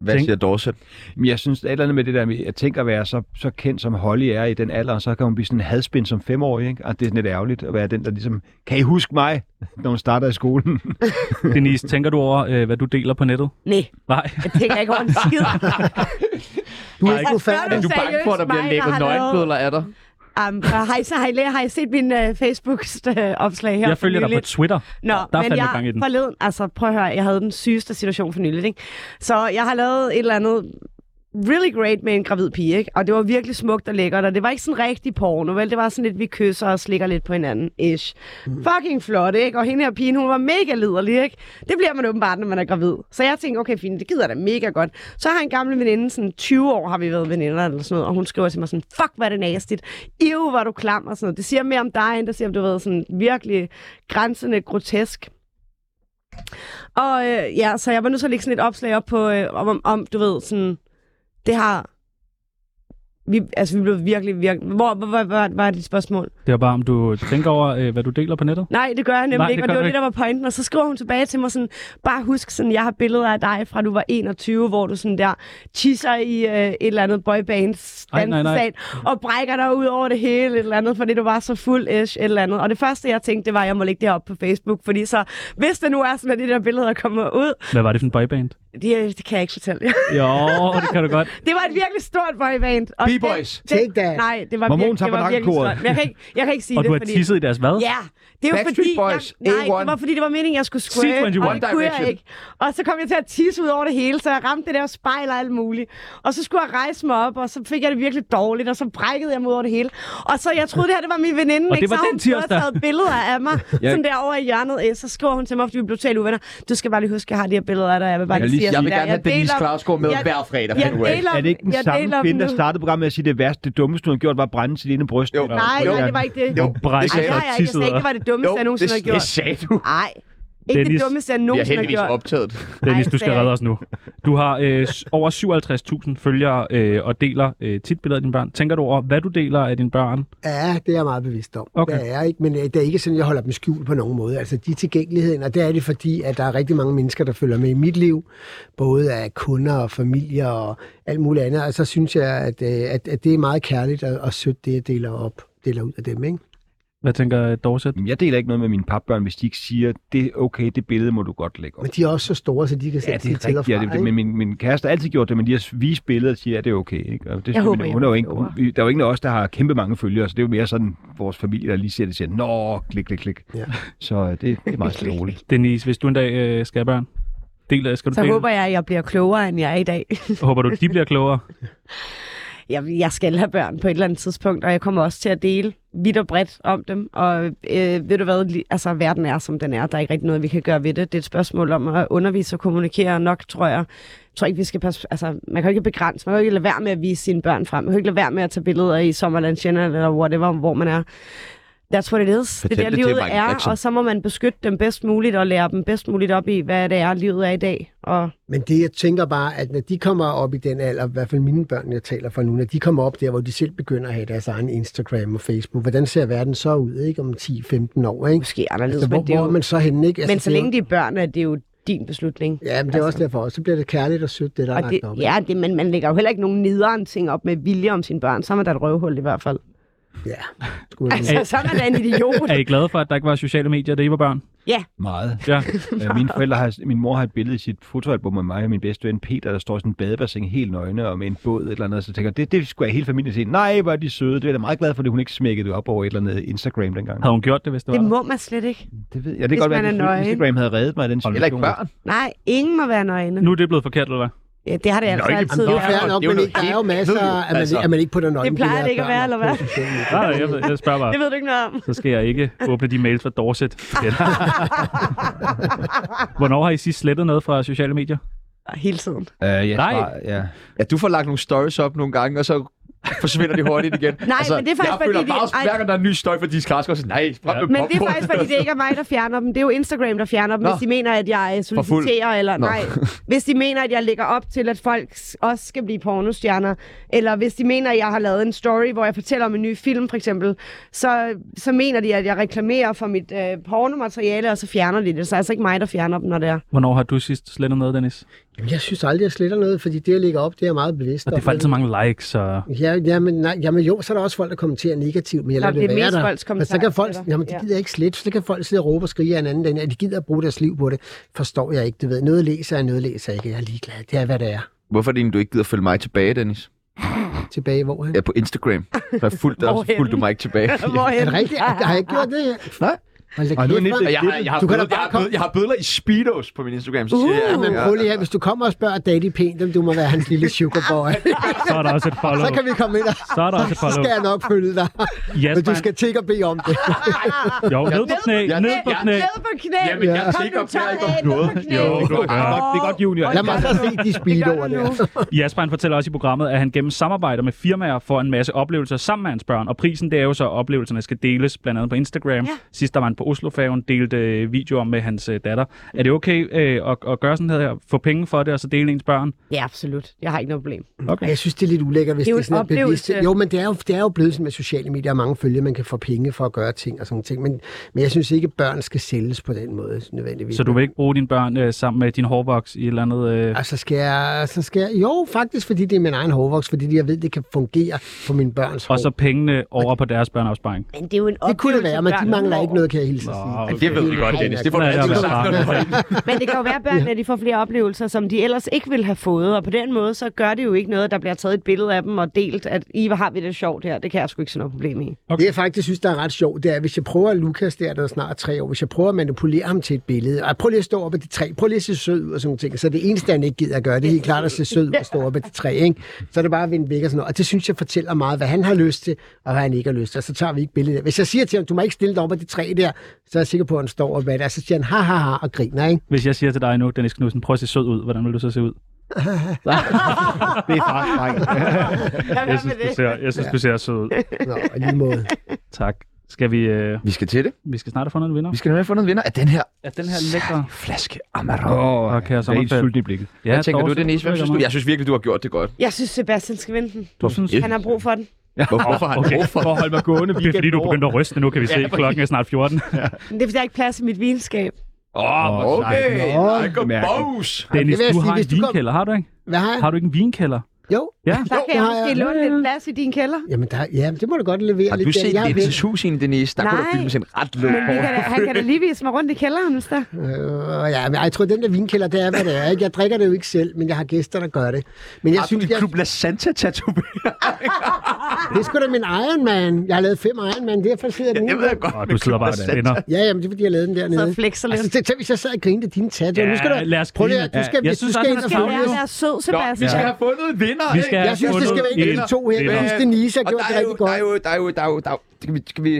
[SPEAKER 1] Hvad
[SPEAKER 2] Tænk.
[SPEAKER 1] siger Dorset?
[SPEAKER 5] Men jeg synes, der er et eller andet med det der med, jeg tænker at være så, så kendt som Holly er i den alder, og så kan hun blive sådan en hadspind som femårig, ikke? Og det er sådan lidt ærgerligt at være den, der ligesom, kan I huske mig, når hun starter i skolen?
[SPEAKER 2] Denise, tænker du over, øh, hvad du deler på nettet?
[SPEAKER 4] Nej,
[SPEAKER 2] Nej.
[SPEAKER 4] jeg tænker ikke over en skid.
[SPEAKER 3] Du er ikke
[SPEAKER 4] Altså,
[SPEAKER 3] ufærdig.
[SPEAKER 4] før
[SPEAKER 1] Er du bange for, at der
[SPEAKER 4] Seriøst,
[SPEAKER 1] bliver
[SPEAKER 4] mig,
[SPEAKER 1] læbet
[SPEAKER 4] der har lavet-
[SPEAKER 1] nøgenbødler af dig?
[SPEAKER 4] Um, hej, så hej, Lea. har I set min uh, Facebook-opslag her?
[SPEAKER 2] Jeg
[SPEAKER 4] for
[SPEAKER 2] følger dig på
[SPEAKER 4] nyligt?
[SPEAKER 2] Twitter.
[SPEAKER 4] Nå,
[SPEAKER 2] der er
[SPEAKER 4] men
[SPEAKER 2] fandme
[SPEAKER 4] jeg
[SPEAKER 2] gang i den.
[SPEAKER 4] forleden, altså prøv at høre, jeg havde den sygeste situation for nyligt, ikke? Så jeg har lavet et eller andet really great med en gravid pige, ikke? Og det var virkelig smukt og lækkert, og det var ikke sådan rigtig porno, vel? Det var sådan lidt, vi kysser og slikker lidt på hinanden, ish. Fucking flot, ikke? Og hende her pigen, hun var mega liderlig, ikke? Det bliver man åbenbart, når man er gravid. Så jeg tænkte, okay, fint, det gider jeg da mega godt. Så har en gammel veninde, sådan 20 år har vi været veninder eller sådan noget, og hun skriver til mig sådan, fuck, hvad er det nastigt. Ew, var du klam og sådan noget. Det siger mere om dig, end det siger om, du ved, sådan virkelig grænsende grotesk. Og øh, ja, så jeg var nødt til at lægge sådan et opslag op på, øh, om, om, om, du ved, sådan, det har Vi, altså, vi blev virkelig, virkelig... Hvor, hvor, hvor, hvor var dit spørgsmål?
[SPEAKER 2] Det var bare, om du tænker over, øh, hvad du deler på nettet.
[SPEAKER 4] Nej, det gør jeg nemlig
[SPEAKER 2] Nej,
[SPEAKER 4] Nej,
[SPEAKER 2] det
[SPEAKER 4] ikke, og
[SPEAKER 2] gør
[SPEAKER 4] det var
[SPEAKER 2] du
[SPEAKER 4] det,
[SPEAKER 2] ikke.
[SPEAKER 4] der var pointen. Og så skriver hun tilbage til mig sådan, bare husk, sådan, jeg har billeder af dig fra du var 21, hvor du sådan der tisser i øh, et eller andet boybands
[SPEAKER 2] Ej, nej, nej.
[SPEAKER 4] dansesal, og brækker dig ud over det hele, et eller andet, fordi du var så fuld ish, et eller andet. Og det første, jeg tænkte, det var, at jeg må lægge det her op på Facebook, fordi så, hvis det nu er sådan, at de der billeder kommer ud, øh,
[SPEAKER 2] Hvad var det for en boyband?
[SPEAKER 4] det, det kan jeg ikke fortælle jer.
[SPEAKER 2] Jo, det kan du godt.
[SPEAKER 4] Det var et virkelig stort boyband. og det-
[SPEAKER 1] B-boys.
[SPEAKER 4] det-
[SPEAKER 3] Take that.
[SPEAKER 4] Nej, det var,
[SPEAKER 5] Mormon
[SPEAKER 4] virkelig, det var virkelig stort.
[SPEAKER 5] Tabernakelkoret.
[SPEAKER 4] Men Jeg kan ikke, jeg kan ikke sige
[SPEAKER 2] Og
[SPEAKER 4] det,
[SPEAKER 2] du har
[SPEAKER 4] fordi...
[SPEAKER 2] tisset i deres hvad?
[SPEAKER 4] Ja, det er jo
[SPEAKER 1] Backstreet
[SPEAKER 4] fordi,
[SPEAKER 1] Boys,
[SPEAKER 4] jeg, nej,
[SPEAKER 1] A1.
[SPEAKER 4] det var fordi, det var meningen, jeg skulle squirt, og det
[SPEAKER 2] C21.
[SPEAKER 4] kunne
[SPEAKER 1] One Direction.
[SPEAKER 4] jeg ikke. Og så kom jeg til at tisse ud over det hele, så jeg ramte det der spejl og alt muligt. Og så skulle jeg rejse mig op, og så fik jeg det virkelig dårligt, og så brækkede jeg mig ud over det hele. Og så, jeg troede, det her det var min veninde,
[SPEAKER 2] Og det
[SPEAKER 4] ikke?
[SPEAKER 2] var
[SPEAKER 4] så har
[SPEAKER 2] den
[SPEAKER 4] hun stået og
[SPEAKER 2] tirsdag.
[SPEAKER 4] taget billeder af mig,
[SPEAKER 1] Ja.
[SPEAKER 4] sådan der over i hjørnet. Øh, Så skriver hun til mig, fordi vi blev totalt uvenner. Du skal bare lige huske, jeg har de her billeder af dig, og jeg vil bare
[SPEAKER 1] Jeg,
[SPEAKER 4] lige sige, at
[SPEAKER 1] jeg vil
[SPEAKER 4] sådan
[SPEAKER 1] gerne
[SPEAKER 4] der,
[SPEAKER 1] have Denise
[SPEAKER 4] deler-
[SPEAKER 1] Klausgaard med
[SPEAKER 4] jeg-
[SPEAKER 1] hver fredag.
[SPEAKER 4] jeg
[SPEAKER 1] by the way.
[SPEAKER 4] deler-
[SPEAKER 5] Er det ikke den
[SPEAKER 4] Jeg
[SPEAKER 5] samme
[SPEAKER 4] deler dem
[SPEAKER 5] kvinde, der
[SPEAKER 4] nu.
[SPEAKER 5] startede programmet med at sige, det værste, det dummeste, hun har gjort, var at brænde sit ene bryst?
[SPEAKER 1] Jo.
[SPEAKER 5] Eller-
[SPEAKER 4] Nej,
[SPEAKER 1] Jo.
[SPEAKER 4] nej, det var ikke det.
[SPEAKER 1] Jo,
[SPEAKER 2] Brækket
[SPEAKER 1] det
[SPEAKER 4] Ej,
[SPEAKER 1] sagde jeg.
[SPEAKER 4] det har
[SPEAKER 2] og
[SPEAKER 4] jeg ikke. Jeg
[SPEAKER 2] tisset.
[SPEAKER 4] sagde ikke, det var det dummeste, jeg nogensinde har
[SPEAKER 1] det, det
[SPEAKER 4] gjort.
[SPEAKER 1] sagde du.
[SPEAKER 4] Nej, ikke
[SPEAKER 2] Dennis,
[SPEAKER 4] det dummeste, jeg
[SPEAKER 1] Vi har
[SPEAKER 4] nogensinde har
[SPEAKER 1] heldigvis
[SPEAKER 4] gjort.
[SPEAKER 1] optaget det.
[SPEAKER 2] Dennis,
[SPEAKER 4] Ej,
[SPEAKER 2] du skal
[SPEAKER 4] det er
[SPEAKER 2] redde os nu. Du har øh, s- over 57.000 følgere øh, og deler øh, tit billeder af dine børn. Tænker du over, hvad du deler af dine børn?
[SPEAKER 3] Ja, det er jeg meget bevidst om.
[SPEAKER 2] Okay.
[SPEAKER 3] Det er jeg ikke, men øh, det er ikke sådan, jeg holder dem skjult på nogen måde. Altså, de er tilgængeligheden, og det er det, fordi at der er rigtig mange mennesker, der følger med i mit liv, både af kunder og familier og alt muligt andet, og så synes jeg, at, øh, at, at det er meget kærligt og, og sødt, det jeg deler op deler ud af dem, ikke?
[SPEAKER 2] Hvad tænker øh, Dorset?
[SPEAKER 5] Jamen, Jeg deler ikke noget med mine papbørn, hvis de ikke siger, det er okay, det billede må du godt lægge op.
[SPEAKER 3] Men de er også så store, så de kan sætte sig til og fra,
[SPEAKER 5] Ja, det,
[SPEAKER 3] ikke?
[SPEAKER 5] men min, min kæreste har altid gjort det, men de har vist billeder og siger, at det er okay. Ikke? Og det,
[SPEAKER 4] Jeg håber,
[SPEAKER 5] men,
[SPEAKER 4] jeg
[SPEAKER 5] hun er jo
[SPEAKER 4] får
[SPEAKER 5] ikke,
[SPEAKER 4] det
[SPEAKER 5] hun, vi- der er jo ingen af os, der har kæmpe mange følgere, så det er jo mere sådan vores familie, der lige ser det og siger, nå, klik, klik, klik.
[SPEAKER 3] Ja.
[SPEAKER 5] Så øh, det, det er meget stille og roligt.
[SPEAKER 2] Denise, hvis du en dag øh, skal have børn, deler, skal du
[SPEAKER 4] Så
[SPEAKER 2] dele?
[SPEAKER 4] håber jeg, at jeg bliver klogere, end jeg er i dag.
[SPEAKER 2] håber du, de bliver klogere?
[SPEAKER 4] jeg, jeg skal have børn på et eller andet tidspunkt, og jeg kommer også til at dele vidt og bredt om dem. Og øh, ved du hvad, li- altså verden er, som den er. Der er ikke rigtig noget, vi kan gøre ved det. Det er et spørgsmål om at undervise og kommunikere nok, tror jeg. Jeg tror ikke, vi skal passe... Altså, man kan jo ikke begrænse. Man kan jo ikke lade være med at vise sine børn frem. Man kan jo ikke lade være med at tage billeder i Sommerland Channel eller whatever, hvor man er. That's what it is.
[SPEAKER 1] Fortæl
[SPEAKER 4] det der
[SPEAKER 1] det til
[SPEAKER 4] livet
[SPEAKER 1] Michael
[SPEAKER 4] er,
[SPEAKER 1] Jackson.
[SPEAKER 4] og så må man beskytte dem bedst muligt og lære dem bedst muligt op i, hvad det er, livet er i dag. Og
[SPEAKER 3] Men det, jeg tænker bare, at når de kommer op i den alder, i hvert fald mine børn, jeg taler for nu, når de kommer op der, hvor de selv begynder at have deres egen Instagram og Facebook, hvordan ser verden så ud, ikke? Om 10-15 år, ikke?
[SPEAKER 4] måske anderledes,
[SPEAKER 3] Altså, hvor,
[SPEAKER 4] men det er
[SPEAKER 3] hvor
[SPEAKER 4] jo...
[SPEAKER 3] er man så henne, ikke? Altså,
[SPEAKER 4] men så
[SPEAKER 3] det er jo-
[SPEAKER 4] længe de er børn, er det jo din beslutning.
[SPEAKER 3] Ja, men det er også derfor. Og så bliver det kærligt og sødt, det der er
[SPEAKER 4] Og
[SPEAKER 3] lagt
[SPEAKER 4] det,
[SPEAKER 3] op.
[SPEAKER 4] ja, det, men man lægger jo heller ikke nogen nederen ting op med vilje om sine børn. Så er man da et røvhul i hvert fald.
[SPEAKER 3] ja. Skulle jeg
[SPEAKER 4] Altså, så er man da en idiot.
[SPEAKER 2] Er I glade for, at der ikke var sociale medier, da I var børn?
[SPEAKER 5] Meget.
[SPEAKER 2] Ja.
[SPEAKER 5] Øh, Mine forældre har, min mor har et billede i sit fotoalbum med mig og min bedste ven Peter, der står i sådan en badebassin helt nøgne og med en båd et eller andet, så tænker jeg, det, det skulle jeg hele familien se. Nej, hvor er de søde. Det er jeg da meget glad for, at hun ikke smækkede det op over et eller andet Instagram dengang.
[SPEAKER 2] Havde hun gjort det, hvis det var
[SPEAKER 4] Det
[SPEAKER 2] der?
[SPEAKER 4] må man slet ikke.
[SPEAKER 5] Det ved jeg. Det kan
[SPEAKER 4] Hvis
[SPEAKER 5] godt
[SPEAKER 4] man
[SPEAKER 5] være,
[SPEAKER 4] er
[SPEAKER 5] at
[SPEAKER 4] nøgen.
[SPEAKER 5] selvfølgelig Instagram havde reddet mig i den situation.
[SPEAKER 1] Heller ikke børn.
[SPEAKER 4] Nej, ingen må være nøgne.
[SPEAKER 2] Nu er det blevet forkert, eller hvad?
[SPEAKER 4] Ja, det har det altså
[SPEAKER 1] Nøgne-
[SPEAKER 4] altid
[SPEAKER 3] Jamen, det er
[SPEAKER 4] været.
[SPEAKER 3] fair nok,
[SPEAKER 1] Det er jo
[SPEAKER 3] men
[SPEAKER 1] noget
[SPEAKER 3] ikke, der er
[SPEAKER 1] helt
[SPEAKER 3] jo masser,
[SPEAKER 1] nyt,
[SPEAKER 3] at man,
[SPEAKER 1] altså.
[SPEAKER 3] at man ikke putter nøglen.
[SPEAKER 4] Det plejer det ikke at være, eller hvad?
[SPEAKER 2] Nej, jeg, ved- jeg spørger bare.
[SPEAKER 4] Det ved du ikke noget om.
[SPEAKER 2] Så skal jeg ikke åbne de mails fra Dorset igen. Hvornår har I sidst slettet noget fra sociale medier?
[SPEAKER 4] Hele tiden.
[SPEAKER 5] Øh, jeg
[SPEAKER 2] Nej.
[SPEAKER 5] Tror, ja.
[SPEAKER 1] Ja, du får lagt nogle stories op nogle gange, og så forsvinder de hurtigt igen. Altså,
[SPEAKER 4] Nej, men det er faktisk,
[SPEAKER 1] jeg føler
[SPEAKER 4] fordi de-
[SPEAKER 1] bare,
[SPEAKER 4] Ej.
[SPEAKER 1] hver gang der er en ny støj for Denise Klarsgaard, så nej, frem
[SPEAKER 2] Ja.
[SPEAKER 1] med
[SPEAKER 4] Men det er
[SPEAKER 1] popcorn.
[SPEAKER 4] faktisk, fordi det ikke er mig, der fjerner dem. Det er jo Instagram, der fjerner dem,
[SPEAKER 1] Nå.
[SPEAKER 4] Nå. hvis de mener, at jeg øh,
[SPEAKER 1] fuld.
[SPEAKER 4] solliciterer. Eller,
[SPEAKER 1] Nå.
[SPEAKER 4] nej, hvis de mener, at jeg lægger op til, at folk s- også skal blive pornostjerner. Eller hvis de mener, at jeg har lavet en story, hvor jeg fortæller om en ny film, for eksempel. Så, så mener de, at jeg reklamerer for mit øh, pornomateriale, og så fjerner de det. Så er det altså ikke mig, der fjerner dem, når det er.
[SPEAKER 2] Hvornår har du sidst slettet noget, Dennis?
[SPEAKER 3] Jamen, jeg synes aldrig, jeg sletter noget, fordi det, jeg lægger op, det er jeg meget bevidst
[SPEAKER 2] Og det
[SPEAKER 3] om.
[SPEAKER 2] får altid mange likes, så...
[SPEAKER 3] Ja, jamen, nej, jamen jo, så er der også folk, der kommenterer negativt, men jeg
[SPEAKER 4] Nå,
[SPEAKER 3] lader
[SPEAKER 4] det er
[SPEAKER 3] være
[SPEAKER 4] mest
[SPEAKER 3] der.
[SPEAKER 4] folks
[SPEAKER 3] Men så kan folk,
[SPEAKER 4] kommentarer,
[SPEAKER 3] jamen, de
[SPEAKER 4] ja.
[SPEAKER 3] gider ikke slet, så kan folk sidde og råbe og skrige af en anden den, at de gider at bruge deres liv på det. Forstår jeg ikke, du ved. Noget læser jeg, noget læser jeg ikke. Jeg er ligeglad. Det er, hvad det er.
[SPEAKER 1] Hvorfor er det egentlig, du ikke gider følge mig tilbage, Dennis?
[SPEAKER 3] Tilbage hvor han.
[SPEAKER 1] Ja, på Instagram. Der er fuldt, der
[SPEAKER 4] Hvorhenne?
[SPEAKER 1] fuldt du mig ikke tilbage.
[SPEAKER 4] Hvorhen?
[SPEAKER 3] Er det rigtigt? Har jeg ikke gjort det?
[SPEAKER 1] Nej.
[SPEAKER 3] Hold da
[SPEAKER 5] Ej, nu er
[SPEAKER 3] kæft,
[SPEAKER 5] Nick-
[SPEAKER 3] mand.
[SPEAKER 1] Og jeg, har, jeg, har
[SPEAKER 3] Du kan da
[SPEAKER 1] billeder, jeg,
[SPEAKER 3] bare
[SPEAKER 1] har
[SPEAKER 3] komme-
[SPEAKER 1] billeder, jeg har billeder i Speedos på min Instagram, så siger jeg,
[SPEAKER 3] Ja, men prøv lige her, hvis du kommer og spørger Daddy pænt, om du må være hans lille sugarboy.
[SPEAKER 2] Så er der også et follow.
[SPEAKER 3] så kan vi komme ind, og
[SPEAKER 2] Så er der også et
[SPEAKER 3] så
[SPEAKER 2] follow.
[SPEAKER 3] skal jeg nok følge dig.
[SPEAKER 2] Yes,
[SPEAKER 3] Men du
[SPEAKER 2] man.
[SPEAKER 3] skal tænke og bede om det.
[SPEAKER 2] Jo, ned på knæ,
[SPEAKER 1] Ja,
[SPEAKER 2] ned på
[SPEAKER 1] ja.
[SPEAKER 2] knæ.
[SPEAKER 4] Ned på knæ!
[SPEAKER 1] Jamen, jeg
[SPEAKER 4] Kom
[SPEAKER 1] tænker
[SPEAKER 4] nu,
[SPEAKER 1] op her,
[SPEAKER 4] tøj
[SPEAKER 1] ikke om
[SPEAKER 4] af, ned på
[SPEAKER 1] noget.
[SPEAKER 4] knæ.
[SPEAKER 2] Jo, det gør jeg.
[SPEAKER 5] Det er godt- det er godt, junior.
[SPEAKER 3] Lad mig så se de speedoer
[SPEAKER 4] Det gør
[SPEAKER 3] der.
[SPEAKER 4] du nu.
[SPEAKER 2] Jasper han fortæller også i programmet, at han gennem samarbejder med firmaer får en masse oplevelser sammen med hans børn. Og prisen det er jo så, at oplevelserne skal deles, blandt andet på Instagram. Ja.
[SPEAKER 4] Ja.
[SPEAKER 2] Sidst der var en på Oslofærgen delte øh, video om med hans øh, datter. Er det okay øh, at, at gøre sådan her, få penge for det, og så dele ens børn?
[SPEAKER 4] Ja, absolut. Jeg har ikke noget problem.
[SPEAKER 3] Okay. Jeg synes, det er lidt ulækkert, hvis
[SPEAKER 4] Det
[SPEAKER 3] det
[SPEAKER 4] er
[SPEAKER 3] er,
[SPEAKER 4] jo
[SPEAKER 3] det
[SPEAKER 4] en
[SPEAKER 3] er sådan et bevidst.
[SPEAKER 4] oplevelse.
[SPEAKER 3] Jo, men det er, jo, det er jo blevet sådan med sociale medier, og mange følger, man kan få penge for at gøre ting og sådan nogle ting. Men, men jeg synes ikke, at børn skal sælges på den måde, nødvendigvis.
[SPEAKER 2] Så du vil ikke bruge dine børn øh, sammen med din hårvoks i et eller andet...
[SPEAKER 1] Altså,
[SPEAKER 2] Øh...
[SPEAKER 3] Og så altså, skal, jeg, så skal jeg... Jo, faktisk, fordi det er min egen hårvoks, fordi jeg ved, det kan fungere for mine børns hår.
[SPEAKER 2] Og så pengene over på deres børneopsparing.
[SPEAKER 4] Men det er jo en
[SPEAKER 3] det kunne det
[SPEAKER 4] oplevelse,
[SPEAKER 3] være, men de
[SPEAKER 4] børn
[SPEAKER 3] mangler
[SPEAKER 4] får.
[SPEAKER 3] ikke noget, kan jeg hilse at sige.
[SPEAKER 2] Nå,
[SPEAKER 1] Det ved vi godt, Dennis. Det får du
[SPEAKER 2] Ja, ja,
[SPEAKER 1] altid
[SPEAKER 2] men-
[SPEAKER 1] sagt, når du er inde.
[SPEAKER 4] Men det kan jo være, at børnene de får flere oplevelser, som de ellers ikke ville have fået. Og på den måde, så gør det jo ikke noget, at der bliver taget et billede af dem og delt, at I, hvor har vi det sjovt her. Det kan jeg sgu ikke se noget problem i.
[SPEAKER 2] Okay.
[SPEAKER 3] Okay. Det, jeg faktisk synes, der er ret sjovt, det er, hvis jeg prøver Lukas der, der er snart tre år, hvis jeg prøver at manipulere ham til et billede, og prøv lige at stå op af det træ, prøv lige at se sød ud og sådan nogle ting, så det eneste, han ikke gider at gøre, det er helt klart at se sød ud og stå op af det træ, ikke? Så er det bare at vinde væk og sådan noget. Og det synes jeg fortæller meget, hvad han har lyst til, og hvad han ikke har lyst til, og så tager vi ikke billedet der. Hvis jeg siger til ham, du må ikke stille dig op af det træ der, så er jeg sikker på, at han står og hvad det er, så siger han, ha, ha, ha, og griner, ikke?
[SPEAKER 2] Hvis jeg siger til dig nu, Dennis Knudsen, prøv at se sød ud. Hvordan vil du så se ud?
[SPEAKER 5] Det er faktisk
[SPEAKER 2] Jeg synes, du ser, jeg synes, du ser sød ud.
[SPEAKER 3] Nå, i lige måde.
[SPEAKER 2] Tak. Skal vi, øh,
[SPEAKER 1] Vi skal til det.
[SPEAKER 2] vi skal snart have fundet en vinder?
[SPEAKER 1] Vi skal nemlig have fundet en vinder af den her
[SPEAKER 2] Er den her lækre?
[SPEAKER 1] flaske Amarone.
[SPEAKER 5] Åh,
[SPEAKER 2] Og kære
[SPEAKER 5] jeg er helt
[SPEAKER 2] sommerfald.
[SPEAKER 5] sulten i blikket.
[SPEAKER 2] Ja,
[SPEAKER 1] Hvad tænker
[SPEAKER 2] dog,
[SPEAKER 1] du,
[SPEAKER 2] så-
[SPEAKER 1] Dennis? Hvad synes du? Jeg synes virkelig, du har gjort det godt.
[SPEAKER 4] Jeg synes, Sebastian skal vinde den.
[SPEAKER 1] Du
[SPEAKER 2] synes-
[SPEAKER 4] Han har brug for den.
[SPEAKER 1] Hvor- Hvorfor har han
[SPEAKER 2] Okay,
[SPEAKER 1] brug for
[SPEAKER 2] for at holde mig gående. Det er fordi, du
[SPEAKER 5] over.
[SPEAKER 2] begyndte at ryste. Nu kan vi se, at klokken er snart 14.
[SPEAKER 4] Men det er, fordi der er ikke plads i mit vinskab.
[SPEAKER 1] Åh, okay. Like a
[SPEAKER 5] mærkeligt.
[SPEAKER 1] boss.
[SPEAKER 2] Dennis,
[SPEAKER 3] det vil jeg
[SPEAKER 2] du
[SPEAKER 3] sige,
[SPEAKER 2] har
[SPEAKER 3] hvis
[SPEAKER 2] en
[SPEAKER 3] du kom-
[SPEAKER 2] vinkælder, har du ikke?
[SPEAKER 3] Hvad har jeg?
[SPEAKER 2] Har du ikke en vinkælder?
[SPEAKER 3] Jo.
[SPEAKER 2] Ja.
[SPEAKER 4] Der kan jeg
[SPEAKER 3] har
[SPEAKER 4] måske
[SPEAKER 3] jeg.
[SPEAKER 4] låne lidt plads i din kælder.
[SPEAKER 3] Jamen, der, ja, det må du godt levere
[SPEAKER 1] Har
[SPEAKER 3] lidt.
[SPEAKER 1] du
[SPEAKER 3] der.
[SPEAKER 1] set
[SPEAKER 3] Jeg er væk.
[SPEAKER 1] Dennis' hus inde, Dennis? Der kunne du
[SPEAKER 4] Nej.
[SPEAKER 1] filme en ret løb
[SPEAKER 4] Men vi kan da, han kan da lige vise mig rundt i kælderen, hvis der.
[SPEAKER 3] Øh, ja, men jeg tror, den der vinkælder, det er, hvad det er. Ikke? Jeg drikker det jo ikke selv, men jeg har gæster, der gør det. Men jeg
[SPEAKER 1] Har du
[SPEAKER 3] synes,
[SPEAKER 1] dit
[SPEAKER 3] jeg,
[SPEAKER 1] klub La Santa tatoveret?
[SPEAKER 3] det er sgu da min Iron Man. Jeg har lavet fem Iron Man, derfor sidder jeg
[SPEAKER 1] Det
[SPEAKER 3] nu.
[SPEAKER 1] ved jeg godt.
[SPEAKER 2] Og
[SPEAKER 1] men
[SPEAKER 2] du sidder
[SPEAKER 1] Klub
[SPEAKER 2] bare
[SPEAKER 1] La
[SPEAKER 2] og
[SPEAKER 1] Santa.
[SPEAKER 2] spænder.
[SPEAKER 3] Ja, jamen, det er, fordi jeg lavede den dernede.
[SPEAKER 4] Så flexer lidt.
[SPEAKER 3] Altså, det, tænk, hvis jeg sad og grinede dine tatter.
[SPEAKER 2] Ja,
[SPEAKER 3] nu skal du,
[SPEAKER 2] lad os
[SPEAKER 3] prøv lige,
[SPEAKER 2] grine.
[SPEAKER 3] at- du skal,
[SPEAKER 2] Ja, jeg
[SPEAKER 3] du
[SPEAKER 2] synes
[SPEAKER 3] skal
[SPEAKER 2] også,
[SPEAKER 3] ind
[SPEAKER 2] han
[SPEAKER 3] og
[SPEAKER 2] skal
[SPEAKER 3] få-
[SPEAKER 2] lære
[SPEAKER 4] at være sød,
[SPEAKER 1] Nå, vi skal
[SPEAKER 4] Sebastian.
[SPEAKER 1] have fundet en vinder,
[SPEAKER 2] Vi skal
[SPEAKER 1] ikke?
[SPEAKER 2] have
[SPEAKER 3] Jeg synes, det
[SPEAKER 2] fundet
[SPEAKER 3] skal være en af de
[SPEAKER 2] en
[SPEAKER 3] to her.
[SPEAKER 2] vinder.
[SPEAKER 3] Jeg synes, det er Nisa
[SPEAKER 1] Og
[SPEAKER 3] gjorde
[SPEAKER 1] der
[SPEAKER 3] det
[SPEAKER 1] er jo,
[SPEAKER 3] rigtig
[SPEAKER 1] der
[SPEAKER 3] godt.
[SPEAKER 1] er jo, der er jo, der er jo, der er jo, skal vi, skal vi,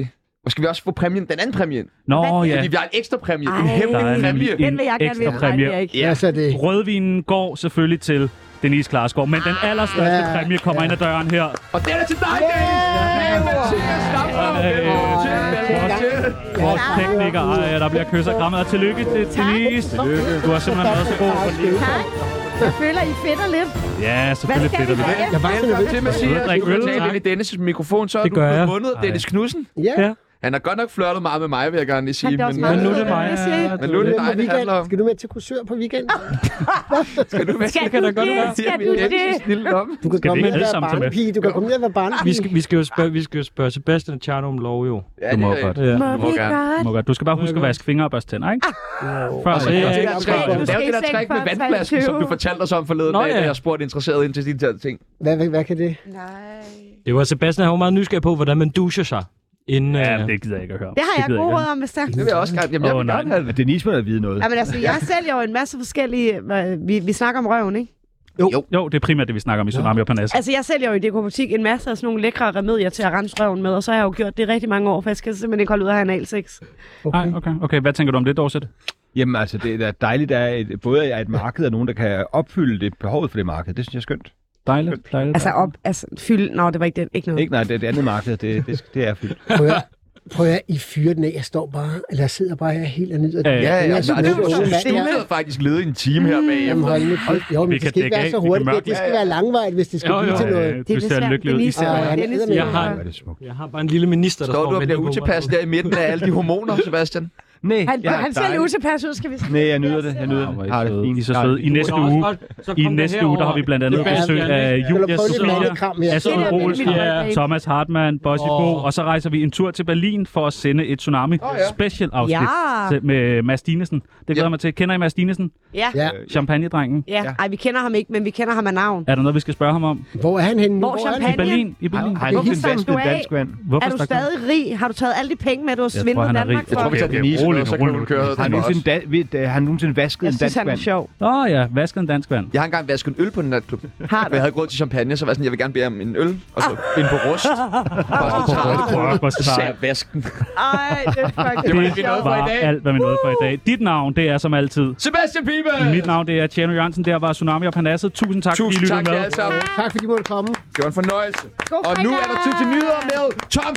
[SPEAKER 1] og skal vi også få præmien, den anden præmien?
[SPEAKER 2] Nå ja,
[SPEAKER 1] Fordi vi har en ekstra præmie, en
[SPEAKER 4] Ej.
[SPEAKER 1] hemmelig
[SPEAKER 2] der er
[SPEAKER 1] præmie.
[SPEAKER 2] nemlig
[SPEAKER 4] Den
[SPEAKER 2] en
[SPEAKER 4] vil jeg
[SPEAKER 2] ekstra
[SPEAKER 4] gerne vinde. Nej, det er
[SPEAKER 2] præmie.
[SPEAKER 4] jeg ikke.
[SPEAKER 3] Ja, så er Altså, det.
[SPEAKER 2] Rødvinen går selvfølgelig til Denise Klarsgaard, men den allerstørste
[SPEAKER 3] Ja,
[SPEAKER 2] præmie kommer ind ad døren her.
[SPEAKER 1] Og den er til dig, Dennis! Velkommen til at snakke om det. Velkommen til, velkommen til.
[SPEAKER 2] Vores tekniker, ej, der bliver kysset og krammet. Og tillykke til Denise. Du har simpelthen været så god.
[SPEAKER 4] Jeg føler, I fedter lidt.
[SPEAKER 2] Ja,
[SPEAKER 4] Hvad
[SPEAKER 2] selvfølgelig
[SPEAKER 4] skal
[SPEAKER 2] fedt.
[SPEAKER 4] vi
[SPEAKER 2] at du-
[SPEAKER 4] have?
[SPEAKER 3] Jeg var så
[SPEAKER 1] Velkommen
[SPEAKER 3] nervøs.
[SPEAKER 1] til, Mathias.
[SPEAKER 2] drikke
[SPEAKER 1] Du kan
[SPEAKER 2] øl,
[SPEAKER 1] tale
[SPEAKER 2] tak.
[SPEAKER 1] ind i Dennis' mikrofon, så er
[SPEAKER 2] Det
[SPEAKER 1] du
[SPEAKER 2] gør
[SPEAKER 1] blevet
[SPEAKER 2] jeg.
[SPEAKER 1] vundet af
[SPEAKER 2] Ej.
[SPEAKER 1] Dennis Knudsen.
[SPEAKER 3] Ja.
[SPEAKER 2] Ja.
[SPEAKER 1] Han har godt nok flørtet meget med mig, vil jeg gerne lige sige.
[SPEAKER 4] Han bliver også meget
[SPEAKER 2] Men nu er
[SPEAKER 4] sød,
[SPEAKER 2] det mig.
[SPEAKER 4] jeg siger ikke.
[SPEAKER 1] Men nu er det
[SPEAKER 3] Hvem
[SPEAKER 1] dig,
[SPEAKER 3] er
[SPEAKER 1] det handler
[SPEAKER 3] weekend?
[SPEAKER 1] om.
[SPEAKER 3] Skal du med til kursør på weekend?
[SPEAKER 1] Skal du med?
[SPEAKER 4] Skal du det? Skal du det?
[SPEAKER 1] Snille om.
[SPEAKER 3] Du kan
[SPEAKER 2] Skal vi
[SPEAKER 3] komme
[SPEAKER 2] ikke
[SPEAKER 3] med at
[SPEAKER 2] alle
[SPEAKER 3] være
[SPEAKER 2] sammen tage med?
[SPEAKER 3] barnepige. Du kan komme med at være barnepige.
[SPEAKER 9] Vi skal, vi, skal jo spørge, vi skal jo spørge Sebastian og Tjerno om lov, jo.
[SPEAKER 1] Ja,
[SPEAKER 2] Du må
[SPEAKER 1] det er-
[SPEAKER 2] godt.
[SPEAKER 9] Ja.
[SPEAKER 4] Må
[SPEAKER 1] Du må
[SPEAKER 4] vi
[SPEAKER 1] gerne.
[SPEAKER 4] godt? Ah.
[SPEAKER 2] Må godt. Du skal bare huske at vaske fingre og børste tænder, ikke? Før
[SPEAKER 9] Og
[SPEAKER 2] så
[SPEAKER 9] det er
[SPEAKER 2] ja.
[SPEAKER 9] ikke
[SPEAKER 1] Det er
[SPEAKER 4] Du
[SPEAKER 1] det
[SPEAKER 4] skal i
[SPEAKER 1] der
[SPEAKER 4] seng
[SPEAKER 1] træk med
[SPEAKER 4] for
[SPEAKER 1] vandflasken, som du
[SPEAKER 4] 23.
[SPEAKER 1] fortalte os om forleden
[SPEAKER 9] Nå,
[SPEAKER 1] dag, da
[SPEAKER 9] ja.
[SPEAKER 1] jeg spurgte interesseret ind til de der ting.
[SPEAKER 3] Hvad, hvad, hvad kan det?
[SPEAKER 9] Det var Sebastian, han var meget nysgerrig på, hvordan man duscher sig. Inden,
[SPEAKER 2] Ja,
[SPEAKER 9] øh,
[SPEAKER 2] det gider jeg ikke at høre. om.
[SPEAKER 4] Det har jeg
[SPEAKER 2] gider
[SPEAKER 4] gode
[SPEAKER 2] ikke.
[SPEAKER 4] råd om, hvis der...
[SPEAKER 1] Det vil jeg også gerne. Jamen, jeg
[SPEAKER 2] Åh,
[SPEAKER 1] vil
[SPEAKER 2] nej.
[SPEAKER 1] gerne have
[SPEAKER 5] Men
[SPEAKER 1] det.
[SPEAKER 5] Denise må da vide noget.
[SPEAKER 4] Jamen altså, jeg sælger jo en masse forskellige... øh, Vi, vi snakker om røven, ikke?
[SPEAKER 2] Jo, det er primært det, vi snakker om i Tsunami og Panas.
[SPEAKER 4] Altså, jeg sælger jo i dekobutik en masse af sådan nogle lækre remedier til at rense røven med, og så har jeg jo gjort det rigtig mange år, for jeg skal simpelthen ikke holde ud af at have analsex.
[SPEAKER 2] Nej, okay. okay. Hvad tænker du om det, Dorset?
[SPEAKER 5] Jamen altså, det er da dejligt, at der er et, både er et marked og nogen, der kan opfylde det, behovet for det marked. Det synes jeg er skønt.
[SPEAKER 2] Dejligt, dejligt.
[SPEAKER 4] Altså, op, altså, fyld... Nå, det var ikke det. Ikke noget.
[SPEAKER 5] Ikke nej, det, er det andet marked, det, det, det er fyldt.
[SPEAKER 3] Prøv at, prøv at I fyre den af. Jeg står bare, eller jeg sidder bare her helt og nyder det.
[SPEAKER 2] Ja, ja,
[SPEAKER 3] Jeg
[SPEAKER 1] Ja,
[SPEAKER 3] er
[SPEAKER 1] ja,
[SPEAKER 3] så
[SPEAKER 1] nej, det
[SPEAKER 3] god, unge
[SPEAKER 1] var
[SPEAKER 3] mand, jeg er.
[SPEAKER 1] studiet faktisk lede i en time her bag.
[SPEAKER 3] Jamen, hold nu kæft. Jo, men
[SPEAKER 2] Vi
[SPEAKER 3] det
[SPEAKER 2] kan
[SPEAKER 3] skal
[SPEAKER 2] dække
[SPEAKER 3] ikke være
[SPEAKER 2] af,
[SPEAKER 3] så
[SPEAKER 2] vi kan
[SPEAKER 3] hurtigt.
[SPEAKER 2] mørke
[SPEAKER 3] Det, det skal være langvejt, hvis det skal
[SPEAKER 9] Jo,
[SPEAKER 3] blive
[SPEAKER 9] jo,
[SPEAKER 3] til noget.
[SPEAKER 2] Øh, Du ser lykkelig ud.
[SPEAKER 4] Denise,
[SPEAKER 2] Især.
[SPEAKER 3] Og han
[SPEAKER 4] Dennis, øh,
[SPEAKER 3] sidder med-
[SPEAKER 9] Jeg har-
[SPEAKER 5] Hvor er det smukt.
[SPEAKER 9] jeg har bare en lille minister, der
[SPEAKER 1] Står du
[SPEAKER 9] står
[SPEAKER 1] og
[SPEAKER 9] med
[SPEAKER 1] bliver utilpas der i midten af alle de hormoner, Sebastian?
[SPEAKER 5] Nej,
[SPEAKER 4] Han,
[SPEAKER 5] jeg er
[SPEAKER 4] han ser lidt
[SPEAKER 5] dejlig.
[SPEAKER 4] utilpas ud, skal vi sige.
[SPEAKER 5] Nej, jeg nyder det. Jeg nyder
[SPEAKER 2] Ah, hvor
[SPEAKER 5] det.
[SPEAKER 2] I
[SPEAKER 5] Har det
[SPEAKER 2] søde.
[SPEAKER 5] fint.
[SPEAKER 2] I er så
[SPEAKER 5] Har
[SPEAKER 2] søde.
[SPEAKER 5] det
[SPEAKER 2] I næste uge, i næste uge, der har vi blandt andet
[SPEAKER 9] Sebastian,
[SPEAKER 2] besøg af
[SPEAKER 9] Dennis.
[SPEAKER 2] Julia
[SPEAKER 3] Kan du prøve lidt
[SPEAKER 2] Sofia,
[SPEAKER 3] kram her?
[SPEAKER 2] Astrid
[SPEAKER 4] Det er
[SPEAKER 2] Olsen,
[SPEAKER 4] min holdning.
[SPEAKER 2] Thomas Hartmann, Bossy
[SPEAKER 9] Åh.
[SPEAKER 2] Bo, og så rejser vi en tur til Berlin for at sende et Tsunami special afsnit
[SPEAKER 4] Ja.
[SPEAKER 2] til- med Mads Dinesen. Det glæder
[SPEAKER 1] Ja.
[SPEAKER 2] jeg mig til. Kender I Mads Dinesen?
[SPEAKER 4] Øh, Ja.
[SPEAKER 3] Ja.
[SPEAKER 2] Champagne-drengen.
[SPEAKER 4] ja. Ej, vi kender ham ikke, men vi kender ham af navn.
[SPEAKER 2] Er der noget, vi skal spørge ham om?
[SPEAKER 3] Hvor er han henne? nu?
[SPEAKER 4] Hvor
[SPEAKER 3] er
[SPEAKER 4] champagne?
[SPEAKER 2] I Berlin? I Berlin?
[SPEAKER 5] Har
[SPEAKER 3] Det er
[SPEAKER 5] han fået en
[SPEAKER 4] ligesom,
[SPEAKER 5] dansk,
[SPEAKER 4] du
[SPEAKER 5] en
[SPEAKER 4] er
[SPEAKER 5] dansk vand?
[SPEAKER 2] Hvorfor
[SPEAKER 4] Er du
[SPEAKER 2] stak-
[SPEAKER 4] stadig rig? Har du taget alle de penge med, du har
[SPEAKER 2] tror,
[SPEAKER 4] svindlet
[SPEAKER 2] han er
[SPEAKER 4] Danmark
[SPEAKER 2] rig. Jeg
[SPEAKER 1] Tror vi
[SPEAKER 4] for?
[SPEAKER 1] tager
[SPEAKER 2] Okay, okay,
[SPEAKER 1] Denise med,
[SPEAKER 2] rolig nu,
[SPEAKER 1] og så kan
[SPEAKER 2] rolig
[SPEAKER 1] hun
[SPEAKER 2] nu.
[SPEAKER 1] køre
[SPEAKER 5] Har
[SPEAKER 1] den
[SPEAKER 5] han nogensinde,
[SPEAKER 1] også.
[SPEAKER 5] da, ved, da, har han nogensinde vasket
[SPEAKER 4] Jeg
[SPEAKER 5] en
[SPEAKER 4] synes,
[SPEAKER 5] dansk
[SPEAKER 4] han er
[SPEAKER 5] vand?
[SPEAKER 4] sjov.
[SPEAKER 2] Åh oh, ja, vasket en dansk vand.
[SPEAKER 1] Jeg har engang vasket en øl på en natklub.
[SPEAKER 4] Har
[SPEAKER 1] For jeg
[SPEAKER 4] du?
[SPEAKER 1] havde gået til champagne, så var jeg sådan, jeg vil gerne bede om en øl. Og så en på rust. Og så 30 kroner.
[SPEAKER 2] Fuck, hvor
[SPEAKER 1] Så sagde
[SPEAKER 2] sejt.
[SPEAKER 1] jeg, vasken.
[SPEAKER 4] Ej, det er
[SPEAKER 1] Det var
[SPEAKER 4] fucking
[SPEAKER 1] ikke noget for
[SPEAKER 4] sjovt.
[SPEAKER 1] i
[SPEAKER 2] var
[SPEAKER 1] dag.
[SPEAKER 2] alt, hvad vi nåede for i dag. Dit navn, det er som altid.
[SPEAKER 1] Sebastian Pibe!
[SPEAKER 2] Mit navn, det er Tjerno Jørgensen. Der var Tsunami og Panasset. Tusind tak, fordi I
[SPEAKER 1] Tusind
[SPEAKER 2] lyttede
[SPEAKER 1] tak
[SPEAKER 2] med.
[SPEAKER 1] til jer alle sammen.
[SPEAKER 3] Tak fordi I måtte komme.
[SPEAKER 1] Det var en fornøjelse.
[SPEAKER 4] God
[SPEAKER 1] Og nu er
[SPEAKER 4] fredag!
[SPEAKER 1] der tid til nyheder med Tom